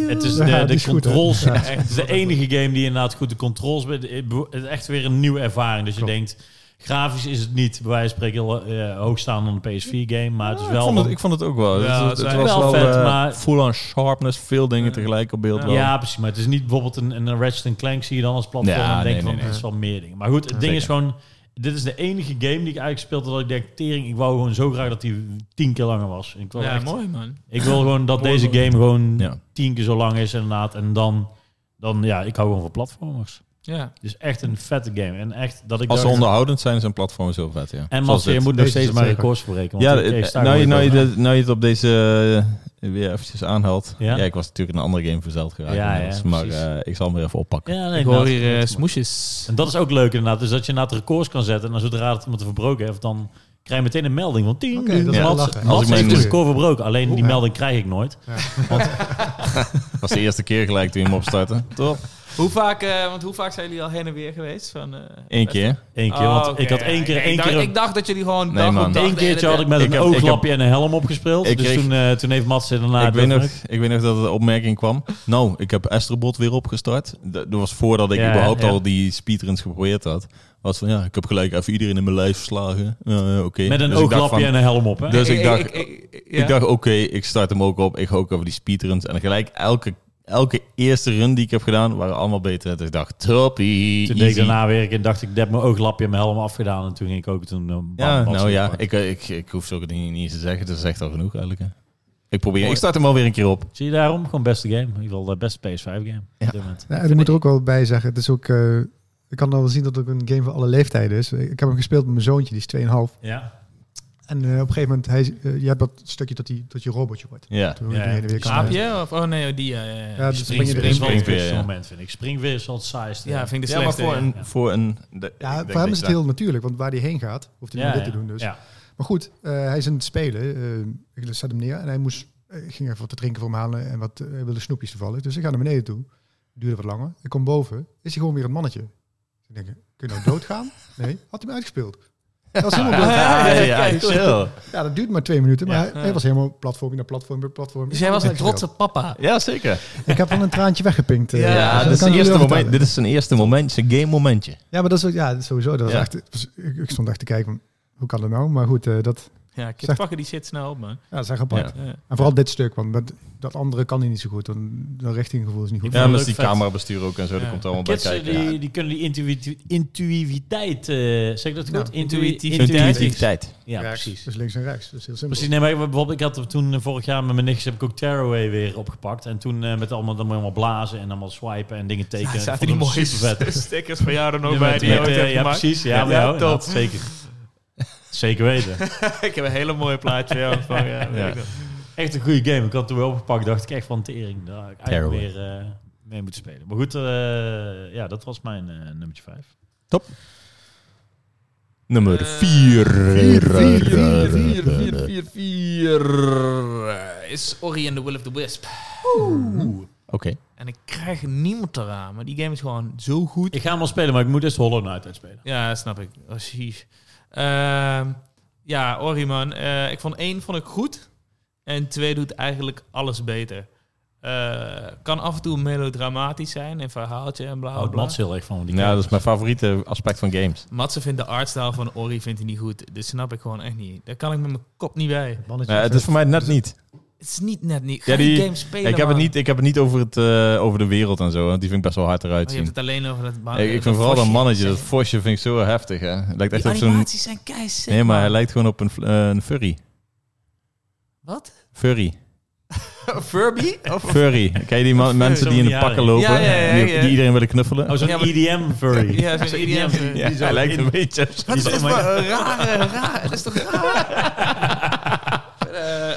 Speaker 1: het is de,
Speaker 4: Ja,
Speaker 1: de
Speaker 4: die is goed, hè?
Speaker 1: controls.
Speaker 4: Ja.
Speaker 1: Het is de enige game die inderdaad goed de controls... be- de- Het is echt weer een nieuwe ervaring. Dus je
Speaker 4: Klopt.
Speaker 1: denkt, grafisch is het niet bij wijze van spreken heel eh, hoogstaand dan een PS4-game. Maar het is
Speaker 2: Ja,
Speaker 1: wel...
Speaker 2: ik, vond het, ik vond het ook wel.
Speaker 3: Ja,
Speaker 2: het, het was
Speaker 3: het
Speaker 1: zijn
Speaker 2: wel
Speaker 1: wel vet,
Speaker 2: eh,
Speaker 1: maar-
Speaker 2: full-on sharpness, veel dingen tegelijk op beeld. wel.
Speaker 1: Ja, precies. Maar het is niet bijvoorbeeld een, een Ratchet Clank zie je dan als platform
Speaker 2: Ja,
Speaker 1: en denk
Speaker 2: nee,
Speaker 1: je van,
Speaker 2: nee, nee.
Speaker 1: het is wel meer dingen. Maar goed, het ding is gewoon, dit is de enige game die ik eigenlijk speelde dat ik denk, tering, ik wou gewoon zo graag dat die tien keer langer was. Ik wil,
Speaker 3: Ja,
Speaker 1: echt-
Speaker 3: mooi man.
Speaker 1: Ik wil gewoon dat
Speaker 3: Mooi,
Speaker 1: deze
Speaker 3: mooi.
Speaker 1: game gewoon
Speaker 2: Ja.
Speaker 1: tien keer zo lang is inderdaad. En dan, dan ja, ik hou gewoon van platformers.
Speaker 3: Ja.
Speaker 1: Het is echt een vette game. En echt dat ik
Speaker 2: Als ze
Speaker 1: dacht-
Speaker 2: onderhoudend zijn, zijn platforms heel vet, ja.
Speaker 1: En
Speaker 2: Zoals
Speaker 1: Mats, je
Speaker 2: dit.
Speaker 1: moet nog
Speaker 4: Deze
Speaker 1: steeds
Speaker 4: is
Speaker 1: maar
Speaker 4: zeker.
Speaker 1: records verbreken.
Speaker 2: Ja,
Speaker 1: Want
Speaker 2: de-
Speaker 1: ik sta
Speaker 2: nou, je,
Speaker 1: gewoon
Speaker 2: nou, je,
Speaker 1: weer
Speaker 2: de- nou je het op deze eh, weer eventjes aanhaalt. Ja?
Speaker 1: Ja?
Speaker 2: ik was natuurlijk een andere game verzeld geraakt.
Speaker 1: Ja, ja,
Speaker 2: inmiddels, maar
Speaker 1: precies.
Speaker 2: eh, ik zal hem weer even oppakken.
Speaker 1: Ja, nee,
Speaker 3: Ik hoor
Speaker 1: nou,
Speaker 3: hier eh,
Speaker 1: dat-
Speaker 3: smoesjes.
Speaker 1: En dat is ook leuk inderdaad. Dus dat je inderdaad records kan zetten. En dan zodra het iemand verbroken heeft, dan krijg je meteen een melding. Want tien,
Speaker 4: Oké, dat is
Speaker 2: Ja.
Speaker 4: wel
Speaker 1: Mats,
Speaker 4: lachen.
Speaker 1: Mats
Speaker 2: Als ik
Speaker 1: heeft
Speaker 2: mijn-
Speaker 1: dus record verbroken. Alleen die
Speaker 4: Ja.
Speaker 1: melding krijg ik nooit.
Speaker 2: Dat was de eerste keer gelijk toen je hem opstartte. Top.
Speaker 3: Hoe vaak, eh, want hoe vaak zijn jullie al heen en weer geweest? Van, eh,
Speaker 2: Eén keer.
Speaker 1: Eén keer.
Speaker 3: Oh,
Speaker 1: want
Speaker 3: oké,
Speaker 1: ik had
Speaker 3: ja,
Speaker 1: één keer,
Speaker 3: ik
Speaker 1: één
Speaker 3: dacht-
Speaker 1: keer... een-
Speaker 3: Ik dacht dat jullie gewoon
Speaker 2: Nee,
Speaker 3: dag op
Speaker 2: man.
Speaker 3: dag de
Speaker 1: Eén
Speaker 3: hele
Speaker 1: keertje
Speaker 3: tijd-
Speaker 1: had ik met
Speaker 2: Ik
Speaker 1: een
Speaker 2: heb- ik
Speaker 1: ooglapje en een helm opgespeeld.
Speaker 2: Ik
Speaker 1: dus
Speaker 2: kreeg-
Speaker 1: toen, eh, toen heeft Mats inderdaad...
Speaker 2: ik, weet nog,
Speaker 1: het
Speaker 2: ik weet nog dat de opmerking kwam. Nou, ik heb Astrobot weer opgestart. Dat dat was voordat ik
Speaker 1: Ja,
Speaker 2: überhaupt
Speaker 1: ja.
Speaker 2: al die speedruns geprobeerd had. Was van, ja, ik heb gelijk even iedereen in mijn lijf verslagen. Eh, Oké.
Speaker 1: Met een
Speaker 2: Dus ik dacht
Speaker 1: ooglapje
Speaker 2: van,
Speaker 1: en een helm op. Hè?
Speaker 2: Dus ik dacht,
Speaker 3: ik- ik- ja.
Speaker 2: Ik dacht, oké, ik start hem ook op. Ik ga ook over die speedruns. En gelijk elke, elke eerste run die ik heb gedaan, waren allemaal beter. Dat ik dacht, toppie,
Speaker 1: Toen deed ik
Speaker 2: easy.
Speaker 1: daarna weer en dacht ik, ik heb mijn ooglapje en mijn helm afgedaan. En toen ging ik ook toen... eh, bam,
Speaker 2: Ja,
Speaker 1: bam,
Speaker 2: nou ja,
Speaker 1: gepakt.
Speaker 2: ik, eh, ik, ik hoef zulke dingen niet eens te zeggen. Dat is echt al genoeg eigenlijk. hè. Ik probeer, ik start hem alweer een keer op.
Speaker 1: Zie je daarom? Gewoon beste game. In ieder geval de beste PS5 game. Op dit moment.
Speaker 4: Ja, en ik moet er ook wel bij zeggen, het is ook... eh, ik kan dan wel zien dat het ook een game voor alle leeftijden is. Ik heb hem gespeeld met mijn zoontje, die is 2,5.
Speaker 1: Ja.
Speaker 4: En eh, op een gegeven moment, hij, eh, je hebt dat stukje dat, hij, dat je robotje wordt.
Speaker 2: Ja.
Speaker 4: Toen
Speaker 1: Ja,
Speaker 4: die heen en weer kan reizen.
Speaker 3: Aapje? Of, oh nee, die... eh
Speaker 4: Ja,
Speaker 3: ja,
Speaker 4: dus
Speaker 1: Spring,
Speaker 4: spring je
Speaker 1: spring,
Speaker 4: erin.
Speaker 2: spring-
Speaker 1: spring,
Speaker 2: weer, ja.
Speaker 1: moment vind ik. Spring weer is wel het saaiste.
Speaker 3: ja, vind ik de
Speaker 2: Ja, maar
Speaker 3: slechtste.
Speaker 2: voor een...
Speaker 1: ja.
Speaker 2: Voor een de- ik
Speaker 4: Ja,
Speaker 2: denk
Speaker 4: voor hem
Speaker 2: dat
Speaker 4: is
Speaker 2: je
Speaker 4: het heel natuurlijk, want waar hij heen gaat, hoeft hij
Speaker 1: Ja,
Speaker 4: niet dit
Speaker 1: ja.
Speaker 4: te doen. Dus.
Speaker 1: Ja.
Speaker 4: Maar goed, eh, hij is aan het spelen. Eh, ik zet hem neer en hij moest, eh, ik ging even wat te drinken voor hem halen en wat eh, hij wilde snoepjes toevallig. Dus ik ga naar beneden toe. Duurde wat langer. Ik kom boven, is hij gewoon weer een mannetje. Ik denk, kun je nou doodgaan? Nee, had hij me uitgespeeld. Dat was helemaal dood.
Speaker 2: daar-
Speaker 3: Ja,
Speaker 2: Ja,
Speaker 3: ja,
Speaker 2: ja,
Speaker 3: ja,
Speaker 2: chill.
Speaker 4: Ja, dat duurt maar twee minuten, maar
Speaker 1: Ja.
Speaker 4: hij, hij was helemaal platform naar platform naar platform.
Speaker 3: Dus jij was
Speaker 4: Ik
Speaker 3: een
Speaker 4: ben
Speaker 3: trotse papa.
Speaker 2: Ja, zeker.
Speaker 4: Ik heb wel een traantje weggepinkt. eh,
Speaker 2: Ja,
Speaker 4: dus dat
Speaker 2: dit, is
Speaker 4: kan
Speaker 2: zijn
Speaker 4: ik
Speaker 2: eerste
Speaker 4: jullie wel
Speaker 2: moment, dit is zijn eerste moment, zijn game momentje.
Speaker 4: Ja, maar dat is, ook- ja, dat is sowieso. Dat was
Speaker 2: Ja.
Speaker 4: echt, het was- ik, ik stond echt te kijken, van, hoe kan dat nou? Maar goed, eh, dat,
Speaker 3: Ja, kids
Speaker 4: Zeg-
Speaker 3: pakken die shit snel op, man.
Speaker 4: ja, dat is echt apart.
Speaker 2: Ja.
Speaker 3: Ja.
Speaker 4: En vooral dit stuk, want dat, dat andere kan hij niet zo goed. Dan, dat richtinggevoel is niet goed.
Speaker 1: Ja,
Speaker 2: Ja,
Speaker 1: maar
Speaker 2: maar
Speaker 1: leuk
Speaker 2: die
Speaker 1: vet.
Speaker 2: camera besturen ook en zo,
Speaker 3: Ja.
Speaker 2: dat komt allemaal bij
Speaker 1: Kids eh,
Speaker 2: kijken.
Speaker 1: die, die kunnen die intuïti- intuïtiviteit, eh, zeg ik dat goed?
Speaker 4: Ja.
Speaker 1: Intuï-
Speaker 3: Intuïtiviteit.
Speaker 1: Ja,
Speaker 4: Rechts,
Speaker 1: precies.
Speaker 4: Dus links en rechts. Dat is heel simpel.
Speaker 1: Precies, nee, maar ik- bijvoorbeeld, ik had er toen eh, vorig jaar met mijn nichtjes heb ik ook Tearaway weer opgepakt. En toen eh, met allemaal, dan moet je allemaal blazen en allemaal swipen en dingen tekenen.
Speaker 3: Zaten
Speaker 1: Vond
Speaker 3: die
Speaker 1: ik
Speaker 3: mooie
Speaker 1: supervet.
Speaker 3: stickers van jou er nog
Speaker 1: Ja,
Speaker 3: bij
Speaker 1: met-
Speaker 3: die
Speaker 1: met,
Speaker 3: je ooit
Speaker 1: eh,
Speaker 3: hebt
Speaker 1: ja,
Speaker 3: gemaakt?
Speaker 1: precies. Ja, maar ja,
Speaker 3: top.
Speaker 1: dat zeker. Zeker weten.
Speaker 3: Ik heb een hele mooie plaatje van jou ontvangen. Ja, weet
Speaker 2: Ja.
Speaker 3: ik nog.
Speaker 1: Echt een goede game. Ik had hem toen weer opgepakt. Dacht ik echt van tering. Daar had ik eigenlijk
Speaker 2: Tearaway.
Speaker 1: meer eh, mee moeten spelen. Maar goed, eh, ja, dat was mijn eh, nummertje 5.
Speaker 2: Nummer
Speaker 3: Eh,
Speaker 2: 4.
Speaker 4: vier, vier, vier,
Speaker 3: Vier, vier, vier, vier. Eh, Is Ori and the Will of the Wisp.
Speaker 2: Oké.
Speaker 3: En ik krijg niemand eraan, maar die game is gewoon zo goed.
Speaker 1: Ik ga hem wel spelen, maar ik moet eerst Hollow Knight uitspelen.
Speaker 3: Ja, dat snap ik. Oh, sheesh. Ehm, ja, Ori man. Eh, ik vond één vond ik goed. En twee doet eigenlijk alles beter. Eh, kan af en toe melodramatisch zijn en verhaaltje en bla bla.
Speaker 2: Oh,
Speaker 1: Houdt
Speaker 3: bla.
Speaker 1: Mats heel erg van. want Die
Speaker 2: Nou,
Speaker 1: kan-
Speaker 2: dat is mijn favoriete aspect van games.
Speaker 3: Matze vindt de artstyle van Ori vindt hij niet goed. Dit snap ik gewoon echt niet. Daar kan ik met mijn kop niet bij.
Speaker 4: Mannetje,
Speaker 2: Ja, Eh, het is voor mij net niet.
Speaker 3: Het is niet net niet. Ga
Speaker 2: Ja,
Speaker 3: die
Speaker 2: die-
Speaker 3: game spelen.
Speaker 2: Ja, ik, heb het
Speaker 3: man.
Speaker 2: niet ik heb het niet over, het, eh, over de wereld en zo, want die vind ik best wel hard eruit
Speaker 3: Oh, je hebt
Speaker 2: zien.
Speaker 3: het alleen over dat man-
Speaker 2: Ik, ik vind vooral dat mannetje, dat vosje vind ik zo heftig. Hè. Het lijkt echt
Speaker 3: Die
Speaker 2: op zo'n...
Speaker 3: animaties zijn keis.
Speaker 2: Nee, maar hij lijkt gewoon op een, fl- eh, een furry.
Speaker 3: Wat?
Speaker 2: Furry.
Speaker 3: Furby? Oh, Of
Speaker 2: Furry. Ken je die man- mensen die in de
Speaker 1: Zo'n
Speaker 2: pakken lopen?
Speaker 3: Ja, ja, ja,
Speaker 2: die-
Speaker 3: ja.
Speaker 2: Die iedereen willen knuffelen?
Speaker 1: Oh, zo'n
Speaker 3: Ja, maar-
Speaker 1: EDM furry. E
Speaker 3: Ja, E zo'n EDM.
Speaker 2: Ja,
Speaker 1: die zo
Speaker 2: hij lijkt
Speaker 1: in-
Speaker 2: een beetje...
Speaker 3: Wat is
Speaker 1: Die
Speaker 3: dit
Speaker 1: zo-
Speaker 3: voor een rare, raar? Dat is toch raar? Eh,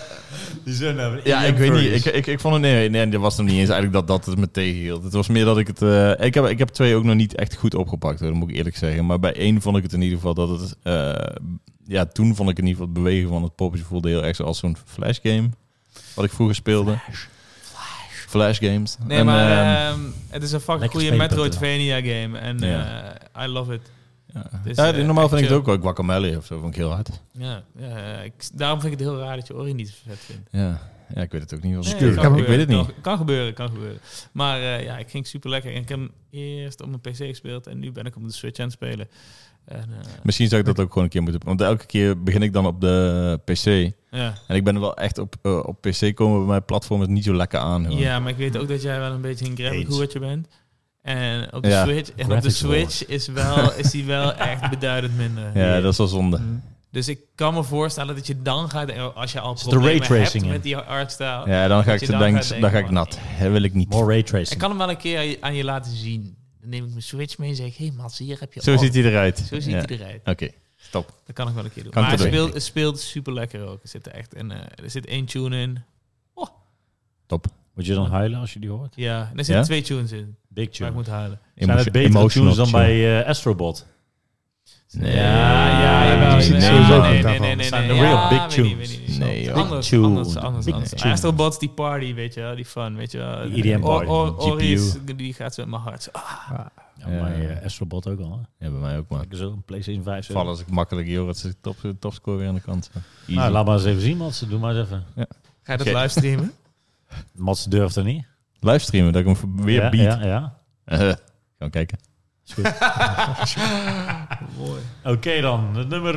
Speaker 1: Die zijn nou
Speaker 2: Ja,
Speaker 1: EDM
Speaker 2: ik weet
Speaker 1: furries.
Speaker 2: niet. Ik, ik, ik vond het... Nee, nee, dat was hem niet eens eigenlijk dat, dat het me tegenhield. Het was meer dat ik het... eh, ik, heb, ik heb twee ook nog niet echt goed opgepakt, hoor, dat moet ik eerlijk zeggen. Maar bij één vond ik het in ieder geval dat het... eh, ja, toen vond ik in ieder geval het bewegen van het poppetje voelde heel erg zoals zo'n Flash game. Wat ik vroeger speelde. Flash. games.
Speaker 3: nee,
Speaker 2: En,
Speaker 3: maar
Speaker 2: ehm,
Speaker 3: ehm, het is een fucking
Speaker 1: Lekker
Speaker 3: goede
Speaker 1: spelen,
Speaker 3: Metroidvania game. En
Speaker 2: Ja.
Speaker 3: eh, I love it.
Speaker 2: ja.
Speaker 3: Dus,
Speaker 2: Ja,
Speaker 3: eh,
Speaker 2: normaal vind ik het
Speaker 3: chill.
Speaker 2: ook wel guacamole of zo. Vond ik heel hard.
Speaker 3: Ja, ja, eh, ik, daarom vind ik het heel raar dat je Ori niet vet vindt.
Speaker 2: Ja, ja ik weet het ook niet. Wat
Speaker 3: Nee,
Speaker 2: het
Speaker 3: kan
Speaker 2: is.
Speaker 4: kan
Speaker 2: ik weet het
Speaker 3: gebeuren,
Speaker 2: niet.
Speaker 3: Kan, kan gebeuren, kan gebeuren. Maar eh, ja, ik ging super lekker. En ik heb hem eerst op mijn PC gespeeld en nu ben ik op de Switch aan het spelen. En, eh,
Speaker 2: Misschien zou ik dat ook gewoon een keer moeten... Want elke keer begin ik dan op de PC...
Speaker 3: ja.
Speaker 2: En ik ben er wel echt op, eh, op PC komen bij mijn platform is niet zo lekker aan. hoor.
Speaker 3: ja, maar ik weet ook dat jij wel een beetje een graphic
Speaker 1: Eens.
Speaker 3: hoertje bent. En op de
Speaker 2: Ja.
Speaker 3: Switch, en op de
Speaker 1: Graphics
Speaker 3: Switch is, wel, is die wel echt beduidend minder.
Speaker 2: Ja, dat is wel zonde.
Speaker 3: Dus ik kan me voorstellen dat je dan gaat, eh, als je al
Speaker 1: de
Speaker 3: problemen hebt
Speaker 1: raytracing in.
Speaker 3: met die artstyle.
Speaker 2: Ja, dan ga
Speaker 3: Dat
Speaker 2: ik
Speaker 3: je
Speaker 2: te
Speaker 3: dan
Speaker 2: denken,
Speaker 3: gaat
Speaker 2: dan
Speaker 3: denken,
Speaker 2: ga ik
Speaker 3: man.
Speaker 2: nat. Dat wil ik niet.
Speaker 1: More ray
Speaker 3: Ik
Speaker 1: tracing.
Speaker 3: kan hem wel een keer aan je- aan je laten zien. Dan neem ik mijn Switch mee en zeg ik, hey, Mats, hier heb je
Speaker 2: Zo
Speaker 3: Ori.
Speaker 2: ziet hij eruit.
Speaker 3: Zo ziet
Speaker 2: Ja.
Speaker 3: hij eruit.
Speaker 2: Oké, stop.
Speaker 3: Dat kan ik wel een keer doen.
Speaker 2: Kan
Speaker 3: maar
Speaker 2: ik
Speaker 3: het
Speaker 2: dat
Speaker 3: speelt, het speelt super lekker ook. Er zit er echt een, eh, er zit één tune in.
Speaker 1: Moet je dan huilen als je die hoort?
Speaker 3: Ja, en er zitten
Speaker 2: Ja?
Speaker 3: twee tunes in.
Speaker 1: Big
Speaker 3: Maar ik
Speaker 1: tune.
Speaker 3: moet huilen.
Speaker 1: Zijn het betere tunes dan bij eh, Astrobot?
Speaker 2: Nee.
Speaker 3: ja, ja,
Speaker 1: Die
Speaker 3: jawel,
Speaker 4: zit
Speaker 3: jawel.
Speaker 4: sowieso
Speaker 3: nee, nee, nee,
Speaker 4: goed daarvan.
Speaker 3: nee, nee,
Speaker 1: Het zijn de
Speaker 3: nee.
Speaker 1: real
Speaker 3: Ja,
Speaker 1: big
Speaker 3: weet niet,
Speaker 1: tunes.
Speaker 3: weet niet, weet
Speaker 2: Nee,
Speaker 3: niet.
Speaker 2: joh.
Speaker 3: anders,
Speaker 1: Big
Speaker 3: anders,
Speaker 1: tune.
Speaker 3: anders,
Speaker 1: Big
Speaker 3: anders.
Speaker 1: tune.
Speaker 3: Astrobots, die party, weet je wel, die fun, weet je wel.
Speaker 1: Die EDM
Speaker 3: Or-
Speaker 1: party,
Speaker 3: Or-
Speaker 2: die
Speaker 3: Ori is-
Speaker 2: GPU.
Speaker 3: die gaat zo in mijn hart. Zo, ah,
Speaker 1: Ja, maar eh, Astrobot ook al. Hè?
Speaker 2: Ja, bij mij ook maar.
Speaker 1: Zo, een PlayStation 5. zo.
Speaker 2: Vallen als ik makkelijk, joh, dat is de top, topscore weer aan de kant. Easy.
Speaker 1: Nou, laat maar eens even zien, Mats. Doe maar eens even.
Speaker 3: Ga je dat
Speaker 2: Oké.
Speaker 3: livestreamen?
Speaker 1: Mats durft er niet.
Speaker 2: Livestreamen, dat ik hem weer
Speaker 1: ja,
Speaker 2: beat.
Speaker 1: Ja, ja.
Speaker 2: Eh, gaan we kijken.
Speaker 1: Is goed. Oké dan, het nummer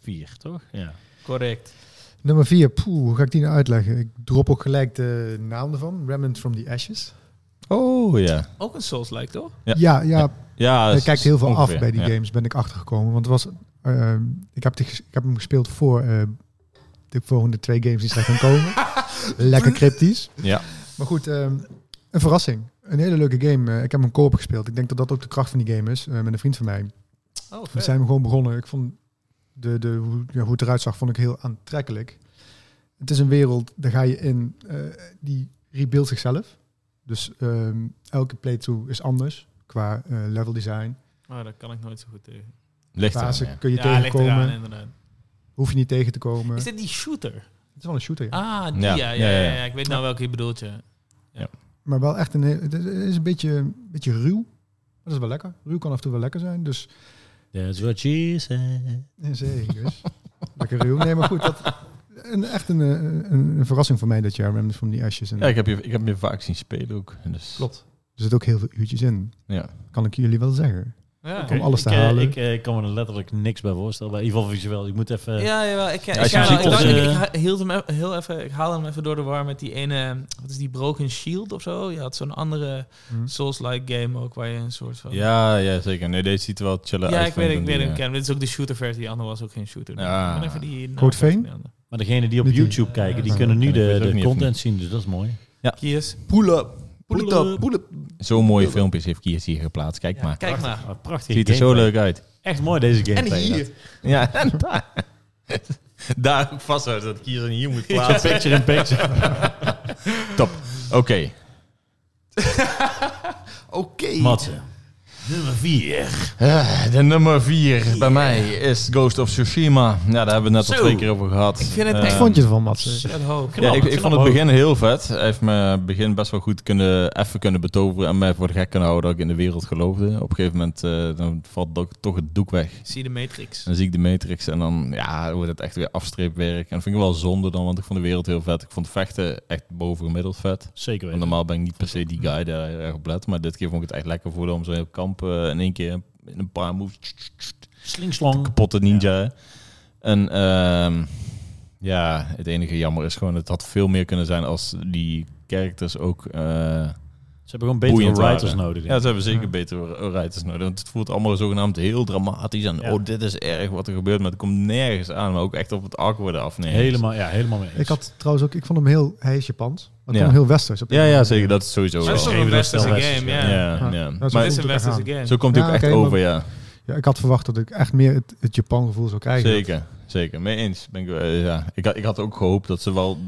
Speaker 1: 4, toch? Ja.
Speaker 3: Correct.
Speaker 4: Nummer 4, poeh, hoe ga ik die nou uitleggen? Ik drop ook gelijk de naam ervan. Remnant from the Ashes.
Speaker 2: Oh ja.
Speaker 3: Ook een Souls-like, toch?
Speaker 2: Ja.
Speaker 4: Ja, ja,
Speaker 2: Ja,
Speaker 4: hij kijkt heel veel af
Speaker 2: ongeveer,
Speaker 4: bij die
Speaker 2: ja.
Speaker 4: games, ben ik achtergekomen. Want het was, eh, ik, heb die ges- ik heb hem gespeeld voor eh, de volgende twee games die straks gaan komen. Lekker cryptisch.
Speaker 2: Ja.
Speaker 4: Maar goed, ehm, een verrassing. Een hele leuke game. Eh, ik heb hem koop gespeeld. Ik denk dat dat ook de kracht van die game is, eh, met een vriend van mij.
Speaker 3: Oh,
Speaker 4: We
Speaker 3: vet.
Speaker 4: zijn gewoon begonnen. Ik vond de, de, hoe, ja, hoe het eruit zag, vond ik heel aantrekkelijk. Het is een wereld, daar ga je in, eh, die rebuild zichzelf. Dus ehm, elke playthrough is anders qua eh, level design.
Speaker 3: Oh, daar kan ik nooit zo goed tegen.
Speaker 2: Ligt eraan,
Speaker 4: Fase
Speaker 2: ja.
Speaker 4: kun je
Speaker 3: Ja, ligt eraan,
Speaker 4: tegenkomen,
Speaker 3: inderdaad.
Speaker 4: hoef je niet tegen te komen.
Speaker 3: Is
Speaker 4: Het
Speaker 3: dit die shooter?
Speaker 4: is wel een shooter, ja.
Speaker 3: Ah, die,
Speaker 2: Ja.
Speaker 3: ja. Ja,
Speaker 2: Ja,
Speaker 3: ja,
Speaker 2: ja, ja.
Speaker 3: ja. Ik weet nou welke je bedoelt, ja.
Speaker 4: maar wel echt een, heel- het is- het is een beetje, een beetje ruw. Maar Dat is wel lekker. Ruw kan af en toe wel lekker zijn, dus
Speaker 1: That's what she said.
Speaker 4: Ja, Zeker. dus. Lekker ruw. Nee, maar goed. Dat, een, echt een, eh, een, een verrassing voor mij dat jaar. Remnant from the Ashes. En
Speaker 2: Ja, ik heb, je, ik heb je vaak zien spelen ook. Dus,
Speaker 4: Klopt. Er zitten ook heel veel uurtjes in.
Speaker 2: Ja.
Speaker 4: Kan ik jullie wel zeggen.
Speaker 3: Ja,
Speaker 4: Om alles te
Speaker 1: ik, eh,
Speaker 4: halen.
Speaker 1: Ik, eh, kan me er letterlijk niks bij voorstellen. In ieder geval visueel. Ik moet even...
Speaker 3: ja, jawel, ik, ik,
Speaker 2: als je
Speaker 3: ga-
Speaker 2: ziet
Speaker 3: ik, dacht-
Speaker 1: onze-
Speaker 3: ik, ik ha- hield hem e- heel even, ik haalde hem even door de war met die ene, wat is die Broken Shield of zo? Je had zo'n andere
Speaker 4: Hm.
Speaker 3: Souls-like game ook, waar je een soort van...
Speaker 2: Ja, ja, zeker. Nee, deze ziet er wel chiller
Speaker 3: Ja,
Speaker 2: uit.
Speaker 3: ik
Speaker 2: vind
Speaker 3: weet het,
Speaker 2: dan
Speaker 3: ik weet
Speaker 2: die,
Speaker 3: hem
Speaker 2: eh,
Speaker 3: kennen. Dit is ook de shooter versie, die andere was ook geen shooter.
Speaker 2: Ja.
Speaker 3: Maar even die naam
Speaker 4: Roodveen?
Speaker 3: van die andere.
Speaker 1: Maar degenen die op
Speaker 4: Niet die-
Speaker 1: YouTube kijken, die
Speaker 4: Ja,
Speaker 1: kunnen nu
Speaker 2: ik weet
Speaker 1: de,
Speaker 2: ook
Speaker 1: de
Speaker 2: niet of
Speaker 1: content zien. Dus dat is mooi.
Speaker 3: Kiers.
Speaker 5: Pull up. Pull it up. Pull up.
Speaker 2: Zo'n mooie filmpjes heeft Kiers hier geplaatst. Kijk
Speaker 3: Ja,
Speaker 2: maar.
Speaker 3: Kijk maar.
Speaker 1: Ah, prachtig.
Speaker 2: Ziet er zo leuk uit.
Speaker 1: Echt mooi deze game.
Speaker 5: En hier.
Speaker 2: Ja, en daar. daar ook vasthoudt dat Kiers hem hier moet plaatsen.
Speaker 1: Picture in picture.
Speaker 2: Top. Oké.
Speaker 5: Oké.
Speaker 1: Matze. Nummer 4.
Speaker 2: Eh, de nummer vier bij mij is Ghost of Tsushima. Ja, daar hebben we het net al
Speaker 3: Zo.
Speaker 2: twee keer over gehad. Ik
Speaker 3: vind het
Speaker 4: Wat vond je ervan, Mats?
Speaker 3: Shut hoog.
Speaker 2: Ja, ik, ik
Speaker 1: Knap
Speaker 2: vond het
Speaker 1: ook.
Speaker 2: begin heel vet. Hij heeft me begin best wel goed kunnen, even kunnen betoveren en mij voor de gek kunnen houden dat ik in de wereld geloofde. Op een gegeven moment eh, dan valt do- toch het doek weg.
Speaker 3: Zie de Matrix.
Speaker 2: Dan zie ik de Matrix en dan ja, wordt het echt weer afstreepwerk. En dat vind ik wel zonde dan, want ik vond de wereld heel vet. Ik vond vechten echt bovengemiddeld vet.
Speaker 1: Zeker
Speaker 2: Want
Speaker 1: weten.
Speaker 2: normaal ben ik niet per se die guy daar heel erg op let. Maar dit keer vond ik het echt lekker voelen om zo'n heel kamp eh, in één keer in een paar moves
Speaker 1: Slingslong.
Speaker 2: kapotte ninja. hè. En ehm, ja, het enige jammer is gewoon, het had veel meer kunnen zijn als die characters ook... eh,
Speaker 1: Ze hebben gewoon betere
Speaker 2: boeiend
Speaker 1: writers
Speaker 2: waren.
Speaker 1: nodig.
Speaker 2: ja, ze hebben zeker
Speaker 4: Ja.
Speaker 2: betere writers nodig. Want het voelt allemaal zogenaamd heel dramatisch. En
Speaker 1: Ja.
Speaker 2: oh, dit is erg wat er gebeurt. Maar het komt nergens aan. Maar ook echt op het awkward af. Nee.
Speaker 1: helemaal, ja, helemaal mee eens.
Speaker 4: Ik had trouwens ook, ik vond hem heel, hij is Japans. Maar ik
Speaker 2: Ja.
Speaker 4: vond hem heel westers. op
Speaker 2: Ja,
Speaker 4: een
Speaker 2: ja,
Speaker 4: of andere
Speaker 2: zeker.
Speaker 4: manier.
Speaker 2: Dat is sowieso
Speaker 3: Dat is
Speaker 2: wel.
Speaker 3: toch
Speaker 1: even
Speaker 3: een
Speaker 1: dat
Speaker 3: westerse
Speaker 1: stel
Speaker 3: game,
Speaker 1: westerse,
Speaker 2: Ja,
Speaker 3: ja.
Speaker 2: ja.
Speaker 4: Ja, dat is
Speaker 2: Maar
Speaker 3: Dit is
Speaker 4: Moet
Speaker 3: een
Speaker 4: ik
Speaker 3: westerse
Speaker 4: gaan.
Speaker 3: game.
Speaker 2: zo komt hij
Speaker 4: Ja,
Speaker 2: ook echt
Speaker 4: oké, maar-
Speaker 2: over, ja.
Speaker 4: Ja, ik had verwacht dat ik echt meer het, het Japan gevoel zou krijgen.
Speaker 2: Zeker, zeker. Mee eens. Ben ik, eh, ja. ik, had, ik had ook gehoopt dat ze wel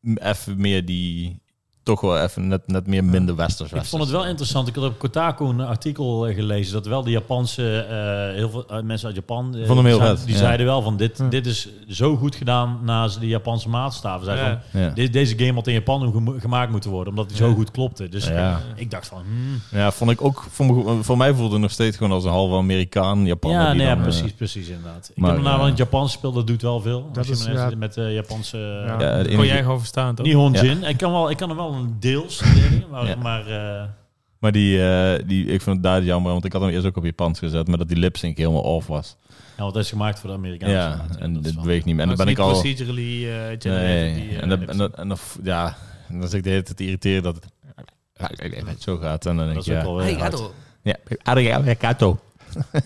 Speaker 2: m- even meer die... Toch wel even net, net meer minder westers
Speaker 1: Ik vond het wel interessant. Ik had op Kotaku een artikel eh, gelezen dat wel de Japanse, eh, heel veel eh, mensen uit Japan, eh,
Speaker 2: Ik vond hem heel
Speaker 1: die,
Speaker 2: vet,
Speaker 1: zeiden- die
Speaker 2: ja.
Speaker 1: zeiden wel van dit,
Speaker 4: Ja.
Speaker 1: dit is zo goed gedaan naast de Japanse maatstaven. Zeiden
Speaker 3: Ja.
Speaker 1: van,
Speaker 2: Ja.
Speaker 1: dit- deze game had in Japan gemo- gemaakt moeten worden, omdat die zo goed klopte. Dus
Speaker 2: Ja.
Speaker 1: ik, ik dacht van, hmm.
Speaker 2: ja, vond ik ook... Voor, me- voor mij voelde het nog steeds gewoon als een halve Amerikaan, Japaner.
Speaker 1: ja,
Speaker 2: die
Speaker 1: nee,
Speaker 2: dan, eh,
Speaker 1: precies, precies inderdaad. Ik
Speaker 2: maar,
Speaker 1: heb hem nou
Speaker 2: ja.
Speaker 1: wel in het Japans gespeeld, dat doet wel veel.
Speaker 4: Dat
Speaker 1: Als je
Speaker 4: is,
Speaker 1: mensen
Speaker 4: ja.
Speaker 1: met eh, Japanse
Speaker 4: Ja.
Speaker 1: eh,
Speaker 2: ja, het
Speaker 3: Kon
Speaker 2: enige-
Speaker 3: jij gewoon verstaan, toch?
Speaker 1: Nihon
Speaker 2: Ja.
Speaker 1: Jin. Ik kan, wel, ik kan hem wel een deels, leren, maar,
Speaker 2: Ja.
Speaker 1: maar eh,
Speaker 2: Maar die, eh, die, ik vond het daar jammer, want ik had hem eerst ook op Japans gezet, maar dat die lip sync helemaal off was.
Speaker 1: ja, want dat is gemaakt voor de
Speaker 2: Ja,
Speaker 1: Amerikaanse markt,
Speaker 2: en
Speaker 1: dat is
Speaker 2: dit
Speaker 1: wel-
Speaker 2: beweegt niet meer. En
Speaker 3: Maar
Speaker 2: dan ben ik
Speaker 3: het is
Speaker 2: al...
Speaker 3: niet procedurally eh, generated.
Speaker 2: Nee,
Speaker 3: die, eh,
Speaker 2: en, dan, en, dan, en dan- ja, en dan zit ik de hele tijd te irriteren dat het zo gaat. En dan denk
Speaker 1: Dat
Speaker 2: ik,
Speaker 1: is ook
Speaker 2: ja,
Speaker 1: wel
Speaker 5: Hey,
Speaker 1: weer
Speaker 5: ga
Speaker 1: hard.
Speaker 5: door.
Speaker 2: ja, arigato. ja,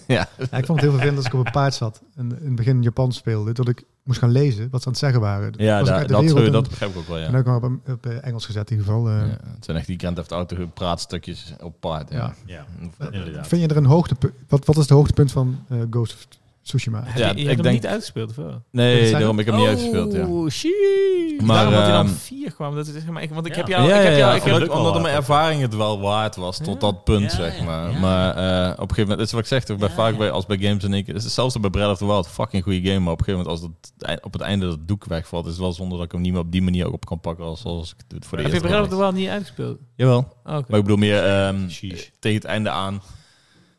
Speaker 4: Ja, ik vond het heel vervelend als ik op een paard zat en in het begin Japans speelde, dat ik moest gaan lezen wat ze aan het zeggen waren.
Speaker 2: ja
Speaker 4: Was ik
Speaker 2: da-
Speaker 4: uit de
Speaker 2: dat,
Speaker 4: wereld en-
Speaker 2: dat begrijp ik ook wel, ja.
Speaker 4: En ook maar op, op eh, Engels gezet in ieder geval. eh.
Speaker 2: Ja, Het zijn echt die Grand Theft Auto praatstukjes op paard, ja.
Speaker 4: Ja.
Speaker 1: Ja,
Speaker 2: Ja,
Speaker 1: inderdaad.
Speaker 4: Vind je er een hoogtepunt? Wat, wat is het hoogtepunt van eh, Ghost of Tsushima?
Speaker 3: Heb je-
Speaker 2: Ja,
Speaker 3: je,
Speaker 2: ik
Speaker 3: hebt hem
Speaker 2: denk-
Speaker 3: niet uitgespeeld, of wel?
Speaker 2: Nee,
Speaker 4: Zijn-
Speaker 2: daarom, ik heb hem niet uitgespeeld, ja.
Speaker 3: Oh, shit.
Speaker 2: Maar,
Speaker 3: Daarom had hij dan
Speaker 2: ehm,
Speaker 3: vier kwam. Dat is, zeg maar, ik, want ik
Speaker 1: Ja.
Speaker 3: heb
Speaker 2: Ja,
Speaker 3: jou...
Speaker 2: ja,
Speaker 3: ik heb
Speaker 2: ja,
Speaker 3: jou,
Speaker 2: ik
Speaker 3: ik heb,
Speaker 1: het ook
Speaker 2: omdat
Speaker 1: wel
Speaker 2: mijn
Speaker 1: waard.
Speaker 2: ervaring het wel waard was tot
Speaker 3: Ja.
Speaker 2: dat punt,
Speaker 1: Ja,
Speaker 2: zeg
Speaker 1: ja,
Speaker 2: maar.
Speaker 1: ja.
Speaker 2: Maar eh, op een gegeven moment, het is wat ik zeg, toch, bij
Speaker 1: Ja,
Speaker 2: vaak
Speaker 1: ja.
Speaker 2: Bij, als bij games en ik, is het zelfs bij Breath of the Wild, fucking goede game, maar op een gegeven moment, als dat, ei- op het einde dat doek wegvalt, is het wel zonde dat ik hem niet meer op die manier ook op kan pakken als, als ik het voor de
Speaker 3: heb je
Speaker 2: eerste
Speaker 3: Breath
Speaker 2: keer
Speaker 3: of the
Speaker 2: deed.
Speaker 3: Wild niet uitgespeeld?
Speaker 2: Jawel.
Speaker 3: Oh, Oké.
Speaker 2: Maar ik bedoel meer ehm,
Speaker 1: Sheesh.
Speaker 2: tegen het einde aan.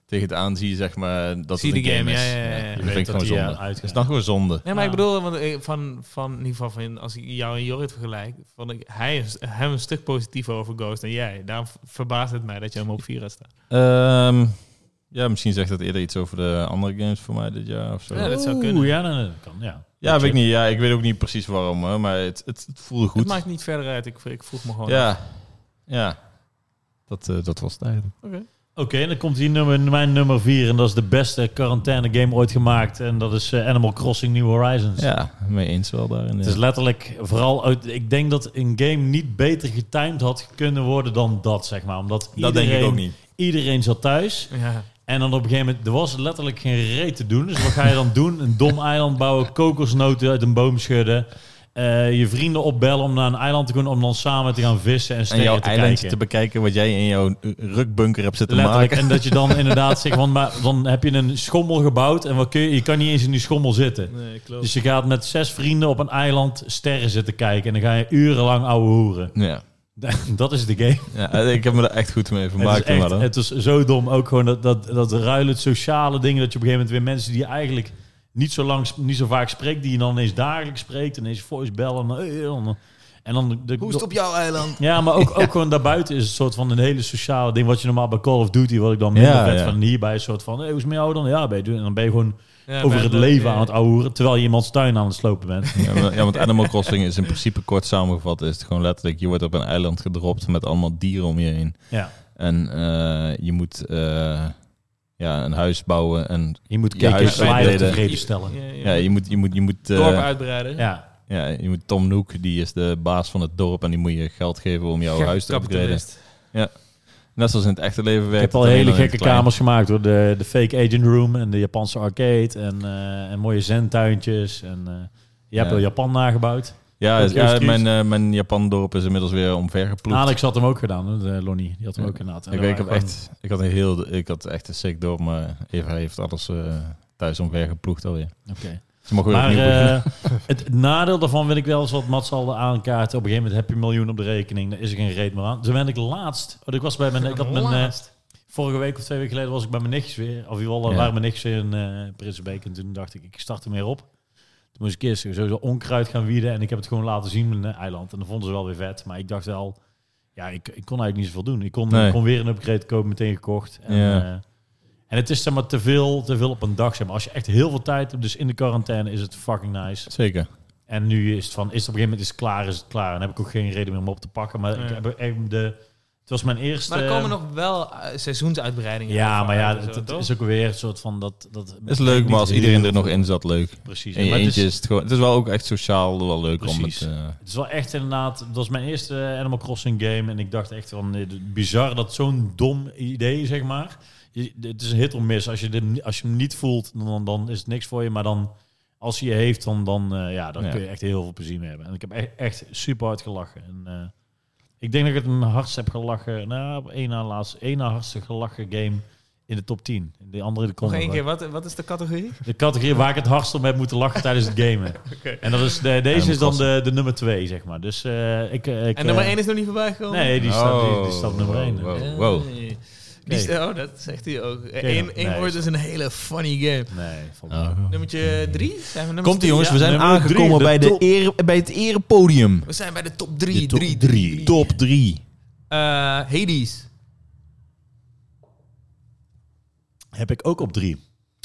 Speaker 2: Tegen het aan zie je zeg maar dat
Speaker 3: Zie
Speaker 2: het
Speaker 3: de
Speaker 2: een
Speaker 3: game,
Speaker 2: is.
Speaker 3: ja, ja, ja, ja. Je
Speaker 2: Dat
Speaker 1: Je
Speaker 2: vind ik
Speaker 1: weet dat
Speaker 2: gewoon
Speaker 1: die,
Speaker 2: zonde.
Speaker 1: eh, uitgaat.
Speaker 2: Dat is dan gewoon zonde.
Speaker 3: Nee, maar ik
Speaker 1: Ja.
Speaker 3: bedoel, want eh, van, van, in ieder geval van, als ik jou en Jorrit vergelijk, vond ik hij is, hem een stuk positiever over Ghost dan jij. Daarom v- verbaast het mij dat je hem op vier had staan.
Speaker 2: Ehm, ja, misschien zegt dat eerder iets over de andere games voor mij dit jaar of zo.
Speaker 3: Ja, dat zou
Speaker 1: Oeh,
Speaker 3: kunnen.
Speaker 1: Ja, nee, nee, dat kan, ja.
Speaker 2: Ja, weet ik niet. Ja, ik weet ook niet precies waarom, hè, maar het, het, het voelde
Speaker 3: Het
Speaker 2: goed.
Speaker 3: maakt niet verder uit. Ik, ik vroeg me gewoon. af.
Speaker 2: ja, ja. Dat, eh, dat was het eigenlijk.
Speaker 3: Oké.
Speaker 1: Oké, dan komt hier nummer, mijn nummer 4. En dat is de beste quarantaine game ooit gemaakt. En dat is eh, Animal Crossing New Horizons.
Speaker 2: Ja, mee eens wel daarin.
Speaker 1: Het is letterlijk vooral uit. Ik denk dat een game niet beter getimed had kunnen worden dan dat, zeg maar. Omdat
Speaker 2: dat
Speaker 1: iedereen,
Speaker 2: denk ik ook niet.
Speaker 1: Iedereen zat thuis.
Speaker 3: Ja.
Speaker 1: En dan op een gegeven moment. Er was letterlijk geen reet te doen. Dus wat ga je dan doen? Een dom eiland bouwen. Kokosnoten uit een boom schudden. eh, je vrienden opbellen om naar een eiland te gaan. Om dan samen te gaan vissen en
Speaker 2: En
Speaker 1: sterren
Speaker 2: jouw
Speaker 1: te
Speaker 2: eilandje
Speaker 1: kijken.
Speaker 2: te bekijken wat jij in jouw eh, rukbunker hebt zitten
Speaker 1: Letterlijk.
Speaker 2: maken.
Speaker 1: En dat je dan inderdaad zegt, want maar dan heb je een schommel gebouwd en wat kun je, je kan niet eens in die schommel zitten.
Speaker 3: Nee, klopt.
Speaker 1: Dus je gaat met zes vrienden op een eiland sterren zitten kijken en dan ga je urenlang ouwe hoeren.
Speaker 2: Ja.
Speaker 1: Dat is de game.
Speaker 2: ja, eh, ik heb me daar echt goed mee
Speaker 1: Het
Speaker 2: vermaakt.
Speaker 1: is, echt,
Speaker 2: maar dan.
Speaker 1: het is zo dom ook gewoon dat, dat, dat ruilen, het sociale dingen, dat je op een gegeven moment weer mensen die je eigenlijk niet zo, lang, niet zo vaak spreekt, die je dan ineens dagelijks spreekt, ineens voicebellen. eh, eh, En, en dan de,
Speaker 5: Hoe is het op jouw eiland?
Speaker 1: Ja, maar ook, ook gewoon daarbuiten is een soort van een hele sociale ding. Wat je normaal bij Call of Duty, wat ik dan minder
Speaker 2: Ja,
Speaker 1: vet
Speaker 2: ja.
Speaker 1: van hierbij, is een soort van, hey, hoe is het met jou dan? Ja, ben je, doen? en dan ben je gewoon
Speaker 3: Ja,
Speaker 1: over
Speaker 3: maar
Speaker 1: het
Speaker 3: dat-
Speaker 1: leven
Speaker 3: eh,
Speaker 1: aan het ouwen, terwijl je iemands tuin aan het slopen bent.
Speaker 2: Ja, maar- ja, want Animal Crossing is in principe kort samengevat. Is het gewoon letterlijk, je wordt op een eiland gedropt met allemaal dieren om je heen.
Speaker 1: ja.
Speaker 2: En eh, je moet eh, ja, een huis bouwen. En,
Speaker 1: Je moet
Speaker 2: Je
Speaker 1: kijken en
Speaker 2: huis
Speaker 1: slider
Speaker 2: uitbreiden.
Speaker 1: tevreden stellen. Ja.
Speaker 2: ja, je moet, je moet, je moet, eh,
Speaker 3: dorp uitbreiden.
Speaker 2: ja, je moet Tom Nook, die is de baas van het dorp. En die moet je geld geven om jouw
Speaker 3: Gek
Speaker 2: huis te upgraden.
Speaker 3: kapitalist.
Speaker 2: Net zoals in het echte leven
Speaker 1: Ik
Speaker 2: werkt
Speaker 1: heb al
Speaker 2: het alleen
Speaker 1: hele
Speaker 2: in het
Speaker 1: gekke
Speaker 2: klein.
Speaker 1: kamers gemaakt door de, de fake agent room en de Japanse arcade en, eh, en mooie zentuintjes. En eh, je hebt
Speaker 2: Ja.
Speaker 1: wel Japan nagebouwd.
Speaker 2: Ja,
Speaker 1: Ook
Speaker 2: ja
Speaker 1: eerst
Speaker 2: mijn, eh, mijn Japan-dorp is inmiddels weer omvergeploegd.
Speaker 1: Alex had hem ook gedaan, hè, de Lonnie. Die had hem
Speaker 2: Ja.
Speaker 1: ook inderdaad. En
Speaker 2: Ik,
Speaker 1: daar
Speaker 2: ik, heb
Speaker 1: waren
Speaker 2: echt, ik, had een heel, ik had echt een sick dorp, maar Eva heeft alles eh, thuis omvergeploegd alweer.
Speaker 1: gewoon- Oké.
Speaker 2: Ze mogen weer
Speaker 1: Maar
Speaker 2: opnieuw
Speaker 1: eh,
Speaker 2: beginnen.
Speaker 1: het nadeel daarvan vind ik wel, is wat Mats al aankaart. Op een gegeven moment heb je een miljoen op de rekening. Daar is er geen reet meer aan. Toen ben ik laatst... Oh, ik was bij mijn... Ik had mijn eh,
Speaker 3: Laatst.
Speaker 1: vorige week of twee weken geleden was ik bij mijn nichtjes weer. Of in ieder geval
Speaker 2: Ja.
Speaker 1: waren mijn nichtjes weer in eh Prinsenbeek. En toen dacht ik, ik start er meer op. Toen moest ik eerst sowieso onkruid gaan wieden. En ik heb het gewoon laten zien, mijn eh, eiland. En dat vonden ze wel weer vet. Maar ik dacht wel... Ja, ik, ik kon eigenlijk niet zoveel doen. Ik kon,
Speaker 2: Nee.
Speaker 1: ik kon weer een upgrade kopen, meteen gekocht. En,
Speaker 2: Ja.
Speaker 1: eh, en het is zeg maar te veel, te veel op een dag. Zeg maar. Als je echt heel veel tijd hebt, dus in de quarantaine is het fucking nice.
Speaker 2: Zeker.
Speaker 1: En nu is het van, is het op een gegeven moment is het klaar, is het klaar. En heb ik ook geen reden meer om op te pakken. Maar ik
Speaker 3: Ja.
Speaker 1: heb er echt de, het was mijn eerste...
Speaker 3: Maar er komen nog wel eh, seizoensuitbreidingen.
Speaker 1: Ja,
Speaker 3: over
Speaker 1: maar ja,
Speaker 3: uit en
Speaker 1: het,
Speaker 3: zo,
Speaker 1: het
Speaker 3: toch?
Speaker 1: is ook weer een soort van dat... dat
Speaker 2: is leuk, maar als iedereen er nog in zat, leuk.
Speaker 1: Precies.
Speaker 2: In je
Speaker 1: maar het,
Speaker 2: eentje
Speaker 1: is,
Speaker 2: is het gewoon... Het is wel ook echt sociaal wel leuk
Speaker 1: Precies.
Speaker 2: om het... eh,
Speaker 1: het is wel echt inderdaad... Dat was mijn eerste Animal Crossing game. En ik dacht echt van, eh, bizar dat zo'n dom idee, zeg maar. Je- Het is een hit of miss. Als je, dit, als je hem niet voelt, dan, dan is het niks voor je. Maar dan, als je je heeft, dan, dan, eh, ja, dan
Speaker 2: Ja.
Speaker 1: kun je echt heel veel plezier mee hebben. En ik heb echt, echt super hard gelachen. En, eh, ik denk dat ik het mijn hardst heb gelachen. Nou, op één na laatst. één na hardste gelachen game in de top 10. De andere komt
Speaker 3: Nog één keer, wat, wat is de categorie?
Speaker 1: De categorie waar ik het hardst om heb moeten lachen tijdens het gamen.
Speaker 3: Oké.
Speaker 1: En dat is de, deze
Speaker 2: Animal
Speaker 1: is dan de, de nummer 2, zeg maar. Dus eh, ik, eh, ik...
Speaker 3: En nummer
Speaker 1: eh,
Speaker 3: 1 is nog niet voorbij gekomen?
Speaker 1: Nee, die staat, die, die
Speaker 2: Oh,
Speaker 1: staat nummer
Speaker 2: wow,
Speaker 1: 1.
Speaker 2: wow.
Speaker 3: Nee.
Speaker 2: wow. nou.
Speaker 3: Die is- oh, dat zegt hij ook.
Speaker 1: Oké,
Speaker 3: Eén één
Speaker 1: nee.
Speaker 3: woord is een hele funny game.
Speaker 1: Nee, valt
Speaker 2: Oh.
Speaker 1: mee.
Speaker 3: Nummertje drie? Zijn we nummer
Speaker 2: Komt ie
Speaker 3: drie?
Speaker 2: jongens,
Speaker 1: Ja,
Speaker 2: we zijn
Speaker 1: nummer drie,
Speaker 2: aangekomen
Speaker 1: de
Speaker 2: bij, de
Speaker 1: top.
Speaker 2: ere, bij het erepodium.
Speaker 3: We zijn bij de top
Speaker 2: De
Speaker 3: drie.
Speaker 2: top
Speaker 3: drie, drie, drie.
Speaker 2: Top 3.
Speaker 3: Eh, Hades.
Speaker 1: Heb ik ook op 3.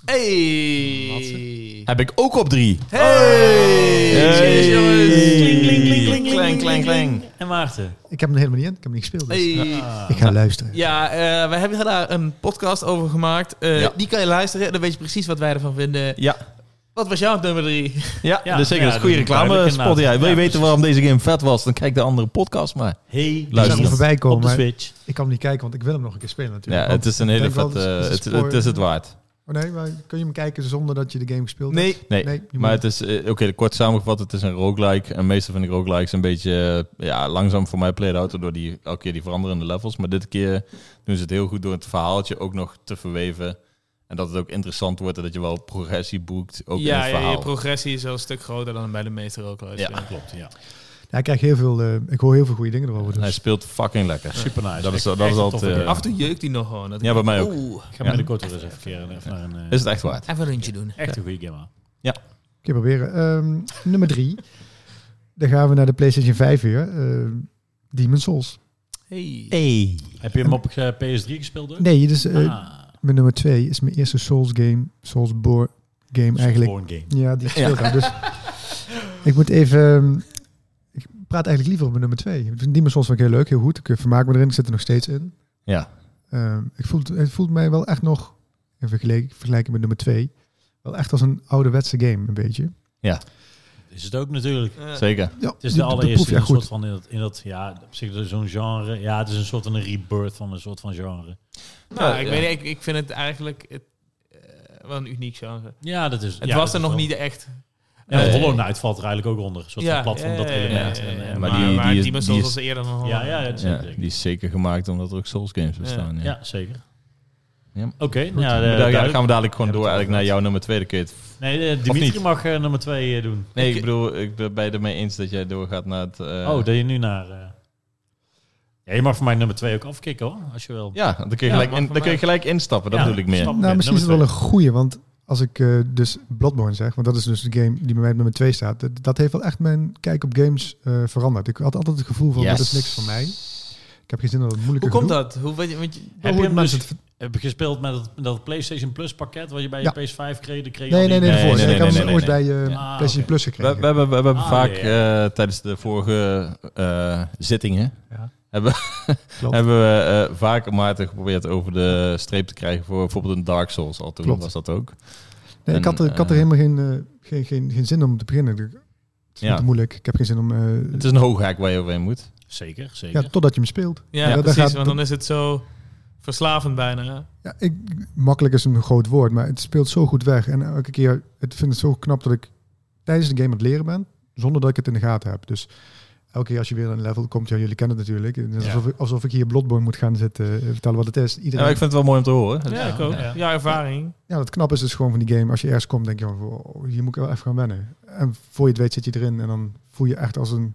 Speaker 3: Hey!
Speaker 2: Heb ik ook op 3.
Speaker 3: Hey! Cheers, jongens.
Speaker 1: Kling, kling, kling, kling,
Speaker 2: Kling, kling, kling.
Speaker 1: En Maarten?
Speaker 4: Ik heb hem er helemaal niet in. Ik heb hem niet gespeeld. dus
Speaker 3: Hey.
Speaker 4: ik ga luisteren.
Speaker 3: Ja, eh we hebben daar een podcast over gemaakt. Eh,
Speaker 2: Ja.
Speaker 3: Die kan je luisteren. Dan weet je precies wat wij ervan vinden.
Speaker 2: Ja,
Speaker 3: Wat was jouw nummer drie?
Speaker 2: Ja,
Speaker 1: Ja,
Speaker 2: dat is zeker
Speaker 1: ja,
Speaker 2: dat is
Speaker 1: dat
Speaker 2: goede
Speaker 1: is
Speaker 2: reclame
Speaker 1: duidelijk
Speaker 2: spot. Ja. Wil je
Speaker 1: inderdaad. Ja,
Speaker 2: weten
Speaker 1: precies.
Speaker 2: waarom deze game vet was, dan kijk de andere podcast maar.
Speaker 1: Hey,
Speaker 4: Ik
Speaker 2: luister.
Speaker 4: zag hem
Speaker 1: luister.
Speaker 4: voorbij
Speaker 1: Op
Speaker 4: komen,
Speaker 1: de
Speaker 4: maar
Speaker 1: Switch.
Speaker 4: ik kan hem niet kijken, want ik wil hem nog een keer spelen natuurlijk.
Speaker 2: Ja,
Speaker 4: Want-
Speaker 2: het is een hele
Speaker 4: denk wel,
Speaker 2: vette...
Speaker 4: het is- het
Speaker 2: Het,
Speaker 4: is
Speaker 2: het,
Speaker 4: spoor-
Speaker 2: is het waard.
Speaker 4: Oh nee, maar kun je hem kijken zonder dat je de game gespeeld hebt?
Speaker 3: Nee.
Speaker 2: Nee,
Speaker 4: Nee, je
Speaker 2: maar
Speaker 4: moet-
Speaker 2: het is... eh, Oké, kort samengevat, het is een roguelike. En meestal vind ik roguelikes een beetje eh, ja, langzaam voor mij played out door die, elke keer die veranderende levels. Maar dit keer doen ze het heel goed door het verhaaltje ook nog te verweven. En dat het ook interessant wordt en dat je wel progressie boekt, ook in
Speaker 3: ja,
Speaker 2: het
Speaker 3: ja,
Speaker 2: verhaal.
Speaker 3: je progressie is wel een stuk groter dan bij de meeste ook.
Speaker 2: Ja.
Speaker 1: Klopt, ja.
Speaker 4: Ja, ik, krijg heel veel, eh, ik hoor heel veel goede dingen erover.
Speaker 2: Hij
Speaker 4: Dus.
Speaker 2: speelt fucking lekker.
Speaker 1: Super nice.
Speaker 2: Dat is-
Speaker 1: Echt-
Speaker 2: dat is
Speaker 1: echt een
Speaker 2: altijd,
Speaker 1: toffe
Speaker 2: eh,
Speaker 1: game.
Speaker 3: Af en toe jeukt die nog gewoon. Dat ik
Speaker 2: Ja, bij mij ook.
Speaker 3: Oeh,
Speaker 1: Ik ga binnenkort weer eens even, keren, even naar een... eh,
Speaker 2: Is het echt waard?
Speaker 3: even een rondje doen.
Speaker 1: Echt een goede game, man.
Speaker 4: Ik ga proberen. Ehm, nummer drie. Dan gaan we naar de PlayStation 5 weer. Ehm Demon's Souls.
Speaker 3: Hey.
Speaker 2: Hey.
Speaker 1: Heb je hem op eh, PS3 gespeeld ook?
Speaker 4: Nee, dus eh,
Speaker 1: Ah,
Speaker 4: mijn nummer twee is mijn eerste Souls game. Soulsborne game eigenlijk.
Speaker 1: Soulsborne game.
Speaker 4: Ja, die ik gespeeld heb. Dus Ik moet even... ehm, Ik praat eigenlijk liever op mijn nummer twee. Ik vind Demon's Souls vind ik heel leuk, heel goed. Ik eh, vermaak me erin, ik zit er nog steeds in.
Speaker 2: Ja.
Speaker 4: Ehm, ik voel, het- het voelt mij wel echt nog, in vergelijking, vergelijking met nummer twee, wel echt als een ouderwetse game, een beetje.
Speaker 1: Is het ook natuurlijk.
Speaker 2: Zeker.
Speaker 4: Ja,
Speaker 1: Het is
Speaker 4: die-
Speaker 1: de
Speaker 4: dat
Speaker 1: allereerste
Speaker 4: proef je
Speaker 1: in een
Speaker 4: echt goed.
Speaker 1: soort van in dat, in dat ja, op zich dus zo'n genre. Ja, het is een soort van een rebirth van een soort van genre.
Speaker 3: Nou,
Speaker 2: Ja,
Speaker 3: ik,
Speaker 2: ja.
Speaker 3: weet, niet, ik, ik vind het eigenlijk het, eh, wel een uniek genre.
Speaker 1: Ja, dat is.
Speaker 3: Het
Speaker 1: ja,
Speaker 3: was
Speaker 1: dat
Speaker 3: er
Speaker 1: is
Speaker 3: nog
Speaker 1: wel-
Speaker 3: niet echt.
Speaker 1: Ja, want
Speaker 3: Eh,
Speaker 1: Hollow Knight valt er eigenlijk ook onder. Een soort van platform, dat element.
Speaker 3: Ja,
Speaker 1: En,
Speaker 3: ja,
Speaker 1: en-
Speaker 2: Maar
Speaker 3: maar
Speaker 2: die-
Speaker 3: die, maar
Speaker 2: die is-
Speaker 3: Demon's
Speaker 2: die
Speaker 3: Souls
Speaker 2: is-
Speaker 3: was eerder dan Hollow
Speaker 1: ja,
Speaker 3: Knight.
Speaker 1: ja, dat is
Speaker 2: Ja,
Speaker 1: zeker.
Speaker 2: die is zeker gemaakt omdat er ook Souls games bestaan. Ja.
Speaker 1: Ja, zeker.
Speaker 2: Ja.
Speaker 1: Oké, nou ja,
Speaker 2: Maar
Speaker 1: eh,
Speaker 2: daar ja,
Speaker 1: duidelijk.
Speaker 2: gaan we dadelijk gewoon
Speaker 1: Ja,
Speaker 2: door
Speaker 1: dat
Speaker 2: eigenlijk naar jouw nummer twee. Dan kun je het...
Speaker 1: Nee, eh,
Speaker 2: Of
Speaker 1: Dimitri
Speaker 2: niet?
Speaker 1: mag eh, nummer twee eh, doen.
Speaker 2: Nee, ik, bedoel, ik ben bij ermee eens dat jij doorgaat naar het... eh,
Speaker 1: Oh, dat je nu naar... eh, Ja, je mag voor mij nummer twee ook afkicken hoor, als je wil.
Speaker 2: Ja, dan kun je,
Speaker 3: Ja,
Speaker 2: gelijk,
Speaker 3: maar
Speaker 2: in-
Speaker 3: voor
Speaker 2: dan kun je
Speaker 3: mij-
Speaker 2: gelijk instappen. Dat
Speaker 1: Ja,
Speaker 2: bedoel ik meer.
Speaker 1: stap.
Speaker 4: Nou,
Speaker 1: Oké,
Speaker 4: misschien is het wel
Speaker 1: nummer
Speaker 4: een goeie, want als ik eh, dus Bloodborne zeg, want dat is dus de game die bij mij op nummer 2 staat, dat- dat heeft wel echt mijn kijk op games eh, veranderd. Ik had altijd het gevoel van, dat is niks voor mij. Ik heb geen zin dat het moeilijker
Speaker 3: Hoe komt
Speaker 4: gedoe.
Speaker 3: dat? Hoe weet je, want je-
Speaker 1: Heb
Speaker 4: Hoe
Speaker 1: je hem
Speaker 4: mensen
Speaker 1: dus-
Speaker 4: het-
Speaker 1: Heb je gespeeld met dat, dat PlayStation Plus pakket wat je bij je PS5 kreeg? Dan kreeg je
Speaker 4: Nee,
Speaker 1: al
Speaker 4: nee,
Speaker 1: die-
Speaker 2: Nee,
Speaker 4: nee, daarvoor.
Speaker 2: nee, nee,
Speaker 4: ik had
Speaker 2: nee,
Speaker 4: hem ooit
Speaker 2: nee,
Speaker 4: bij eh,
Speaker 1: Ja. Ah,
Speaker 4: PlayStation
Speaker 1: oké.
Speaker 4: Plus
Speaker 2: We, we
Speaker 4: gekregen.
Speaker 2: hebben, we hebben
Speaker 1: Ah,
Speaker 2: vaak
Speaker 1: ja,
Speaker 2: eh, tijdens de vorige eh, zittingen...
Speaker 4: Ja.
Speaker 2: Hebben,
Speaker 4: Klopt.
Speaker 2: hebben we eh, vaak Maarten geprobeerd over de streep te krijgen voor bijvoorbeeld een Dark Souls. Al toen
Speaker 4: Klopt.
Speaker 2: was dat ook.
Speaker 4: Nee, ik, had er, ik had er
Speaker 2: en,
Speaker 4: helemaal geen, eh, geen, geen, geen zin om te beginnen. Het is
Speaker 2: Ja.
Speaker 4: ja. te moeilijk. Ik heb geen zin om... eh,
Speaker 2: Het is een hooghaak waar je overheen moet.
Speaker 1: Zeker, zeker.
Speaker 4: ja, totdat je hem speelt.
Speaker 3: ja,
Speaker 4: Ja, dat
Speaker 3: precies,
Speaker 4: gaat-
Speaker 3: want dan is het zo verslavend bijna. hè?
Speaker 4: Ja, ik, makkelijk is een groot woord, maar het speelt zo goed weg. En elke keer, het vind het zo knap dat ik tijdens de game aan het leren ben, zonder dat ik het in de gaten heb. Dus elke keer als je weer een level komt, ja, jullie kennen het natuurlijk. Het is
Speaker 1: Ja.
Speaker 4: Alsof, ik- alsof ik hier Bloodborne moet gaan zitten eh, vertellen wat het is.
Speaker 2: Ja,
Speaker 4: Iedereen,
Speaker 2: maar
Speaker 4: ja,
Speaker 2: ik vind het wel mooi om te horen.
Speaker 3: Ja, ik ook.
Speaker 1: ja.
Speaker 3: Ja, ervaring.
Speaker 4: het knap is dus gewoon van die game. Als je ergens komt, denk je van, wow, hier moet ik wel even gaan wennen. En voor je het weet zit je erin en dan voel je echt als een,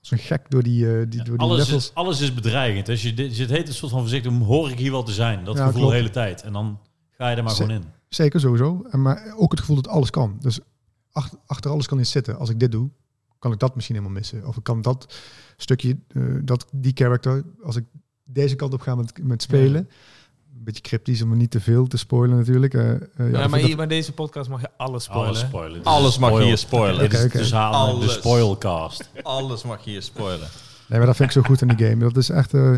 Speaker 4: als een gek door die, eh, die,
Speaker 1: Ja,
Speaker 4: door die
Speaker 1: alles,
Speaker 4: levels.
Speaker 1: is, alles is bedreigend. Als je, dit, het heet een soort van voorzichtig, hoor ik hier wel te zijn? Dat
Speaker 4: Ja,
Speaker 1: gevoel
Speaker 4: klopt.
Speaker 1: de hele tijd. En dan ga je er maar
Speaker 4: Ze-
Speaker 1: gewoon in.
Speaker 4: Zeker, sowieso. En maar ook het gevoel dat alles kan. Dus ach- achter alles kan iets zitten. Als ik dit doe, kan ik dat misschien helemaal missen. Of ik kan dat stukje, eh, dat, die character, als ik deze kant op ga met, met spelen. Een beetje cryptisch om niet te veel te spoilen natuurlijk. Eh, eh,
Speaker 3: Ja,
Speaker 4: ja, dat
Speaker 3: maar
Speaker 4: vind ik
Speaker 3: hier bij deze podcast mag je alles spoilen.
Speaker 1: Alles spoilen. Dit
Speaker 2: Alles
Speaker 1: is
Speaker 2: mag je
Speaker 1: spoil.
Speaker 2: hier spoilen.
Speaker 1: Dit is-
Speaker 4: Oké, oké.
Speaker 1: Dus haal de
Speaker 2: Alles.
Speaker 1: spoilcast.
Speaker 2: Alles mag je hier spoilen.
Speaker 4: dat- nee, maar dat vind ik zo goed in die game. Dat is echt eh,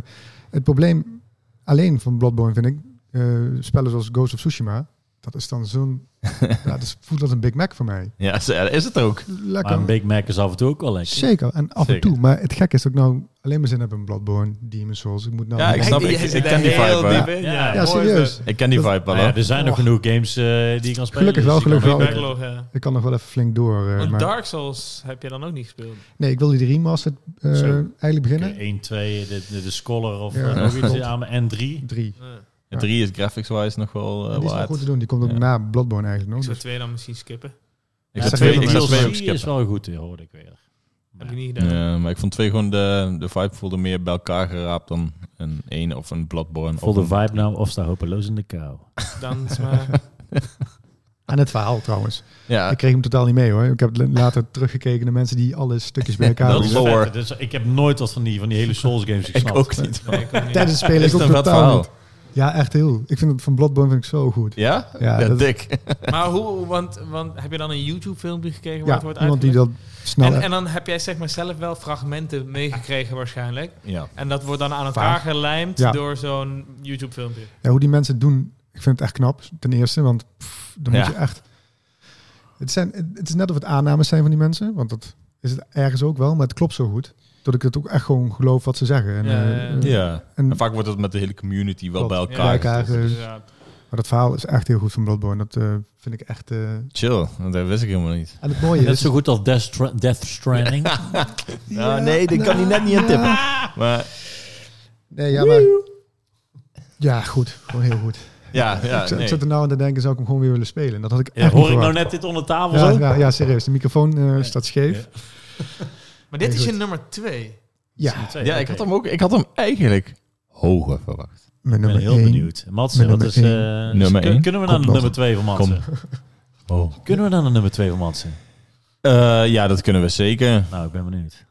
Speaker 4: het probleem alleen van Bloodborne vind ik. eh, spellen zoals Ghost of Tsushima. Dat is dan zo'n... ja, dat is- voelt als een Big Mac voor mij.
Speaker 2: Ja, is- is het ook.
Speaker 4: Lekker.
Speaker 1: Maar een Big Mac is af en toe ook wel lekker.
Speaker 4: Zeker, en af
Speaker 2: Zeker.
Speaker 4: en toe. Maar het gekke is dat ik nou alleen maar zin heb in Bloodborne, Demon's Souls. Ik moet nou...
Speaker 2: Ja, ik snap- eh,
Speaker 3: Jij
Speaker 2: ik-
Speaker 3: zit
Speaker 2: ik
Speaker 3: daar
Speaker 2: ken die
Speaker 3: heel
Speaker 2: vibe, hoor.
Speaker 3: diep in.
Speaker 1: Ja,
Speaker 3: Ja,
Speaker 1: ja,
Speaker 3: mooi
Speaker 4: Ja,
Speaker 3: dus. is
Speaker 4: serieus.
Speaker 2: Ik ken die vibe wel.
Speaker 1: Maar Nou ja,
Speaker 2: hoor.
Speaker 1: er zijn nog
Speaker 4: Oh.
Speaker 1: genoeg games eh, die je kan spelen.
Speaker 4: Gelukkig wel,
Speaker 1: dus je kan
Speaker 4: gelukkig
Speaker 1: ook
Speaker 4: wel.
Speaker 3: dat.
Speaker 1: weer-
Speaker 3: Backlog, ja.
Speaker 4: Ik kan nog wel even flink door. eh,
Speaker 3: Want
Speaker 4: maar...
Speaker 3: Dark Souls heb je dan ook niet gespeeld.
Speaker 4: Nee, ik wil die remaster eh,
Speaker 1: Zo.
Speaker 4: eigenlijk beginnen.
Speaker 1: 1, 2, de, de, de Scholar of
Speaker 4: Ja,
Speaker 1: eh, nog
Speaker 4: klopt.
Speaker 1: iets aan en 3.
Speaker 4: Drie.
Speaker 3: Eh,
Speaker 2: Het drie is graphics-wise nog wel
Speaker 4: die
Speaker 2: eh
Speaker 4: is wel
Speaker 2: waard.
Speaker 4: goed te doen. Die komt ook
Speaker 2: Ja.
Speaker 4: na Bloodborne
Speaker 3: Ik
Speaker 4: eigenlijk nog.
Speaker 3: zou
Speaker 4: Dus
Speaker 3: twee dan misschien skippen.
Speaker 2: Ik
Speaker 4: Ja,
Speaker 2: zat
Speaker 4: dat
Speaker 2: twee,
Speaker 4: weet
Speaker 2: ik
Speaker 4: ik
Speaker 2: zat
Speaker 4: wel.
Speaker 2: twee op
Speaker 1: is
Speaker 2: skippen.
Speaker 1: wel goed, hoorde ik weer.
Speaker 3: Heb ik niet gedaan.
Speaker 2: Ja, maar ik vond twee gewoon de, de vibe voelde meer bij elkaar geraapt dan een 1 of een Bloodborne.
Speaker 1: Vol
Speaker 2: of
Speaker 1: de
Speaker 2: een-
Speaker 1: vibe nou, of sta hopeloos in de kou.
Speaker 3: Dans maar.
Speaker 4: Aan het verhaal trouwens.
Speaker 2: Ja,
Speaker 4: Ik kreeg hem totaal niet mee hoor. Ik heb l- later teruggekeken naar mensen die alle stukjes bij elkaar
Speaker 2: Dat
Speaker 1: is
Speaker 2: is
Speaker 4: doen.
Speaker 2: lore.
Speaker 1: vet, dus ik heb nooit wat van die, van die hele Souls games gesnapt.
Speaker 2: ik ook niet.
Speaker 3: Nee, ik ook niet.
Speaker 4: Tijdens het
Speaker 2: Is
Speaker 4: spelen
Speaker 2: het
Speaker 4: ik ook
Speaker 2: een vet
Speaker 4: totaal
Speaker 2: verhaal?
Speaker 4: niet. Ja, echt heel. Ik vind het van Bloodborne vind ik zo goed.
Speaker 2: Ja? Ja,
Speaker 4: Ja, dat-
Speaker 2: dik.
Speaker 3: Maar hoe, want, want heb je dan een YouTube-filmpje gekregen waar
Speaker 4: Ja,
Speaker 3: het wordt
Speaker 4: iemand die
Speaker 3: uitgelegd?
Speaker 4: dat snel...
Speaker 3: en, en dan heb jij zeg maar zelf wel fragmenten meegekregen waarschijnlijk.
Speaker 2: Ja.
Speaker 3: En dat wordt dan aan elkaar gelijmd
Speaker 4: Ja.
Speaker 3: door zo'n YouTube-filmpje.
Speaker 4: Ja, hoe die mensen het doen, ik vind het echt knap. Ten eerste, want pff, dan
Speaker 2: Ja.
Speaker 4: moet je echt... Het, zijn, het- het is net of het aannames zijn van die mensen, want dat is het ergens ook wel, maar het klopt zo goed. Dat ik het ook echt gewoon geloof wat ze zeggen. En,
Speaker 3: Ja,
Speaker 4: eh,
Speaker 3: ja,
Speaker 2: ja.
Speaker 4: En,
Speaker 2: En vaak wordt het met de hele community wel
Speaker 4: Klopt.
Speaker 2: bij
Speaker 3: Ja,
Speaker 2: elkaar.
Speaker 4: Bij elkaar,
Speaker 3: dat is
Speaker 4: eh,
Speaker 3: inderdaad.
Speaker 4: maar dat verhaal is echt heel goed van Bloodborne. Dat eh, vind ik echt... eh,
Speaker 2: Chill, want dat wist ik helemaal niet.
Speaker 4: En het mooie
Speaker 1: Net
Speaker 4: is...
Speaker 1: zo goed als Death, Stra- Death Stranding.
Speaker 2: Nou, nee, dat kan hij net niet aan tippen. Maar
Speaker 4: Nee, ja, maar... Ja, goed. Gewoon heel goed.
Speaker 2: ja,
Speaker 4: ik,
Speaker 2: ja
Speaker 4: zat- ik
Speaker 2: nee.
Speaker 4: zat er nou aan te denken, zou ik hem gewoon weer willen spelen? En Dat had ik
Speaker 1: Ja,
Speaker 4: echt niet
Speaker 1: hoor ik nou
Speaker 4: verwacht.
Speaker 1: net dit onder tafel
Speaker 4: ja,
Speaker 1: zo?
Speaker 4: ja, ja, serieus. De microfoon eh, staat scheef.
Speaker 3: Maar dit
Speaker 4: Nee,
Speaker 3: is je
Speaker 4: goed.
Speaker 3: nummer twee.
Speaker 4: Ja,
Speaker 2: ja, ik had hem ook, ik had hem eigenlijk hoger verwacht.
Speaker 4: mijn
Speaker 1: Ik ben
Speaker 4: nummer
Speaker 1: heel
Speaker 4: één.
Speaker 1: benieuwd. Matsen,
Speaker 4: Met
Speaker 1: wat
Speaker 4: nummer
Speaker 1: is... eh,
Speaker 2: één. Nummer
Speaker 1: kun-
Speaker 2: één.
Speaker 1: Kunnen we naar
Speaker 4: Komt
Speaker 1: de
Speaker 4: nog.
Speaker 1: nummer 2 van Matsen?
Speaker 2: Oh.
Speaker 1: Kunnen we naar de nummer 2 van Matsen?
Speaker 2: Eh, ja, dat kunnen we zeker.
Speaker 1: Nou, ik ben benieuwd.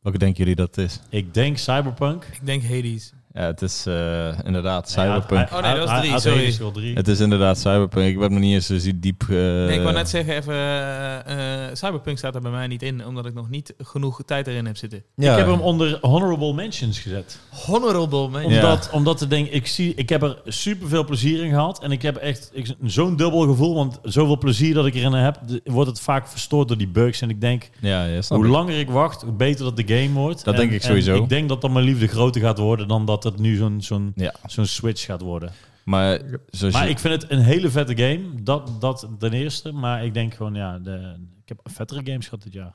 Speaker 2: Welke denken jullie dat het is?
Speaker 1: Ik denk Cyberpunk.
Speaker 3: Ik denk Hades.
Speaker 2: Ja, het is eh, inderdaad
Speaker 1: Nee, ja,
Speaker 2: cyberpunk.
Speaker 1: hij-
Speaker 3: Oh, nee, dat was
Speaker 1: hij-
Speaker 3: drie,
Speaker 1: hij had
Speaker 3: sorry.
Speaker 1: Hades Girl drie.
Speaker 2: het is inderdaad cyberpunk. Ik heb nog niet eens zo diep... eh
Speaker 3: Nee, ik wou net zeggen, even, eh, eh, Cyberpunk staat er bij mij niet in, omdat ik nog niet genoeg tijd erin heb zitten.
Speaker 2: ja.
Speaker 1: Ik heb hem onder honorable mentions gezet.
Speaker 3: Honorable man.
Speaker 2: Ja.
Speaker 1: Omdat, omdat ik denk, ik, zie, ik heb er super veel plezier in gehad. En ik heb echt ik- zo'n dubbel gevoel. Want zoveel plezier dat ik erin heb, de- wordt het vaak verstoord door die bugs. En ik denk,
Speaker 2: Ja, ja, snap
Speaker 1: hoe
Speaker 2: ik.
Speaker 1: langer ik wacht, hoe beter dat de game wordt.
Speaker 2: Dat
Speaker 1: En-
Speaker 2: denk ik
Speaker 1: en
Speaker 2: sowieso.
Speaker 1: ik denk dat dan mijn liefde groter gaat worden dan dat het nu zo'n zo'n
Speaker 2: Ja,
Speaker 1: zo'n switch gaat worden.
Speaker 2: maar... Zoals
Speaker 1: Maar
Speaker 2: Dus je-
Speaker 1: ik vind het een hele vette game. Dat, dat ten eerste. Maar ik denk gewoon, ja, de, ik heb vettere games gehad dit jaar.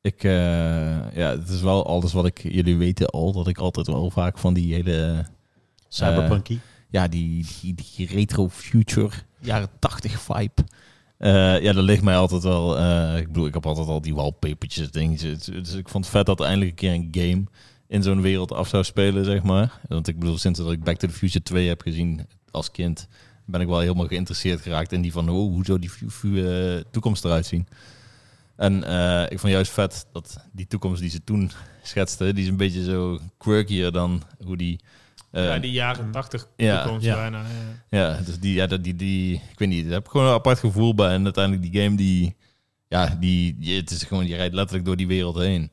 Speaker 2: Ik, eh, ja, het is wel alles wat ik... Jullie weten al dat ik altijd wel vaak van die hele... Eh,
Speaker 1: Cyberpunky.
Speaker 2: ja, die, die, die retro future, jaren 80 vibe. Eh, ja, dat ligt mij altijd wel. eh, ik bedoel, ik heb altijd al die wallpapertjes dingetjes. Dus ik vond het vet dat er eindelijk een keer een game in zo'n wereld af zou spelen, zeg maar. Want ik bedoel, sinds dat ik Back to the Future 2 heb gezien als kind, ben ik wel helemaal geïnteresseerd geraakt in die van oh, hoe zou die fu- fu- eh, toekomst eruit zien. En eh, ik vond juist vet dat die toekomst die ze toen schetsten, die is een beetje zo quirkier dan hoe die... eh,
Speaker 3: ja, die jaren 80
Speaker 2: ja,
Speaker 3: toekomst
Speaker 1: ja.
Speaker 3: bijna. ja.
Speaker 2: ja, dus die, ja, dat- die, die, ik weet niet, daar heb ik gewoon een apart gevoel bij. En uiteindelijk die game, die, ja, die, die- het is gewoon, je rijdt letterlijk door die wereld heen.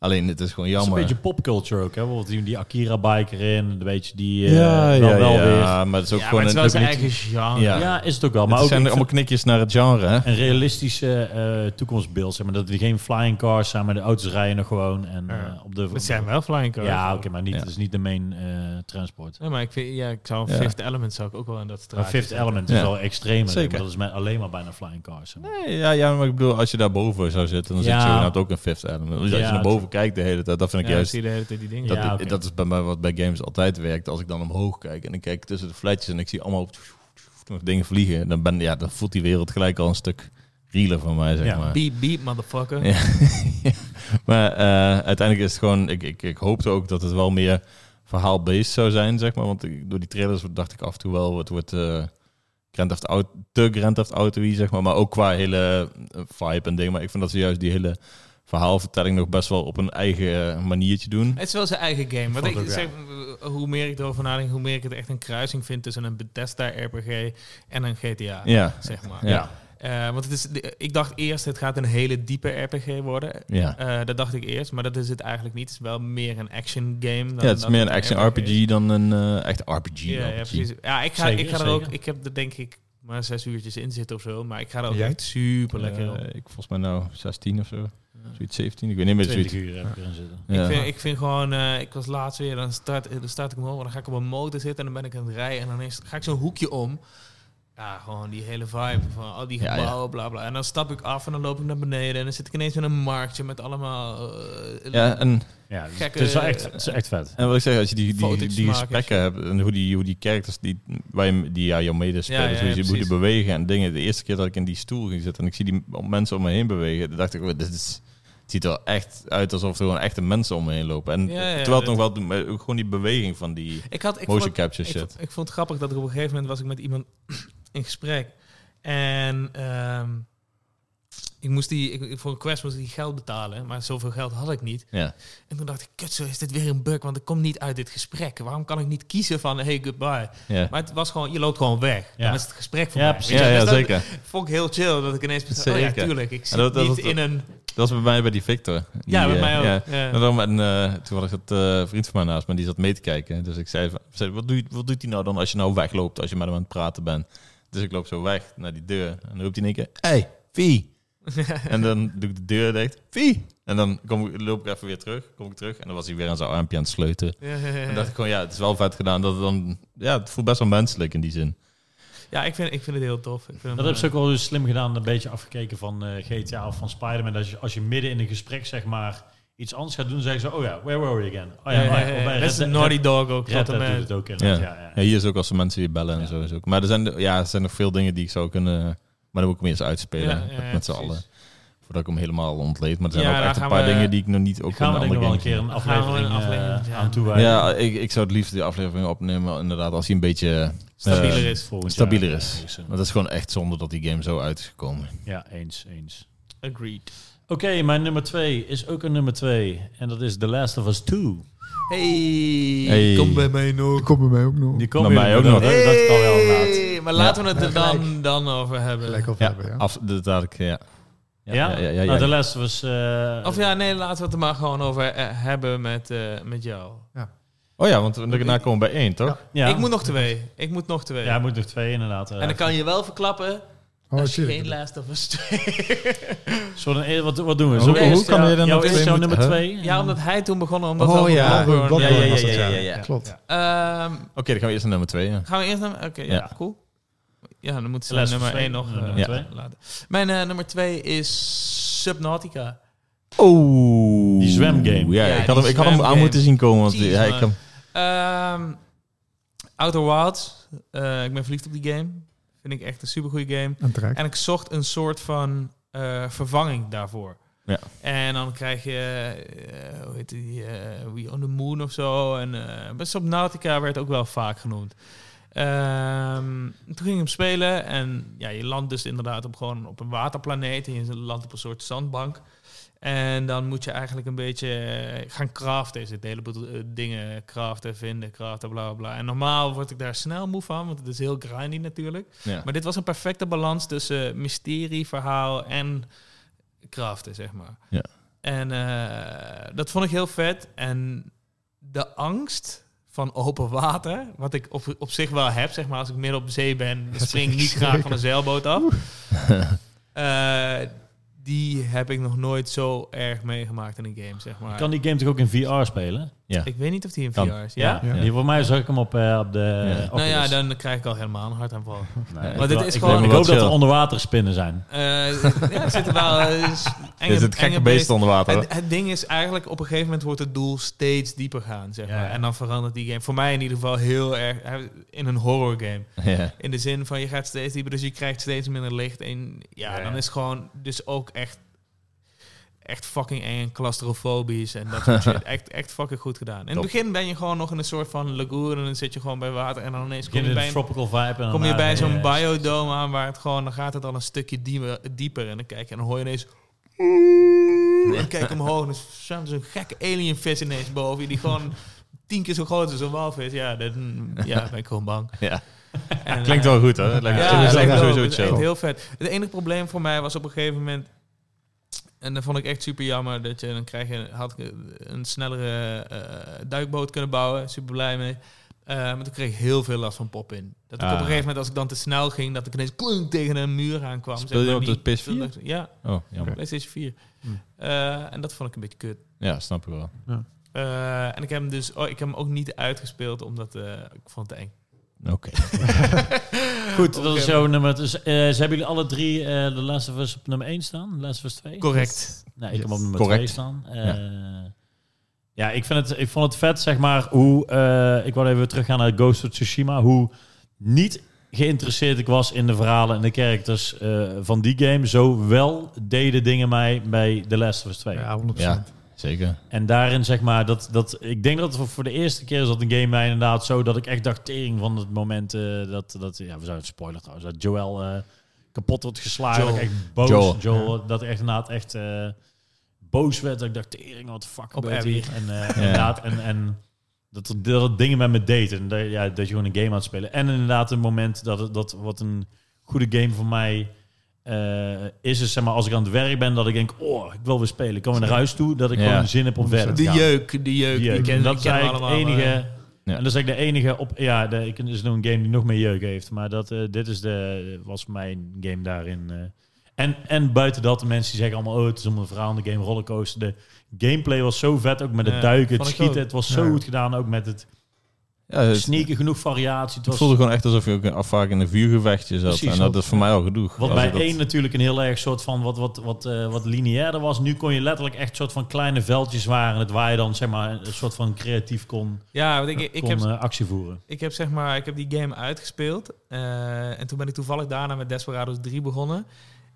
Speaker 2: Alleen, het is gewoon
Speaker 1: Het is een
Speaker 2: jammer.
Speaker 1: beetje popculture ook, hè? Bijvoorbeeld die, die Akira bike erin, een beetje die... eh,
Speaker 2: ja,
Speaker 1: dan
Speaker 2: ja,
Speaker 1: wel
Speaker 2: ja,
Speaker 1: weer.
Speaker 2: maar het is ook
Speaker 3: Ja, maar
Speaker 2: gewoon
Speaker 3: het is wel
Speaker 2: een,
Speaker 3: zijn
Speaker 2: het
Speaker 3: eigen genre.
Speaker 2: Ja.
Speaker 1: Ja. is het ook wel. Maar ook
Speaker 2: zijn
Speaker 1: een,
Speaker 2: allemaal knikjes naar het genre, hè?
Speaker 1: een realistische eh, toekomstbeeld. Zeg maar dat er geen flying cars zijn, maar de auto's rijden nog gewoon. En
Speaker 3: Ja.
Speaker 1: eh, op de...
Speaker 3: Het zijn wel flying cars.
Speaker 1: Ja, oké, maar niet,
Speaker 2: Ja.
Speaker 1: het is niet de main eh, transport.
Speaker 3: Nee, maar ik, vind, ja, ik zou
Speaker 2: Ja.
Speaker 3: Fifth Element zou ik ook wel in dat
Speaker 1: Maar
Speaker 3: straatje
Speaker 1: Fifth
Speaker 3: zetten.
Speaker 1: Element
Speaker 2: Ja.
Speaker 1: is wel extremer.
Speaker 2: Zeker.
Speaker 1: Zeker. Dat is met alleen maar bijna flying cars. zeg maar.
Speaker 2: Nee, ja, ja, maar ik bedoel, als je daarboven zou zitten, dan
Speaker 1: Ja.
Speaker 2: zit je inderdaad ook een fifth element. Dus als je
Speaker 1: Ja,
Speaker 2: naar boven kijkt de hele tijd, dat vind ik
Speaker 3: Ja,
Speaker 2: juist...
Speaker 3: zie je de hele tijd die dingen.
Speaker 2: Dat,
Speaker 1: Ja,
Speaker 2: ik-
Speaker 1: oké.
Speaker 2: dat is bij mij wat bij games altijd werkt. Als ik dan omhoog kijk en ik kijk tussen de flatjes en ik zie allemaal dingen vliegen, dan, ben, ja, dan voelt die wereld gelijk al een stuk realer van mij, zeg
Speaker 1: Ja.
Speaker 2: maar.
Speaker 3: Beep, beep, motherfucker.
Speaker 2: Ja. maar eh, uiteindelijk is het gewoon... Ik, ik, ik hoopte ook dat het wel meer verhaal-based zou zijn, zeg maar. Want ik- door die trailers dacht ik af en toe wel... Het wordt eh Grand Theft Auto, te Grand Theft auto zeg maar. Maar ook qua hele eh, vibe en dingen. Maar ik vind dat ze juist die hele verhaalvertelling nog best wel op een eigen eh, maniertje doen.
Speaker 3: Het is wel zijn eigen game. Want
Speaker 1: Vond
Speaker 3: ik
Speaker 1: ook, ja.
Speaker 3: zeg, eh, hoe meer ik erover nadenk, hoe meer ik het echt een kruising vind tussen een Bethesda RPG en een GTA.
Speaker 2: Ja,
Speaker 3: Zeg maar.
Speaker 2: ja,
Speaker 3: Eh, want het is, de- ik dacht eerst, het gaat een hele diepe RPG worden.
Speaker 2: ja.
Speaker 3: Eh, dat dacht ik eerst, maar dat is het eigenlijk niet. Het is wel meer een action game. Dan,
Speaker 2: Ja, het is
Speaker 3: dan
Speaker 2: meer een action
Speaker 3: is.
Speaker 2: RPG dan een eh, echt RPG.
Speaker 3: Ja, ja,
Speaker 2: RPG.
Speaker 3: precies. Ja, ik ga,
Speaker 1: Zeker,
Speaker 3: ik ga er
Speaker 1: zeker.
Speaker 3: ook, ik heb er denk ik maar zes uurtjes in zitten of zo, maar ik ga er ook
Speaker 4: En jij?
Speaker 3: echt super lekker op.
Speaker 2: Eh, ik volgens mij nou 16 of zo. Zoiets 17, ik weet niet meer
Speaker 1: 20
Speaker 2: zoiets.
Speaker 1: uur heb ik erin zitten.
Speaker 2: Ja.
Speaker 3: Ik, vind, ik vind gewoon, eh, ik was laatst weer, dan start, eh, dan start ik hem over, dan ga ik op een motor zitten en dan ben ik aan het rijden en dan is, ga ik zo'n hoekje om. Ja, gewoon die hele vibe van al die
Speaker 2: Ja, ja.
Speaker 3: gebouwen, bla bla. En dan stap ik af en dan loop ik naar beneden en dan zit ik ineens in een marktje met allemaal... eh,
Speaker 2: ja, en
Speaker 1: Ja, eh, dus
Speaker 3: Gekke-
Speaker 1: het is wel echt, het is echt vet.
Speaker 2: En wat ik zeg, als je die, die, die,
Speaker 3: Fotootjes maken,
Speaker 2: gesprekken hebt en hoe die, hoe die characters die, waar je, die ja, jouw medespelers,
Speaker 3: Ja, ja,
Speaker 2: hoe, ze,
Speaker 3: ja,
Speaker 2: hoe die
Speaker 3: precies.
Speaker 2: bewegen en dingen. De eerste keer dat ik in die stoel ging zitten en ik zie die m- mensen om me heen bewegen, dan dacht ik, oh, dit is, het ziet er echt uit alsof er gewoon echte mensen om me heen lopen. En
Speaker 3: Ja, ja,
Speaker 2: terwijl het
Speaker 3: dat-
Speaker 2: nog wel, doen, maar ook gewoon die beweging van die
Speaker 3: Ik had, ik
Speaker 2: motion
Speaker 3: vond,
Speaker 2: capture
Speaker 3: ik,
Speaker 2: shit.
Speaker 3: vond, ik vond het grappig dat er op een gegeven moment was ik met iemand in gesprek. En ehm, ik moest die, ik, ik- voor een quest moest ik die geld betalen, maar zoveel geld had ik niet.
Speaker 2: Ja.
Speaker 3: En toen dacht ik, kut, zo is dit weer een bug, want ik kom niet uit dit gesprek. Waarom kan ik niet kiezen van, hey, goodbye?
Speaker 2: Ja,
Speaker 3: Maar het was gewoon, je loopt gewoon weg.
Speaker 1: Ja.
Speaker 3: Dan is het gesprek voorbij.
Speaker 1: Ja,
Speaker 3: Weet
Speaker 1: precies.
Speaker 3: je,
Speaker 2: ja,
Speaker 3: dus
Speaker 2: ja
Speaker 3: dat
Speaker 2: zeker.
Speaker 3: vond ik heel chill dat ik ineens besefte, oh ja,
Speaker 2: Zeker.
Speaker 3: tuurlijk. Ik zit
Speaker 2: dat- dat-
Speaker 3: niet
Speaker 2: dat-
Speaker 3: in een...
Speaker 2: Dat was bij mij bij die Victor. Die,
Speaker 3: ja, bij
Speaker 2: eh,
Speaker 3: mij ook.
Speaker 2: ja.
Speaker 3: Ja.
Speaker 2: En, daarom- en eh, toen had ik het eh, vriend van mij naast me, die zat mee te kijken. Dus ik zei, van- zei, wat, doe je, wat doet hij nou dan als je nou wegloopt, als je met hem aan het praten bent? Dus ik loop zo weg naar die deur en dan roept hij in één keer, hey, Vie! en dan doe ik de deur dicht, Vie! En dan kom, ik- loop ik even weer terug, kom ik terug en dan was hij weer aan zijn armpje aan het sleutelen.
Speaker 3: Ja, ja, ja.
Speaker 2: En dacht ik gewoon, ja, het is wel vet gedaan. Dat het, dan, ja, het voelt best wel menselijk in die zin.
Speaker 3: Ja, ik vind, ik vind het heel tof. Ik vind hem,
Speaker 1: Dat hebben ze
Speaker 3: eh,
Speaker 1: ook wel dus slim gedaan, een beetje afgekeken van eh, GTA of van Spider-Man. Dat je, als je midden in een gesprek zeg maar iets anders gaat doen, zeggen ze, oh ja, where were we again? Oh
Speaker 3: ja,
Speaker 1: ja,
Speaker 3: ja,
Speaker 1: maar-
Speaker 3: ja,
Speaker 1: oh, bij
Speaker 3: Dat
Speaker 1: Red
Speaker 3: is
Speaker 1: Dead-
Speaker 3: een Naughty Dog ook. eh,
Speaker 1: Red
Speaker 3: tot en
Speaker 1: Dead doet
Speaker 3: met.
Speaker 1: het ook inderdaad, ja. ja,
Speaker 2: Ja, hier is ook als er mensen die bellen en
Speaker 1: Ja.
Speaker 2: zo is ook. Maar er zijn, ja, er zijn nog veel dingen die ik zou kunnen... Maar dan moet ik hem eerst uitspelen
Speaker 3: Ja, ja,
Speaker 2: met-
Speaker 3: ja,
Speaker 2: met z'n
Speaker 3: precies.
Speaker 2: allen. Voordat ik hem helemaal ontleed. Maar er zijn
Speaker 3: Ja,
Speaker 2: ook
Speaker 3: daar
Speaker 2: echt een
Speaker 3: gaan
Speaker 2: paar
Speaker 3: we-
Speaker 2: dingen die ik nog niet ook
Speaker 1: Gaan we
Speaker 2: in
Speaker 1: denk ik
Speaker 2: andere
Speaker 1: wel een
Speaker 2: games-
Speaker 1: keer een
Speaker 3: we een
Speaker 1: aflevering, eh,
Speaker 3: aflevering, ja.
Speaker 1: aan toewijden.
Speaker 2: Ja, eh, ik, ik zou het liefst die aflevering opnemen. Inderdaad, als hij een beetje
Speaker 3: Stabieler
Speaker 2: eh,
Speaker 3: is.
Speaker 1: Volgend jaar,
Speaker 2: stabieler
Speaker 1: eh,
Speaker 2: is.
Speaker 1: een-
Speaker 2: Want dat is gewoon echt zonde dat die game zo uit is gekomen.
Speaker 1: Ja, eens, eens.
Speaker 3: Agreed.
Speaker 1: Oké, Oké, mijn nummer twee is ook een nummer twee. En dat is The Last of Us 2.
Speaker 3: Hey,
Speaker 2: Hey.
Speaker 3: kom bij mij
Speaker 4: Ik
Speaker 3: nog.
Speaker 4: kom bij mij ook nog.
Speaker 1: Die komt
Speaker 2: Bij mij
Speaker 1: weer-
Speaker 2: ook nog.
Speaker 1: Dat, dat kan wel inderdaad.
Speaker 3: Hey, maar laten we het er
Speaker 4: Ja,
Speaker 3: dan,
Speaker 4: gelijk.
Speaker 3: dan over hebben.
Speaker 4: Gelijk over
Speaker 2: Ja, Oh,
Speaker 4: hebben, ja.
Speaker 2: af, dat dadelijk, ja.
Speaker 1: Ja, Nou, The Last of Us... eh,
Speaker 3: Of ja, nee, laten we het er maar gewoon over eh, hebben met, eh, met jou.
Speaker 2: Oh ja, want daarna komen we bij één, toch?
Speaker 1: ja.
Speaker 3: Ik moet nog twee. Ik moet nog twee.
Speaker 1: Ja, hij moet nog twee inderdaad. eh.
Speaker 3: en dan kan je wel verklappen
Speaker 4: Oh,
Speaker 3: als je
Speaker 4: shit.
Speaker 3: geen Last of Us 2.
Speaker 1: Zullen we dan eerst- wat, wat doen we? Zullen
Speaker 2: Hoe,
Speaker 1: we
Speaker 3: Nee,
Speaker 2: hoe
Speaker 1: eerst,
Speaker 2: kan
Speaker 1: ja,
Speaker 2: je dan
Speaker 1: jouw
Speaker 2: nog
Speaker 1: eerste
Speaker 2: twee
Speaker 1: jouw
Speaker 2: moeten-
Speaker 1: nummer
Speaker 2: Huh?
Speaker 1: twee?
Speaker 3: ja, omdat hij toen begon, omdat
Speaker 2: Oh,
Speaker 3: we
Speaker 2: ja.
Speaker 3: Bloodborne-
Speaker 4: Bloodborne.
Speaker 2: Ja, ja, ja,
Speaker 4: was het,
Speaker 2: ja,
Speaker 4: ja.
Speaker 2: ja, ja.
Speaker 4: Klopt.
Speaker 3: Ehm,
Speaker 2: Oké, dan gaan we eerst naar nummer twee. Ja.
Speaker 3: gaan we eerst naar... Oké, ja,
Speaker 2: Ja.
Speaker 3: cool. Ja, dan moet ze
Speaker 1: Last of
Speaker 3: nummer
Speaker 1: Us
Speaker 3: 1
Speaker 1: twee.
Speaker 3: nog
Speaker 1: Nummer
Speaker 3: eh,
Speaker 1: Ja.
Speaker 3: twee. laten. Mijn eh, nummer 2 is Subnautica.
Speaker 2: Oh.
Speaker 1: Die zwemgame.
Speaker 2: Ja,
Speaker 3: Ja,
Speaker 2: ik had
Speaker 3: die
Speaker 2: hem, ik had hem aan
Speaker 3: zwemgame.
Speaker 2: moeten zien komen. Want
Speaker 3: Jeez,
Speaker 2: ja, ik
Speaker 3: man.
Speaker 2: kan-
Speaker 3: Ehm Outer Wilds. Eh, ik ben verliefd op die game. Vind ik echt een supergoeie game.
Speaker 4: Aan het raak.
Speaker 3: En ik zocht een soort van eh, vervanging daarvoor.
Speaker 2: Ja.
Speaker 3: En dan krijg je, eh, hoe heet die, eh, We on the Moon of zo. En eh best op Nautica werd ook wel vaak genoemd. Ehm, toen ging ik hem spelen en ja, je landt dus inderdaad op, gewoon op een waterplaneet. En je landt op een soort zandbank. En dan moet je eigenlijk een beetje eh, gaan craften. Er zitten een heleboel eh, dingen craften, vinden, craften, bla bla, bla. En normaal word ik daar snel moe van, want het is heel grindy natuurlijk.
Speaker 2: ja.
Speaker 3: Maar dit was een perfecte balans tussen mysterie, verhaal en kraften, zeg maar.
Speaker 2: Ja.
Speaker 3: En eh, dat vond ik heel vet. En de angst van open water, wat ik op, op zich wel heb, zeg maar, als ik midden op de zee ben, dan spring ik niet graag van een zeilboot af. Eh, die heb ik nog nooit zo erg meegemaakt in een game, zeg maar.
Speaker 1: Kan die game toch ook in VR spelen?
Speaker 3: Ik weet niet of die in VR
Speaker 2: Kan.
Speaker 3: is. Ja?
Speaker 4: Ja.
Speaker 1: Die, voor mij zag ik hem op, eh, op de...
Speaker 2: Ja.
Speaker 1: Oculus.
Speaker 3: Nou ja, dan krijg ik al helemaal een hartaanval.
Speaker 1: Nee,
Speaker 3: Maar
Speaker 1: ik
Speaker 3: dit
Speaker 1: wel-
Speaker 3: is
Speaker 1: ik
Speaker 3: gewoon-
Speaker 1: hoop-
Speaker 2: Ik
Speaker 1: Ik hoop
Speaker 2: wil
Speaker 1: dat er
Speaker 2: chill.
Speaker 1: onderwaterspinnen zijn.
Speaker 3: Eh ja, er zitten wel eh, s- enge,
Speaker 2: Dit is het gekke
Speaker 3: enge
Speaker 2: beest
Speaker 3: beesten.
Speaker 2: onder water. hoor.
Speaker 3: Het, het ding is eigenlijk, op een gegeven moment wordt het doel steeds dieper gaan, zeg
Speaker 1: Ja,
Speaker 3: maar.
Speaker 1: ja.
Speaker 3: En dan verandert die game, voor mij in ieder geval, heel erg eh, in een horror game.
Speaker 2: Ja.
Speaker 3: In de zin van, je gaat steeds dieper, dus je krijgt steeds minder licht. En ja,
Speaker 1: Ja, ja.
Speaker 3: dan is het gewoon dus ook echt, echt fucking eng en claustrofobisch en dat soort shit. Echt, echt fucking goed gedaan. In het
Speaker 2: Top.
Speaker 3: begin ben je gewoon nog in een soort van lagoon en dan zit je gewoon bij water en dan ineens kom
Speaker 1: Begin
Speaker 3: je
Speaker 1: in
Speaker 3: bij
Speaker 1: de
Speaker 3: een
Speaker 1: tropical vibe. En
Speaker 2: Ah,
Speaker 1: eh,
Speaker 3: Kom je
Speaker 1: daarna-
Speaker 3: bij
Speaker 1: ja,
Speaker 3: zo'n
Speaker 1: ja.
Speaker 3: biodome aan waar het gewoon, dan gaat het al een stukje dieper, dieper en dan kijk je en dan hoor je ineens. En kijk omhoog en dan zwemt zo'n gekke alienvis ineens boven je die gewoon tien keer zo groot is als een walvis. Ja, dan ja, ben ik gewoon bang.
Speaker 2: Ja.
Speaker 3: En,
Speaker 2: Klinkt
Speaker 3: eh,
Speaker 2: wel goed, hoor. Lijkt me-
Speaker 3: ja,
Speaker 2: het
Speaker 3: het
Speaker 2: lijkt me
Speaker 3: sowieso
Speaker 4: wel.
Speaker 2: sowieso
Speaker 3: Het is echt
Speaker 2: chill.
Speaker 3: heel vet. Het enige probleem voor mij was op een gegeven moment... En dat vond ik echt super jammer. Dat je dan krijg je, had ik een snellere eh, duikboot kunnen bouwen. Super blij mee. Eh, maar toen kreeg ik heel veel last van pop-in. Dat ik
Speaker 2: Ah.
Speaker 3: op een gegeven moment, als ik dan te snel ging, dat ik ineens klunk tegen een muur aankwam.
Speaker 2: Speel je
Speaker 3: maar,
Speaker 2: op de
Speaker 3: niet-
Speaker 2: PS4?
Speaker 3: dat- Ja,
Speaker 2: Oh, jammer.
Speaker 3: PlayStation 4.
Speaker 1: Hm.
Speaker 3: Eh, en dat vond ik een beetje kut.
Speaker 2: Ja, snap ik wel.
Speaker 3: Eh, en ik heb hem dus oh, ik heb hem ook niet uitgespeeld, omdat eh, ik vond het eng.
Speaker 2: Oké.
Speaker 1: Goed,
Speaker 3: Oké.
Speaker 1: dat is jouw nummer. Dus, eh, ze hebben jullie alle drie eh The Last of Us op nummer 1 staan? The Last of Us 2?
Speaker 3: Correct.
Speaker 1: Nee, ik heb
Speaker 4: Yes.
Speaker 1: hem op nummer
Speaker 2: Correct.
Speaker 1: 2 staan. Eh, ja, ik, vind het, ik vond het vet, zeg maar, hoe... eh, ik wil even teruggaan naar Ghost of Tsushima. Hoe niet geïnteresseerd ik was in de verhalen en de characters eh, van die game. Zo wel deden dingen mij bij The Last of Us 2.
Speaker 4: Ja, 100%.
Speaker 2: Ja, zeker.
Speaker 1: En daarin, zeg maar, dat, dat... Ik denk dat het voor de eerste keer is dat een game mij inderdaad zo... Dat ik echt dacht, tering van het moment eh, dat, dat... Ja, we zijn het spoiler trouwens. Dat Joel eh, kapot wordt geslagen.
Speaker 3: Joel.
Speaker 1: Dat ik echt boos...
Speaker 2: Joel.
Speaker 1: Joel. dat ik echt inderdaad echt eh, boos werd. Dat ik dacht, tering, wat de fuck
Speaker 3: Op
Speaker 1: gebeurt
Speaker 3: Abby.
Speaker 1: hier? En eh, inderdaad, en... en dat, er- dat het dingen met me deed. En dat, ja, dat je gewoon een game aan het spelen. En inderdaad een moment dat, het- dat wat een goede game voor mij eh, is. Is zeg maar als ik aan het werk ben dat ik denk, oh, ik wil weer spelen. Ik kom naar huis toe. Dat ik
Speaker 2: Ja.
Speaker 1: gewoon zin heb op verder.
Speaker 3: De jeuk, de jeuk. Die ken,
Speaker 1: dat is
Speaker 3: die kennen we
Speaker 1: eigenlijk het
Speaker 3: allemaal,
Speaker 1: enige.
Speaker 3: eh.
Speaker 2: Ja.
Speaker 1: En dat is eigenlijk de enige op. Ja, de, ik, er is nog een game die nog meer jeuk heeft. Maar dat, eh, dit is de, was mijn game daarin. eh. En, en buiten dat, de mensen die zeggen allemaal: oh, het is om een verhaal in de game rollercoaster. De gameplay was zo vet, ook met het
Speaker 3: Ja,
Speaker 1: duiken, het
Speaker 3: vond ik
Speaker 1: schieten.
Speaker 3: ook.
Speaker 1: Het was zo
Speaker 4: Ja.
Speaker 1: goed gedaan, ook met het
Speaker 2: Ja, het,
Speaker 1: sneaken, genoeg variatie. Het
Speaker 2: het
Speaker 1: was,
Speaker 2: voelde gewoon echt alsof je ook een- vaak in een vuurgevechtje zat.
Speaker 1: Precies,
Speaker 2: en dat
Speaker 1: dat-
Speaker 2: is voor mij al genoeg.
Speaker 1: Wat
Speaker 2: Als
Speaker 1: bij
Speaker 2: ik dat-
Speaker 1: één natuurlijk een heel erg soort van wat, wat, wat, eh, wat lineairder was. Nu kon je letterlijk echt soort van kleine veldjes waren. Het waar je dan zeg maar een soort van creatief kon,
Speaker 3: Ja, want ik, ik
Speaker 1: kon
Speaker 3: heb
Speaker 1: eh, actie voeren.
Speaker 3: Ik heb zeg maar, ik heb die game uitgespeeld. eh, en toen ben ik toevallig daarna met Desperados 3 begonnen.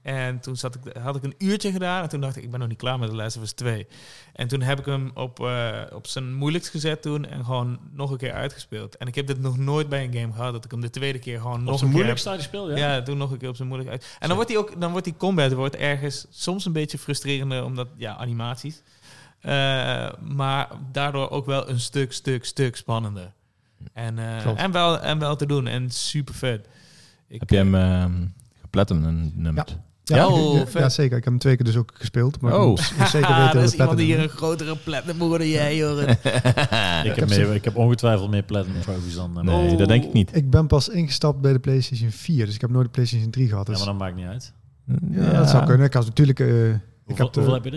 Speaker 3: En toen zat ik, had ik een uurtje gedaan. En toen dacht ik, ik ben nog niet klaar met de Last of Us 2. En toen heb ik hem op, eh, op zijn moeilijkst gezet toen. En gewoon nog een keer uitgespeeld. En ik heb dit nog nooit bij een game gehad. Dat ik hem de tweede keer gewoon nog
Speaker 1: Nog
Speaker 3: een
Speaker 1: een
Speaker 3: keer heb
Speaker 1: moeilijk staat die speel, ja.
Speaker 3: ja, doe nog een keer op zijn moeilijk uit. En dan wordt, die ook, dan wordt die combat wordt ergens soms een beetje frustrerender, omdat, ja, animaties. Eh, maar daardoor ook wel een stuk, stuk, stuk spannender. En, eh,
Speaker 6: Klopt.
Speaker 3: en, wel, en wel te doen en super vet. Ik, eh,
Speaker 6: Heb je hem ehm geplatinum nummerd?
Speaker 4: Ja,
Speaker 6: Ja?
Speaker 4: ik-
Speaker 3: Oh,
Speaker 4: ja,
Speaker 3: vet.
Speaker 4: ja, zeker. Ik heb hem twee keer dus ook gespeeld. Maar
Speaker 6: Oh.
Speaker 4: ik moet- moet zeker
Speaker 3: Ah,
Speaker 4: weten
Speaker 3: er
Speaker 4: dat
Speaker 3: is
Speaker 4: het
Speaker 3: iemand
Speaker 4: platinum
Speaker 3: die hier
Speaker 4: is.
Speaker 3: een grotere platinum moet dan jij, Joren.
Speaker 1: Ik, heb
Speaker 4: heb
Speaker 1: meer,
Speaker 4: ze-
Speaker 1: ik heb ongetwijfeld meer platinum trophies dan... eh,
Speaker 3: Oh.
Speaker 6: Nee,
Speaker 1: maar-
Speaker 6: dat denk ik niet.
Speaker 4: Ik ben pas ingestapt bij de PlayStation 4, dus ik heb nooit de PlayStation 3 gehad.
Speaker 1: Ja,
Speaker 4: Dus,
Speaker 1: maar
Speaker 4: ja,
Speaker 1: dat maakt niet uit.
Speaker 4: dat zou kunnen. Ik had natuurlijk... eh, ik,
Speaker 1: Hoeveel,
Speaker 4: heb de-
Speaker 1: hoeveel heb je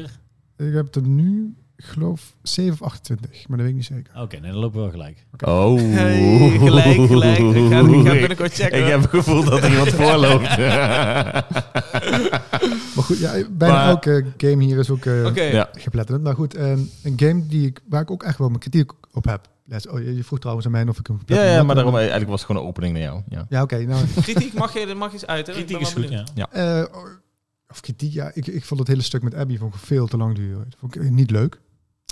Speaker 1: er?
Speaker 4: ik heb er nu, geloof 7 of 28, maar dat weet ik niet zeker.
Speaker 1: Oké, nee, dan lopen we wel gelijk.
Speaker 2: Oh.
Speaker 3: Hey, gelijk, gelijk. Ik ga, ik ga binnenkort checken.
Speaker 2: Ik heb het gevoel dat er iemand voorloopt.
Speaker 4: Maar goed, ja, bijna
Speaker 2: Maar-
Speaker 4: elke game hier is ook eh
Speaker 3: Oké,
Speaker 2: Ja.
Speaker 4: geplatinumd. Maar goed, ehm, een game die ik, waar ik ook echt wel mijn kritiek op heb. Les- Oh, je je vroeg trouwens aan mij of ik hem
Speaker 2: Ja,
Speaker 4: geplatinumd
Speaker 2: ja,
Speaker 4: had.
Speaker 2: maar daarom, eigenlijk was het gewoon een opening naar jou. Ja.
Speaker 4: Ja, oké. nou,
Speaker 3: kritiek mag je, mag je eens uiten. Ik
Speaker 1: Kritiek
Speaker 3: ben
Speaker 1: is
Speaker 3: wel
Speaker 1: goed, ja.
Speaker 4: Eh, of kritiek, ja. Ik, ik vond het hele stuk met Abby vond ik veel te lang duren. Dat vond ik eh, niet leuk.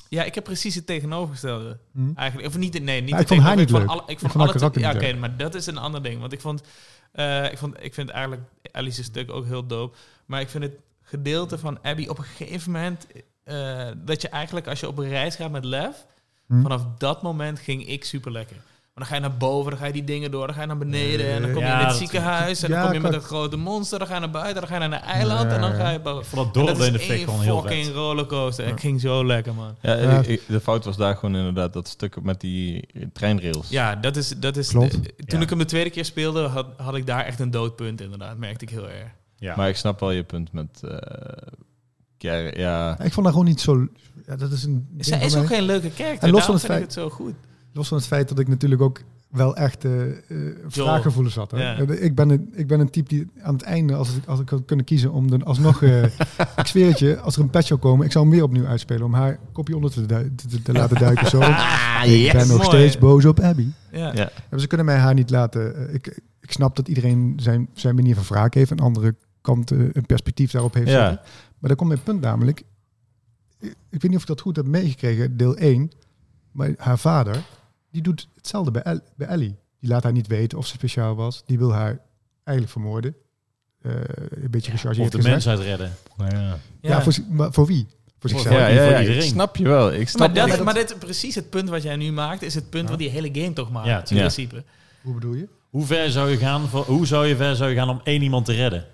Speaker 3: Ja, ik heb precies het tegenovergestelde.
Speaker 4: Hm.
Speaker 3: Eigenlijk. Of niet, nee, niet
Speaker 4: Maar
Speaker 3: het
Speaker 4: ik vond haar
Speaker 3: tegenover-
Speaker 4: niet leuk.
Speaker 3: alle- ik vond,
Speaker 4: vond haar
Speaker 3: alle
Speaker 4: karakter
Speaker 3: twee- Ja,
Speaker 4: niet
Speaker 3: oké,
Speaker 4: leuk.
Speaker 3: maar dat is een ander ding. Want ik vond, eh, ik vond, ik vind eigenlijk Alice's stuk ook heel dope. Maar ik vind het gedeelte van Abby op een gegeven moment eh, dat je eigenlijk als je op een reis gaat met Lev,
Speaker 4: Hm.
Speaker 3: vanaf dat moment ging ik super lekker. Maar dan ga je naar boven, dan ga je die dingen door, dan ga je naar beneden en dan kom je
Speaker 1: Ja,
Speaker 3: in het
Speaker 1: dat-
Speaker 3: ziekenhuis en
Speaker 4: Eh, ja,
Speaker 3: dan kom je met
Speaker 4: klopt.
Speaker 3: dat grote monster, dan ga je naar buiten, dan ga je naar een eiland en dan ga je boven.
Speaker 1: Vooral
Speaker 3: En
Speaker 1: door in de
Speaker 3: is
Speaker 1: fik
Speaker 3: één
Speaker 1: gewoon heel
Speaker 3: fucking
Speaker 1: vet.
Speaker 3: rollercoaster. Het ging zo lekker, man.
Speaker 2: Ja,
Speaker 4: Ja.
Speaker 2: ik- ik- de fout was daar gewoon inderdaad dat stuk met die treinrails.
Speaker 3: Ja, dat is... Dat is
Speaker 4: Klopt.
Speaker 3: eh,
Speaker 1: Ja.
Speaker 3: toen ik hem de tweede keer speelde, had, had ik daar echt een doodpunt inderdaad. Merkte ik heel erg.
Speaker 1: Ja.
Speaker 2: Maar ik snap wel je punt met... eh Kier- ja,
Speaker 4: Ja, Ik vond haar gewoon niet zo... Ja, dat is een ding
Speaker 3: Zij
Speaker 4: van
Speaker 3: is
Speaker 4: mij.
Speaker 3: ook geen leuke kerk.
Speaker 4: En
Speaker 3: los
Speaker 4: los
Speaker 3: van
Speaker 4: van
Speaker 3: vind
Speaker 4: het
Speaker 3: ik het zo goed.
Speaker 4: Los van het feit dat ik natuurlijk ook wel echt eh eh, vraaggevoelens had. Hè?
Speaker 3: Ja.
Speaker 4: Eh, Ik, ben een, ik ben een type die aan het einde, als ik, als ik had kunnen kiezen om dan alsnog... eh ik zweer het je, als er een patch zou komen, ik zou hem weer opnieuw uitspelen om haar kopje onder te, du- te, te- te laten duiken. Zo. Ik ben nog
Speaker 3: Ah, Mooi.
Speaker 4: steeds boos op Abby.
Speaker 3: Ja.
Speaker 2: Ja.
Speaker 4: Ja, ze kunnen mij haar niet laten. eh, Ik, ik snap dat iedereen zijn, zijn manier van wraak heeft. Een andere kant, eh, een perspectief daarop heeft.
Speaker 2: Ja.
Speaker 4: zitten. Maar daar komt mijn punt namelijk. Ik, ik weet niet of ik dat goed heb meegekregen, deel 1. Maar haar vader, die doet hetzelfde bij, El- bij Ellie. Die laat haar niet weten of ze speciaal was. Die wil haar eigenlijk vermoorden. Eh, een beetje
Speaker 1: Of
Speaker 4: gechargeerd
Speaker 1: de
Speaker 4: gezegd.
Speaker 1: mensheid redden.
Speaker 6: Ja.
Speaker 4: dus Ja, voor, zi- maar voor wie?
Speaker 1: Voor-
Speaker 4: Voor zichzelf.
Speaker 2: ja, ja,
Speaker 1: voor
Speaker 2: ja, ik
Speaker 1: iedereen.
Speaker 2: snap je wel. Ik snap
Speaker 3: Maar, dat,
Speaker 2: ik-
Speaker 3: maar dit, precies het punt wat jij nu maakt, is het punt wat die hele game toch maakt.
Speaker 1: Ja,
Speaker 3: in
Speaker 1: tuurlijk.
Speaker 3: principe.
Speaker 4: Hoe bedoel je?
Speaker 1: Hoe ver zou je gaan, voor, hoe zou je ver zou je gaan om één iemand te redden?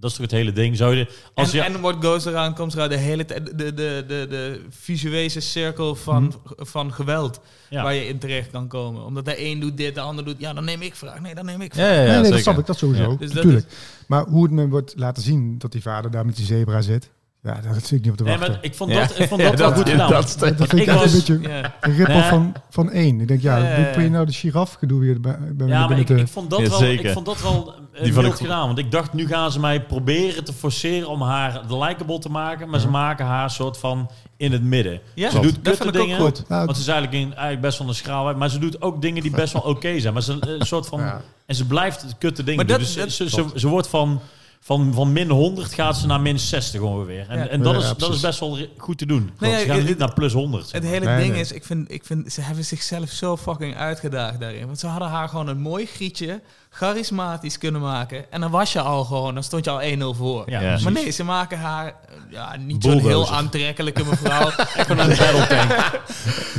Speaker 1: Dat is toch het hele ding? Zou je, als
Speaker 3: en,
Speaker 1: je,
Speaker 3: en What Goes Around komt eraan de hele tijd, de, de, de, de, de visuele cirkel van,
Speaker 4: Mhm.
Speaker 3: van geweld
Speaker 1: Ja.
Speaker 3: waar je in terecht kan komen. Omdat de een doet dit, de ander doet, ja, dan neem ik vraag. Nee, dan neem ik vraag.
Speaker 2: Ja, ja, ja,
Speaker 4: nee, nee,
Speaker 2: zeker.
Speaker 4: dat snap ik, dat sowieso.
Speaker 2: Ja.
Speaker 3: Dus dat
Speaker 4: natuurlijk. Maar hoe het me wordt laten zien dat die vader daar met die zebra zit. Ja, daar zit ik niet op te
Speaker 1: nee,
Speaker 4: wachten.
Speaker 1: maar ik vond
Speaker 2: Ja.
Speaker 1: dat, ik vond dat
Speaker 2: Ja,
Speaker 1: wel
Speaker 2: dat-
Speaker 1: goed gedaan.
Speaker 2: dat stuk.
Speaker 4: Dat vind ik,
Speaker 1: Ik
Speaker 4: echt
Speaker 1: was-
Speaker 4: een beetje
Speaker 3: Ja.
Speaker 4: een ripper
Speaker 1: Nee.
Speaker 4: van, van één. Ik denk, ja,
Speaker 3: Ja, ja, ja.
Speaker 4: doe je nou de giraf gedoe weer bij, bij
Speaker 1: Ja, maar ik,
Speaker 4: binnen te...
Speaker 3: eh,
Speaker 1: ik vond dat
Speaker 2: Ja,
Speaker 1: wel, ik
Speaker 2: zeker.
Speaker 1: vond dat wel eh,
Speaker 2: Die vond
Speaker 1: mild
Speaker 2: ik-
Speaker 1: gedaan. Want ik dacht, nu gaan ze mij proberen te forceren om haar de likable te maken. Maar ze maken haar soort van in het midden.
Speaker 3: Ja,
Speaker 1: ze doet
Speaker 3: dat
Speaker 1: kutte
Speaker 3: vind ik ook
Speaker 1: dingen.
Speaker 4: goed. Nou,
Speaker 1: Want ze is eigenlijk, in, eigenlijk best wel een schraal. Maar ze doet ook dingen die best wel oké zijn. Maar ze, een soort van,
Speaker 4: Ja.
Speaker 1: En ze blijft kutte dingen
Speaker 3: Maar
Speaker 1: doen.
Speaker 3: dat-
Speaker 1: Dus
Speaker 3: dat-
Speaker 1: ze, ze, ze, ze wordt van, van, van min 100 gaat ze naar min 60 ongeveer. En,
Speaker 3: Ja.
Speaker 1: en dat,
Speaker 4: Ja,
Speaker 1: is,
Speaker 4: ja,
Speaker 1: dat is
Speaker 4: precies.
Speaker 1: best wel re- goed te doen.
Speaker 3: Nee,
Speaker 1: ze
Speaker 3: ja,
Speaker 1: gaan
Speaker 3: het-
Speaker 1: niet naar plus 100. zeg
Speaker 3: Het
Speaker 1: maar.
Speaker 3: hele
Speaker 4: Nee,
Speaker 3: ding
Speaker 4: nee.
Speaker 3: is, ik vind, ik vind, ze hebben zichzelf zo fucking uitgedaagd daarin. Want ze hadden haar gewoon een mooi grietje, charismatisch kunnen maken. En dan was je al gewoon, dan stond je al 1-0 voor.
Speaker 1: Ja,
Speaker 2: Ja.
Speaker 1: precies.
Speaker 3: Maar nee, ze maken haar eh, ja, niet zo'n heel
Speaker 1: Bulldozer.
Speaker 3: aantrekkelijke mevrouw.
Speaker 6: Ik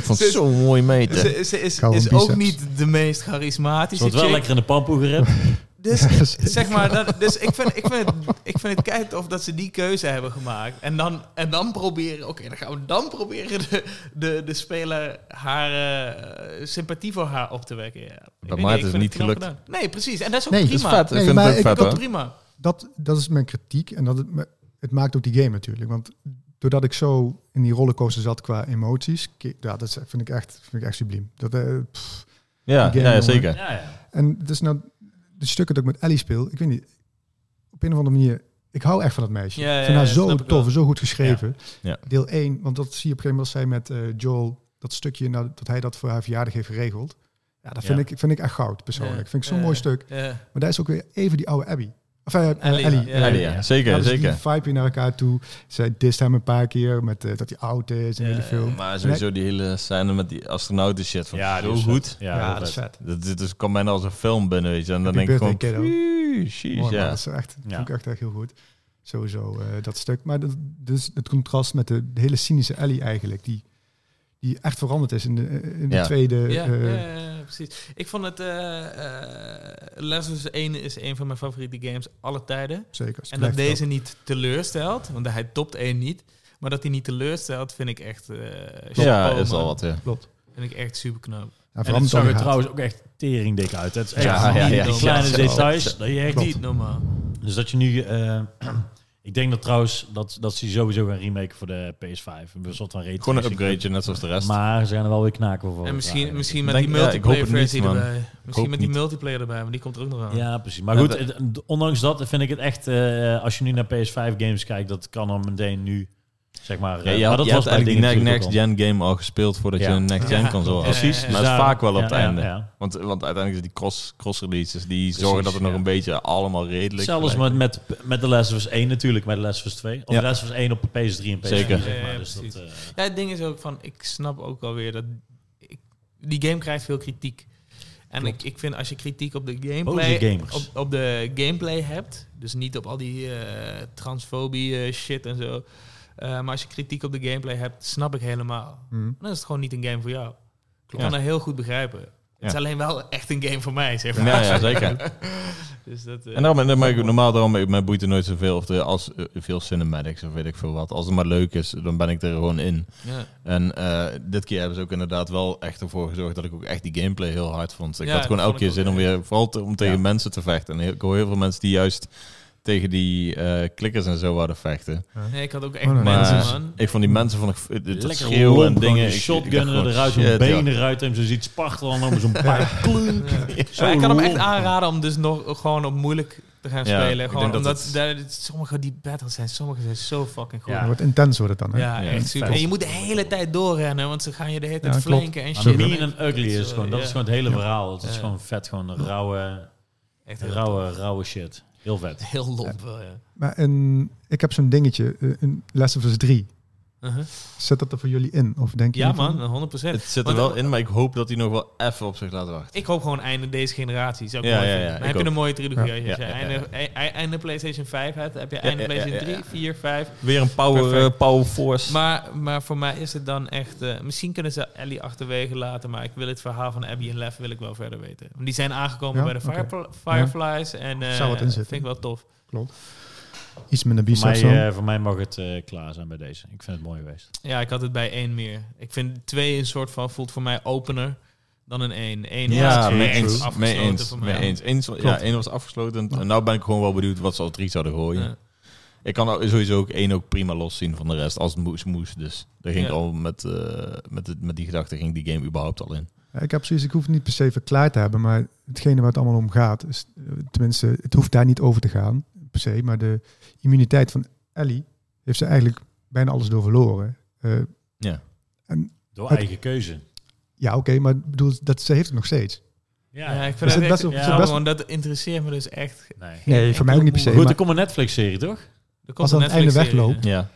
Speaker 6: vond het zo mooi meten.
Speaker 3: ze ze is,
Speaker 4: Gewoon
Speaker 3: is ook
Speaker 4: biceps.
Speaker 3: niet de meest
Speaker 1: Ze
Speaker 3: charismatische
Speaker 1: wordt wel
Speaker 3: chick.
Speaker 1: lekker in de pampoe gered.
Speaker 3: Dus ik- zeg maar, dat, dus ik vind, ik, vind het, ik vind het kijk of dat ze die keuze hebben gemaakt. En dan, en dan proberen, oké, dan gaan we dan proberen de, de, de speler haar eh, sympathie voor haar op te wekken. Ja. Ik weet
Speaker 2: Maarten
Speaker 3: ik
Speaker 2: is
Speaker 3: vind
Speaker 2: niet
Speaker 3: knap
Speaker 2: gelukt.
Speaker 3: gedaan. Nee, precies. En dat is ook
Speaker 4: Nee, dat
Speaker 2: Dat
Speaker 3: prima.
Speaker 2: is vet. Ik
Speaker 4: Nee,
Speaker 2: vind
Speaker 4: maar
Speaker 2: het ook
Speaker 4: ik-
Speaker 2: vet,
Speaker 3: Dat
Speaker 2: hoor.
Speaker 3: is ook prima.
Speaker 4: dat, dat is mijn kritiek. En dat het, me- het maakt ook die game natuurlijk. Want doordat ik zo in die rollercoaster zat qua emoties... ke- Ja, dat is- vind ik echt, vind ik echt subliem. Dat, eh, pff.
Speaker 2: Ja,
Speaker 4: Die
Speaker 2: ja,
Speaker 4: game,
Speaker 2: ja,
Speaker 4: jongen.
Speaker 2: zeker.
Speaker 1: Ja, ja.
Speaker 4: en het is nou... De stukken dat ik met Ellie speel, ik weet niet... Op een of andere manier... Ik hou echt van dat meisje.
Speaker 3: Ja, ja,
Speaker 4: ik vind haar
Speaker 3: ja,
Speaker 4: zo
Speaker 3: snap ik wel.
Speaker 4: tof en zo goed geschreven.
Speaker 2: Ja.
Speaker 4: Deel 1, want dat zie je op een gegeven moment als zij met eh, Joel... dat stukje nou, dat hij dat voor haar verjaardag heeft geregeld. Ja, dat vind,
Speaker 1: Ja.
Speaker 4: Ik, vind ik echt goud, persoonlijk.
Speaker 3: Ja,
Speaker 4: Vind ik zo'n
Speaker 3: ja,
Speaker 4: mooi
Speaker 3: ja.
Speaker 4: stuk.
Speaker 3: Ja.
Speaker 4: Maar daar is ook weer even die oude Abby. Of, eh,
Speaker 3: Ellie,
Speaker 4: Ellie.
Speaker 3: ja. Ellie,
Speaker 2: ja. Zeker,
Speaker 4: dus
Speaker 2: zeker.
Speaker 4: Die vibe je naar elkaar toe. Ze dist hem een paar keer met eh, dat hij oud is en
Speaker 3: Ja,
Speaker 4: hele film.
Speaker 2: Maar sowieso die hele scène met die astronauten shit. Van,
Speaker 1: Ja,
Speaker 2: zo
Speaker 1: die is vet.
Speaker 2: goed.
Speaker 1: Ja, heel
Speaker 4: dat is
Speaker 1: vet.
Speaker 4: vet.
Speaker 2: Dat, dit is, kwam bijna als een film binnen, weet je. En dan denk ik
Speaker 4: Happy
Speaker 2: gewoon...
Speaker 4: birthday, kiddo.
Speaker 2: "Phew, jeez,
Speaker 4: Mooi, man.
Speaker 2: ja.
Speaker 4: Dat is echt,
Speaker 1: Ja.
Speaker 4: vond ik echt, echt heel goed. Sowieso eh, dat stuk. Maar dat, dus het contrast met de, de hele cynische Ellie eigenlijk, die, die echt veranderd is in de, in de
Speaker 2: Ja.
Speaker 4: tweede...
Speaker 3: Ja,
Speaker 4: eh,
Speaker 3: ja, ja, ja, precies. Ik vond het... eh eh Last of Us 1 is een van mijn favoriete games aller tijden.
Speaker 4: Zeker.
Speaker 3: En dat
Speaker 4: Blijft
Speaker 3: deze niet teleurstelt, want hij topt één niet. Maar dat hij niet teleurstelt, vind ik echt... eh
Speaker 2: Ja,
Speaker 3: chapeau,
Speaker 2: is al
Speaker 3: man.
Speaker 2: wat, ja.
Speaker 3: Vind ik echt super knap.
Speaker 4: Ja,
Speaker 1: En het
Speaker 4: verandert
Speaker 1: zag
Speaker 4: dan
Speaker 1: er
Speaker 4: gaat.
Speaker 1: trouwens ook echt teringdik uit. Het is echt
Speaker 2: Ja, ja,
Speaker 1: die,
Speaker 2: ja.
Speaker 1: die kleine
Speaker 2: Ja,
Speaker 1: details.
Speaker 2: klopt.
Speaker 1: Dat je echt
Speaker 4: Klopt.
Speaker 1: niet,
Speaker 3: Niet normaal.
Speaker 1: dus dat je nu... eh, ik denk dat trouwens dat, dat ze sowieso gaan remaken voor de PS5. Een soort van rating.
Speaker 2: Gewoon een upgradeje, net zoals de rest.
Speaker 1: Maar ze gaan er wel weer knaken voor.
Speaker 3: En misschien,
Speaker 1: vragen.
Speaker 3: misschien met
Speaker 2: Denk-
Speaker 3: die
Speaker 2: Oh, ja, ik hoop het
Speaker 3: multiplayer versie
Speaker 2: niet, man.
Speaker 3: erbij.
Speaker 2: hoop
Speaker 3: Misschien met die
Speaker 2: niet.
Speaker 3: multiplayer erbij, want die komt er ook nog aan.
Speaker 1: Ja, precies. Maar
Speaker 2: Ja,
Speaker 1: goed,
Speaker 2: dat-
Speaker 1: het- het- ondanks dat vind ik het echt... eh, als je nu naar PS5 games kijkt, dat kan dan meteen nu... Zeg maar,
Speaker 2: Ja,
Speaker 1: eh,
Speaker 2: je
Speaker 1: maar
Speaker 2: had,
Speaker 1: dat
Speaker 2: je had
Speaker 1: was bij
Speaker 2: eigenlijk die
Speaker 1: dingen
Speaker 2: next-
Speaker 1: natuurlijk ook
Speaker 2: next-gen game al gespeeld voordat
Speaker 1: Ja.
Speaker 2: je een next-gen
Speaker 3: Ja,
Speaker 2: console
Speaker 1: al.
Speaker 3: gen-
Speaker 2: had.
Speaker 3: Ja.
Speaker 1: Precies.
Speaker 3: Maar
Speaker 1: dus
Speaker 2: het is
Speaker 1: daar-
Speaker 2: vaak wel op het
Speaker 1: ja, ja,
Speaker 2: einde.
Speaker 1: ja.
Speaker 2: Want, want uiteindelijk is die cross- cross-releases, die zorgen
Speaker 1: Precies,
Speaker 2: dat het nog
Speaker 1: ja.
Speaker 2: een beetje allemaal redelijk...
Speaker 1: Zelfs
Speaker 2: gelijk
Speaker 1: met, met, met The Last of Us 1 natuurlijk, met The Last of Us 2. Of
Speaker 2: Ja.
Speaker 1: The Last of Us 1 op PS3 en PS4,
Speaker 2: Zeker.
Speaker 1: zeg maar.
Speaker 3: Ja,
Speaker 1: dus dat,
Speaker 3: precies.
Speaker 1: eh,
Speaker 3: Ja, het ding is ook van, ik snap ook alweer dat... Ik, die game krijgt veel kritiek. En ik, ik vind als je kritiek op de
Speaker 1: Boze
Speaker 3: gameplay,
Speaker 1: gamers.
Speaker 3: op, op de gameplay hebt, dus niet op al die eh, transfobie eh, shit en zo, eh, maar als je kritiek op de gameplay hebt, snap ik helemaal.
Speaker 4: Mhm.
Speaker 3: Dan is het gewoon niet een game voor jou. Ik
Speaker 2: Ja.
Speaker 3: kan dat heel goed begrijpen. Het is alleen wel echt een game voor mij, zeg maar.
Speaker 2: Ja, ja, zeker.
Speaker 3: Dus dat, eh,
Speaker 2: En daarom, en dan maak ik, normaal daarom, mij boeit er nooit zoveel of de, als, eh, veel cinematics of weet ik veel wat. Als het maar leuk is, dan ben ik er gewoon in.
Speaker 3: ja.
Speaker 2: En eh, dit keer hebben ze ook inderdaad wel echt ervoor gezorgd dat ik ook echt die gameplay heel hard vond. Ik
Speaker 3: Ja,
Speaker 2: had gewoon
Speaker 3: dat
Speaker 2: elke
Speaker 3: vond ik
Speaker 2: keer zin
Speaker 3: ook,
Speaker 2: om weer, vooral te- om tegen
Speaker 1: Ja.
Speaker 2: mensen te vechten. En heel- ik hoor heel veel mensen die juist tegen die eh, klikkers en zo wouden vechten.
Speaker 3: Nee, ik had ook echt
Speaker 4: Oh, nee, nee,
Speaker 3: mensen,
Speaker 2: dat is-
Speaker 3: man.
Speaker 2: Ik vond die mensen van het het
Speaker 1: Lekker
Speaker 2: schreeuwen en
Speaker 1: lomp, gewoon
Speaker 2: dingen.
Speaker 1: die
Speaker 2: ik- ik dacht
Speaker 1: shotgunnen
Speaker 2: gewoon,
Speaker 1: eruit, zo'n
Speaker 2: shit,
Speaker 1: benen
Speaker 2: ja.
Speaker 1: eruit hem, zo ziet Spartel dan om zo'n paar klunk. Zo
Speaker 3: Ja, ik kan hem echt
Speaker 1: lomp.
Speaker 3: aanraden om dus nog gewoon op moeilijk te gaan
Speaker 2: Ja,
Speaker 3: spelen.
Speaker 2: ik
Speaker 3: Gewoon
Speaker 2: denk dat
Speaker 3: omdat daar- sommige die battles zijn, sommige zijn zo fucking
Speaker 1: Ja.
Speaker 3: goed.
Speaker 4: Het
Speaker 3: Ja,
Speaker 4: wordt intens wordt het dan. Hè?
Speaker 2: Ja,
Speaker 3: echt super.
Speaker 1: vet.
Speaker 3: En je moet de hele tijd doorrennen, want ze gaan je de hele tijd
Speaker 4: Ja, klopt.
Speaker 3: flanken en
Speaker 1: Maar
Speaker 3: shit.
Speaker 1: mean
Speaker 3: Dan-
Speaker 1: and ugly is gewoon, dat
Speaker 3: Ja.
Speaker 1: is gewoon het hele verhaal. Het is
Speaker 3: Ja.
Speaker 1: gewoon vet, gewoon een rauwe,
Speaker 3: echt heel,
Speaker 1: rauwe, rauwe shit. Heel vet.
Speaker 3: heel lomp. wel, ja.
Speaker 4: Maar een, ik heb zo'n dingetje, eh, een Les of Us 3.
Speaker 3: Uh-huh.
Speaker 4: Zet dat er voor jullie in? Of denk je
Speaker 3: Ja
Speaker 4: niet van-
Speaker 3: man, 100%.
Speaker 2: Het zit er wel in, maar ik hoop dat hij nog wel even op zich laat wachten.
Speaker 3: Ik hoop gewoon einde deze generatie. Zou ik
Speaker 2: Ja,
Speaker 3: mooi
Speaker 2: ja,
Speaker 3: vinden.
Speaker 2: ja,
Speaker 3: Dan
Speaker 2: ik
Speaker 3: heb je een mooie trilogie.
Speaker 4: Ja.
Speaker 3: Als je
Speaker 2: Ja, ja,
Speaker 3: einde, e- e- einde PlayStation 5 hebt, heb je einde
Speaker 2: ja, ja,
Speaker 3: PlayStation
Speaker 2: ja, ja.
Speaker 3: 3, 4, 5.
Speaker 2: Weer een power,
Speaker 3: Perfect.
Speaker 2: eh, power force.
Speaker 3: Maar, maar voor mij is het dan echt... eh, misschien kunnen ze Ellie achterwege laten, maar ik wil het verhaal van Abby en Lev wil ik wel verder weten. Want die zijn aangekomen bij
Speaker 4: Ja?
Speaker 3: de
Speaker 4: Oké.
Speaker 3: Firepl- Fireflies en eh
Speaker 4: Zou wat in
Speaker 3: dat
Speaker 4: zitten.
Speaker 3: vind ik wel tof.
Speaker 4: Iets minder
Speaker 1: Voor
Speaker 4: biceps
Speaker 1: mij,
Speaker 4: dan.
Speaker 1: eh, voor mij mag het eh, klaar zijn bij deze. Ik vind het mooi geweest.
Speaker 3: Ja, ik had het bij één meer. Ik vind twee een soort van, voelt voor mij opener dan een één. Eén was
Speaker 2: Ja,
Speaker 3: echt
Speaker 2: mee eens.
Speaker 3: afgesloten
Speaker 2: Mee eens.
Speaker 3: voor
Speaker 2: Mee
Speaker 3: mij.
Speaker 2: eens. Eens- ja, één was afgesloten. En nou ben ik gewoon wel benieuwd wat ze al drie zouden gooien.
Speaker 3: Ja.
Speaker 2: Ik kan ook- sowieso ook één ook prima los zien van de rest. Als het moest, moest. Dus daar ging
Speaker 3: Ja.
Speaker 2: ik al met, eh, met, het- met die gedachte ging die game überhaupt al in.
Speaker 4: Ja, Ik heb zoiets, ik hoef het niet per se verklaard te hebben, maar hetgene waar het allemaal om gaat, is, eh, tenminste, het hoeft daar niet over te gaan, per se, maar de immuniteit van Ellie heeft ze eigenlijk bijna alles door verloren. Eh,
Speaker 1: Door
Speaker 4: Het-
Speaker 1: eigen keuze.
Speaker 4: ja, oké, maar ik bedoel, dat, ze heeft het nog steeds.
Speaker 3: Ja, ik
Speaker 4: Is
Speaker 3: vind
Speaker 4: het
Speaker 3: dat
Speaker 4: best
Speaker 3: echt...
Speaker 4: wel-
Speaker 1: is
Speaker 3: Ja,
Speaker 1: het best-
Speaker 3: gewoon, dat interesseert me dus echt.
Speaker 1: Nee.
Speaker 4: Nee, voor mij ook niet per se,
Speaker 1: Goed,
Speaker 4: maar
Speaker 1: er komt een Netflix-serie, toch?
Speaker 3: Er komt
Speaker 4: Als dan
Speaker 3: een
Speaker 4: het einde
Speaker 3: Netflix-serie,
Speaker 4: wegloopt.
Speaker 2: Ja,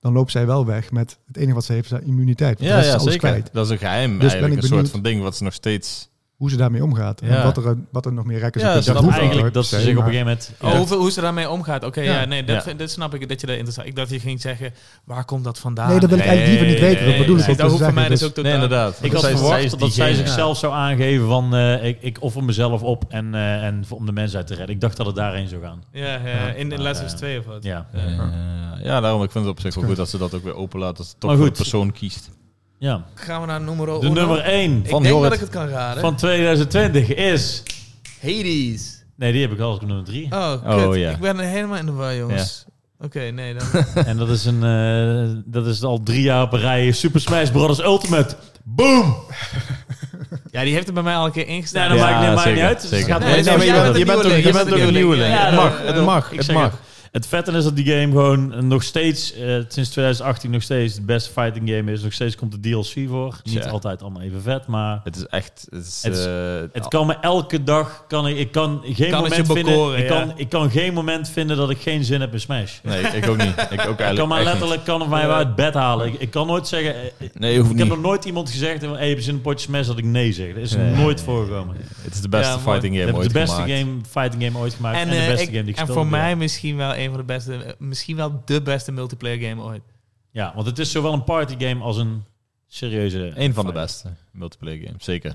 Speaker 4: dan loopt zij wel weg met het enige wat ze heeft, is haar immuniteit. Want
Speaker 2: ja,
Speaker 4: de rest
Speaker 2: ja
Speaker 4: is alles
Speaker 2: zeker.
Speaker 4: kwijt.
Speaker 2: Dat is een geheim
Speaker 4: ben
Speaker 2: eigenlijk.
Speaker 4: ik
Speaker 2: een soort
Speaker 4: benieuwd.
Speaker 2: van ding wat ze nog steeds...
Speaker 4: Hoe ze daarmee omgaat en
Speaker 2: Ja.
Speaker 4: wat er, wat er nog meer rekken
Speaker 2: Ja,
Speaker 4: op-
Speaker 2: ze dat
Speaker 1: Dat
Speaker 4: hoeft
Speaker 1: eigenlijk
Speaker 4: ook
Speaker 1: dat
Speaker 4: per
Speaker 1: ze
Speaker 4: se,
Speaker 1: zich op een
Speaker 4: maar-
Speaker 1: gegeven moment...
Speaker 3: Oh, hoeveel- hoe ze daarmee omgaat. Oké,
Speaker 4: Ja.
Speaker 3: ja. nee, dat,
Speaker 2: Ja.
Speaker 3: vind- dat snap ik dat je dat interessant. Ik dacht je ging zeggen, waar komt dat vandaan?
Speaker 4: Nee, dat wil ik
Speaker 2: Nee,
Speaker 4: eigenlijk liever niet weten, dat
Speaker 2: nee,
Speaker 4: bedoel ik
Speaker 2: nee,
Speaker 4: ook.
Speaker 3: dat
Speaker 4: dus
Speaker 3: hoeft voor mij
Speaker 4: zeggen,
Speaker 3: dus
Speaker 4: dus-
Speaker 3: ook totaal.
Speaker 2: Nee, inderdaad.
Speaker 1: Ik
Speaker 2: Want
Speaker 1: had
Speaker 2: zij is- zij is
Speaker 1: verwacht dat zij
Speaker 2: diegene.
Speaker 1: zichzelf zou aangeven van... eh, ik, ik offer mezelf op en, eh, en voor- om de mensheid te redden. Ik dacht dat het daarheen zou gaan.
Speaker 3: Ja, ja,
Speaker 1: Ja,
Speaker 3: in de
Speaker 1: maar,
Speaker 3: Last of
Speaker 1: eh,
Speaker 3: Us 2 of wat.
Speaker 1: Ja.
Speaker 2: Eh, ja, daarom. Ik vind het op zich wel goed dat ze dat ook weer openlaat. Dat ze toch
Speaker 1: Maar
Speaker 2: voor de
Speaker 1: goed.
Speaker 2: persoon kiest. Oh,
Speaker 1: ja.
Speaker 3: Gaan we naar nummer
Speaker 1: De
Speaker 2: nou.
Speaker 1: nummer 1
Speaker 3: Ik
Speaker 2: van
Speaker 3: denk
Speaker 2: Jorrit.
Speaker 3: dat ik het kan raden.
Speaker 1: van 2020 is...
Speaker 3: Hades.
Speaker 1: Nee, die heb ik al als nummer 3.
Speaker 3: Oh,
Speaker 2: Oh,
Speaker 3: kut.
Speaker 2: ja.
Speaker 3: Ik ben er helemaal in de war, jongens. Oké, nee dan.
Speaker 1: En dat is, een, eh, dat is al drie jaar op een rij Super Smash Brothers Ultimate. Boom!
Speaker 3: ja, die heeft er bij mij al een keer
Speaker 1: Nee,
Speaker 3: ingesteld.
Speaker 1: dat
Speaker 2: Ja,
Speaker 1: maakt, nee, maakt niet
Speaker 2: zeker,
Speaker 1: uit. Dus het
Speaker 2: zeker.
Speaker 1: gaat
Speaker 3: Nee,
Speaker 1: nee,
Speaker 3: nee, maar
Speaker 1: maar
Speaker 3: jij
Speaker 1: je
Speaker 3: bent
Speaker 1: bent-
Speaker 3: een
Speaker 1: je bent ook-
Speaker 3: nieuweling.
Speaker 1: je bent ook een nieuweling.
Speaker 3: Ja,
Speaker 1: Het
Speaker 3: dat-
Speaker 1: mag, het
Speaker 3: eh,
Speaker 1: mag,
Speaker 2: ik
Speaker 1: het
Speaker 2: zeg
Speaker 1: mag.
Speaker 2: het.
Speaker 1: Het vette is dat die game gewoon eh, nog steeds, eh, sinds 2018 nog steeds de beste fighting game is. Nog steeds komt de DLC voor. Niet
Speaker 2: Ja.
Speaker 1: altijd allemaal even vet, maar
Speaker 2: Het is echt... Het is,
Speaker 1: Het is-
Speaker 2: eh,
Speaker 1: het kan me elke dag, kan ik, ik kan geen
Speaker 3: Kan het je
Speaker 1: moment vinden,
Speaker 3: bekoren,
Speaker 1: ik,
Speaker 3: ja.
Speaker 1: kan, ik kan geen moment vinden dat ik geen zin heb in Smash.
Speaker 2: Nee, ik ook niet. Ik ook
Speaker 1: Ik
Speaker 2: eigenlijk
Speaker 1: kan mij
Speaker 2: echt
Speaker 1: letterlijk kan mij wel uit bed halen. Ik, ik kan nooit zeggen. eh,
Speaker 2: niet. Nee, hoeft
Speaker 1: Ik heb
Speaker 2: niet.
Speaker 1: nog nooit iemand gezegd: hey, heb je zin in een potje smash dat ik nee zeg. Dat is
Speaker 2: Nee.
Speaker 1: nooit voorgekomen.
Speaker 2: Het is de beste
Speaker 3: Ja, mooi.
Speaker 2: fighting
Speaker 1: We
Speaker 2: game
Speaker 1: hebben
Speaker 2: ooit
Speaker 1: de beste
Speaker 2: gemaakt.
Speaker 1: game, fighting game ooit gemaakt.
Speaker 3: En,
Speaker 1: En,
Speaker 3: eh,
Speaker 1: de beste
Speaker 3: ik-
Speaker 1: game die ik
Speaker 3: en
Speaker 1: gespeeld
Speaker 3: voor
Speaker 1: heb.
Speaker 3: mij misschien wel een van de beste, eh, misschien wel de beste multiplayer game ooit.
Speaker 1: Ja, want het is zowel een party game als een serieuze.
Speaker 2: Een van de
Speaker 1: fight.
Speaker 2: beste multiplayer games, zeker.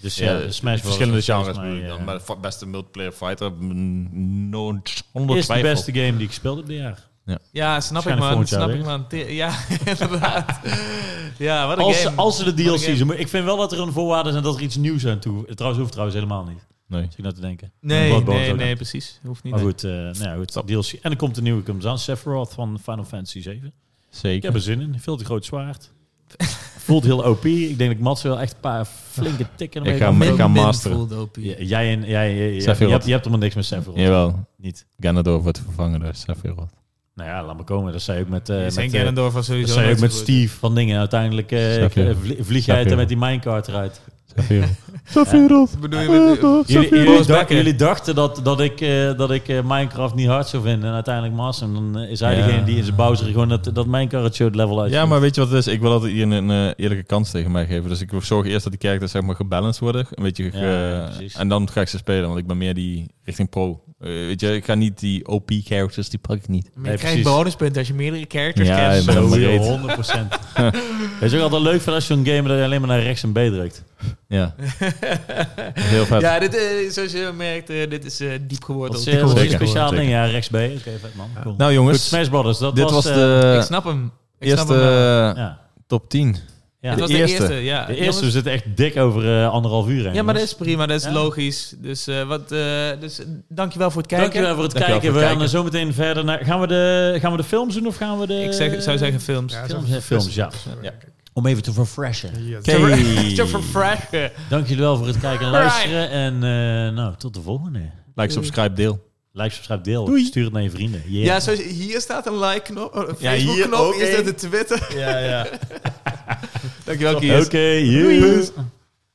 Speaker 1: Dus ja,
Speaker 2: Ja,
Speaker 1: Smash Bros.
Speaker 2: Verschillende
Speaker 1: is volgens
Speaker 2: genres
Speaker 1: mij,
Speaker 2: bedoel ik dan.
Speaker 1: eh,
Speaker 2: Maar de beste multiplayer fighter, mm, no, zonder
Speaker 1: is de
Speaker 2: twijfel.
Speaker 1: beste game die ik gespeeld heb dit jaar.
Speaker 3: Ja, snap ik
Speaker 1: Waarschijnlijk
Speaker 3: man.
Speaker 1: volgend jaar
Speaker 3: Snap
Speaker 1: weer.
Speaker 3: ik man. Te- Ja, inderdaad. ja, wat een
Speaker 1: Als,
Speaker 3: game.
Speaker 1: als ze de
Speaker 3: Wat een
Speaker 1: DLC...
Speaker 3: game.
Speaker 1: zo moet- Ik vind wel dat er een voorwaarde zijn dat er iets nieuws aan toe... Trouwens, hoeft trouwens helemaal niet.
Speaker 2: Nee.
Speaker 1: Zit ik nou te denken.
Speaker 3: Nee,
Speaker 1: Bloodborne
Speaker 3: nee,
Speaker 1: ook.
Speaker 3: nee, precies. Hoeft niet.
Speaker 1: Maar goed, eh nou ja, goed DLC. En er komt een nieuwe komt aan. Sephiroth van Final Fantasy 7. Ik
Speaker 2: Zeker.
Speaker 1: heb er zin in. Veel te groot zwaard. Voelt heel OP. Ik denk dat Mats wel echt een paar flinke tikken
Speaker 2: Ik
Speaker 1: mee
Speaker 2: ga
Speaker 1: kan
Speaker 2: hem-
Speaker 1: geven.
Speaker 2: ik ga masteren.
Speaker 3: Voelde op
Speaker 1: J- Jij en jij, jij, jij,
Speaker 2: Sephiroth.
Speaker 1: je, hebt, je hebt helemaal niks met Sephiroth.
Speaker 2: Jawel.
Speaker 1: Niet.
Speaker 2: Ganondorf wordt vervangen door Sephiroth.
Speaker 1: Nou ja, laat maar komen. Dat zei ik met, eh
Speaker 3: Uh,
Speaker 1: met,
Speaker 3: zijn
Speaker 1: eh,
Speaker 3: Ganondorf was
Speaker 1: dat
Speaker 3: sowieso
Speaker 1: zei ik
Speaker 3: nooit
Speaker 1: met
Speaker 3: zo goed.
Speaker 1: Steve van dingen. Uiteindelijk eh,
Speaker 2: Sephiroth.
Speaker 1: eh, vlie- vlieg jij er
Speaker 2: Sephiroth.
Speaker 1: met die minecart eruit.
Speaker 2: Sephiroth.
Speaker 5: Wat bedoel je met...
Speaker 3: Oh.
Speaker 1: Jullie, jullie
Speaker 3: Boris
Speaker 1: dacht-
Speaker 3: Becker.
Speaker 1: jullie dachten dat, dat ik, eh, dat ik eh, Minecraft niet hard zou vinden. En uiteindelijk master. hem. Dan eh, is hij
Speaker 2: Ja.
Speaker 1: degene die in zijn Bowser gewoon dat, dat Minecraft show level uit.
Speaker 2: Ja, maar weet je wat het is? Ik wil altijd iedereen een eh, eerlijke kans tegen mij geven. Dus ik zorg eerst dat die characters zeg maar gebalanced worden. Een beetje ge- eh,
Speaker 1: Ja, precies.
Speaker 2: en dan ga ik ze spelen, want ik ben meer die richting pro. Eh, weet je, ik ga niet die OP characters, die pak ik niet.
Speaker 3: Maar je
Speaker 1: Nee,
Speaker 3: krijgt
Speaker 1: precies.
Speaker 3: bonuspunten als je meerdere characters
Speaker 2: Ja,
Speaker 3: kent.
Speaker 2: ik ben
Speaker 3: Zo.
Speaker 2: helemaal
Speaker 1: Sowieso,
Speaker 2: breed.
Speaker 1: 100%. Weet je ook altijd leuk van als je zo'n game dat je alleen maar naar rechts en B drukt.
Speaker 2: Ja. Heel vet.
Speaker 3: ja, dit, eh, zoals je merkt, eh, dit is eh, diep
Speaker 1: Dat
Speaker 3: geworden.
Speaker 1: is eh, dat is een
Speaker 2: Zeker.
Speaker 1: speciaal
Speaker 2: Zeker.
Speaker 1: ding. Ja, rechts B. Oké, vet man. Cool.
Speaker 2: Nou
Speaker 1: Goed,
Speaker 2: jongens,
Speaker 1: Smash Brothers. Dat
Speaker 2: dit was,
Speaker 1: was, eh,
Speaker 2: de
Speaker 3: ik snap hem. Ik snap
Speaker 2: eerste
Speaker 3: hem wel.
Speaker 2: eh,
Speaker 1: ja.
Speaker 2: top 10.
Speaker 1: Ja.
Speaker 3: Het was de
Speaker 2: eerste.
Speaker 3: eerste, ja.
Speaker 1: De
Speaker 3: Eh, Jongens,
Speaker 1: eerste, we zitten echt dik over eh, anderhalf uur heen.
Speaker 3: Ja, maar dat
Speaker 1: jongens.
Speaker 3: is prima, dat is
Speaker 1: Ja.
Speaker 3: logisch. Dus, eh wat, eh dus eh, dankjewel voor het kijken.
Speaker 1: Dankjewel voor het
Speaker 2: Dankjewel
Speaker 1: kijken.
Speaker 2: voor het
Speaker 1: we gaan zo meteen verder naar... Gaan we, de, gaan we de films doen of gaan we de...
Speaker 3: Ik zeg, zou zeggen films.
Speaker 4: Ja,
Speaker 1: Films,
Speaker 4: zo-
Speaker 1: hè, films, ja.
Speaker 2: Ja.
Speaker 1: Om even te refreshen.
Speaker 4: Yes.
Speaker 3: Te verfrijen.
Speaker 1: Dank jullie wel voor het kijken en luisteren. En eh, nou, tot de volgende.
Speaker 2: Like, subscribe, deel.
Speaker 1: Like, subscribe, deel. Stuur het naar je vrienden. Yeah.
Speaker 3: Ja, zoals, hier staat een like-knop. eh, Een
Speaker 2: hier
Speaker 3: Facebook-knop.
Speaker 2: ook
Speaker 3: Hier staat
Speaker 2: één.
Speaker 3: de Twitter.
Speaker 2: Ja, ja.
Speaker 3: Dankjewel, Kies.
Speaker 1: Oké, okay, yes.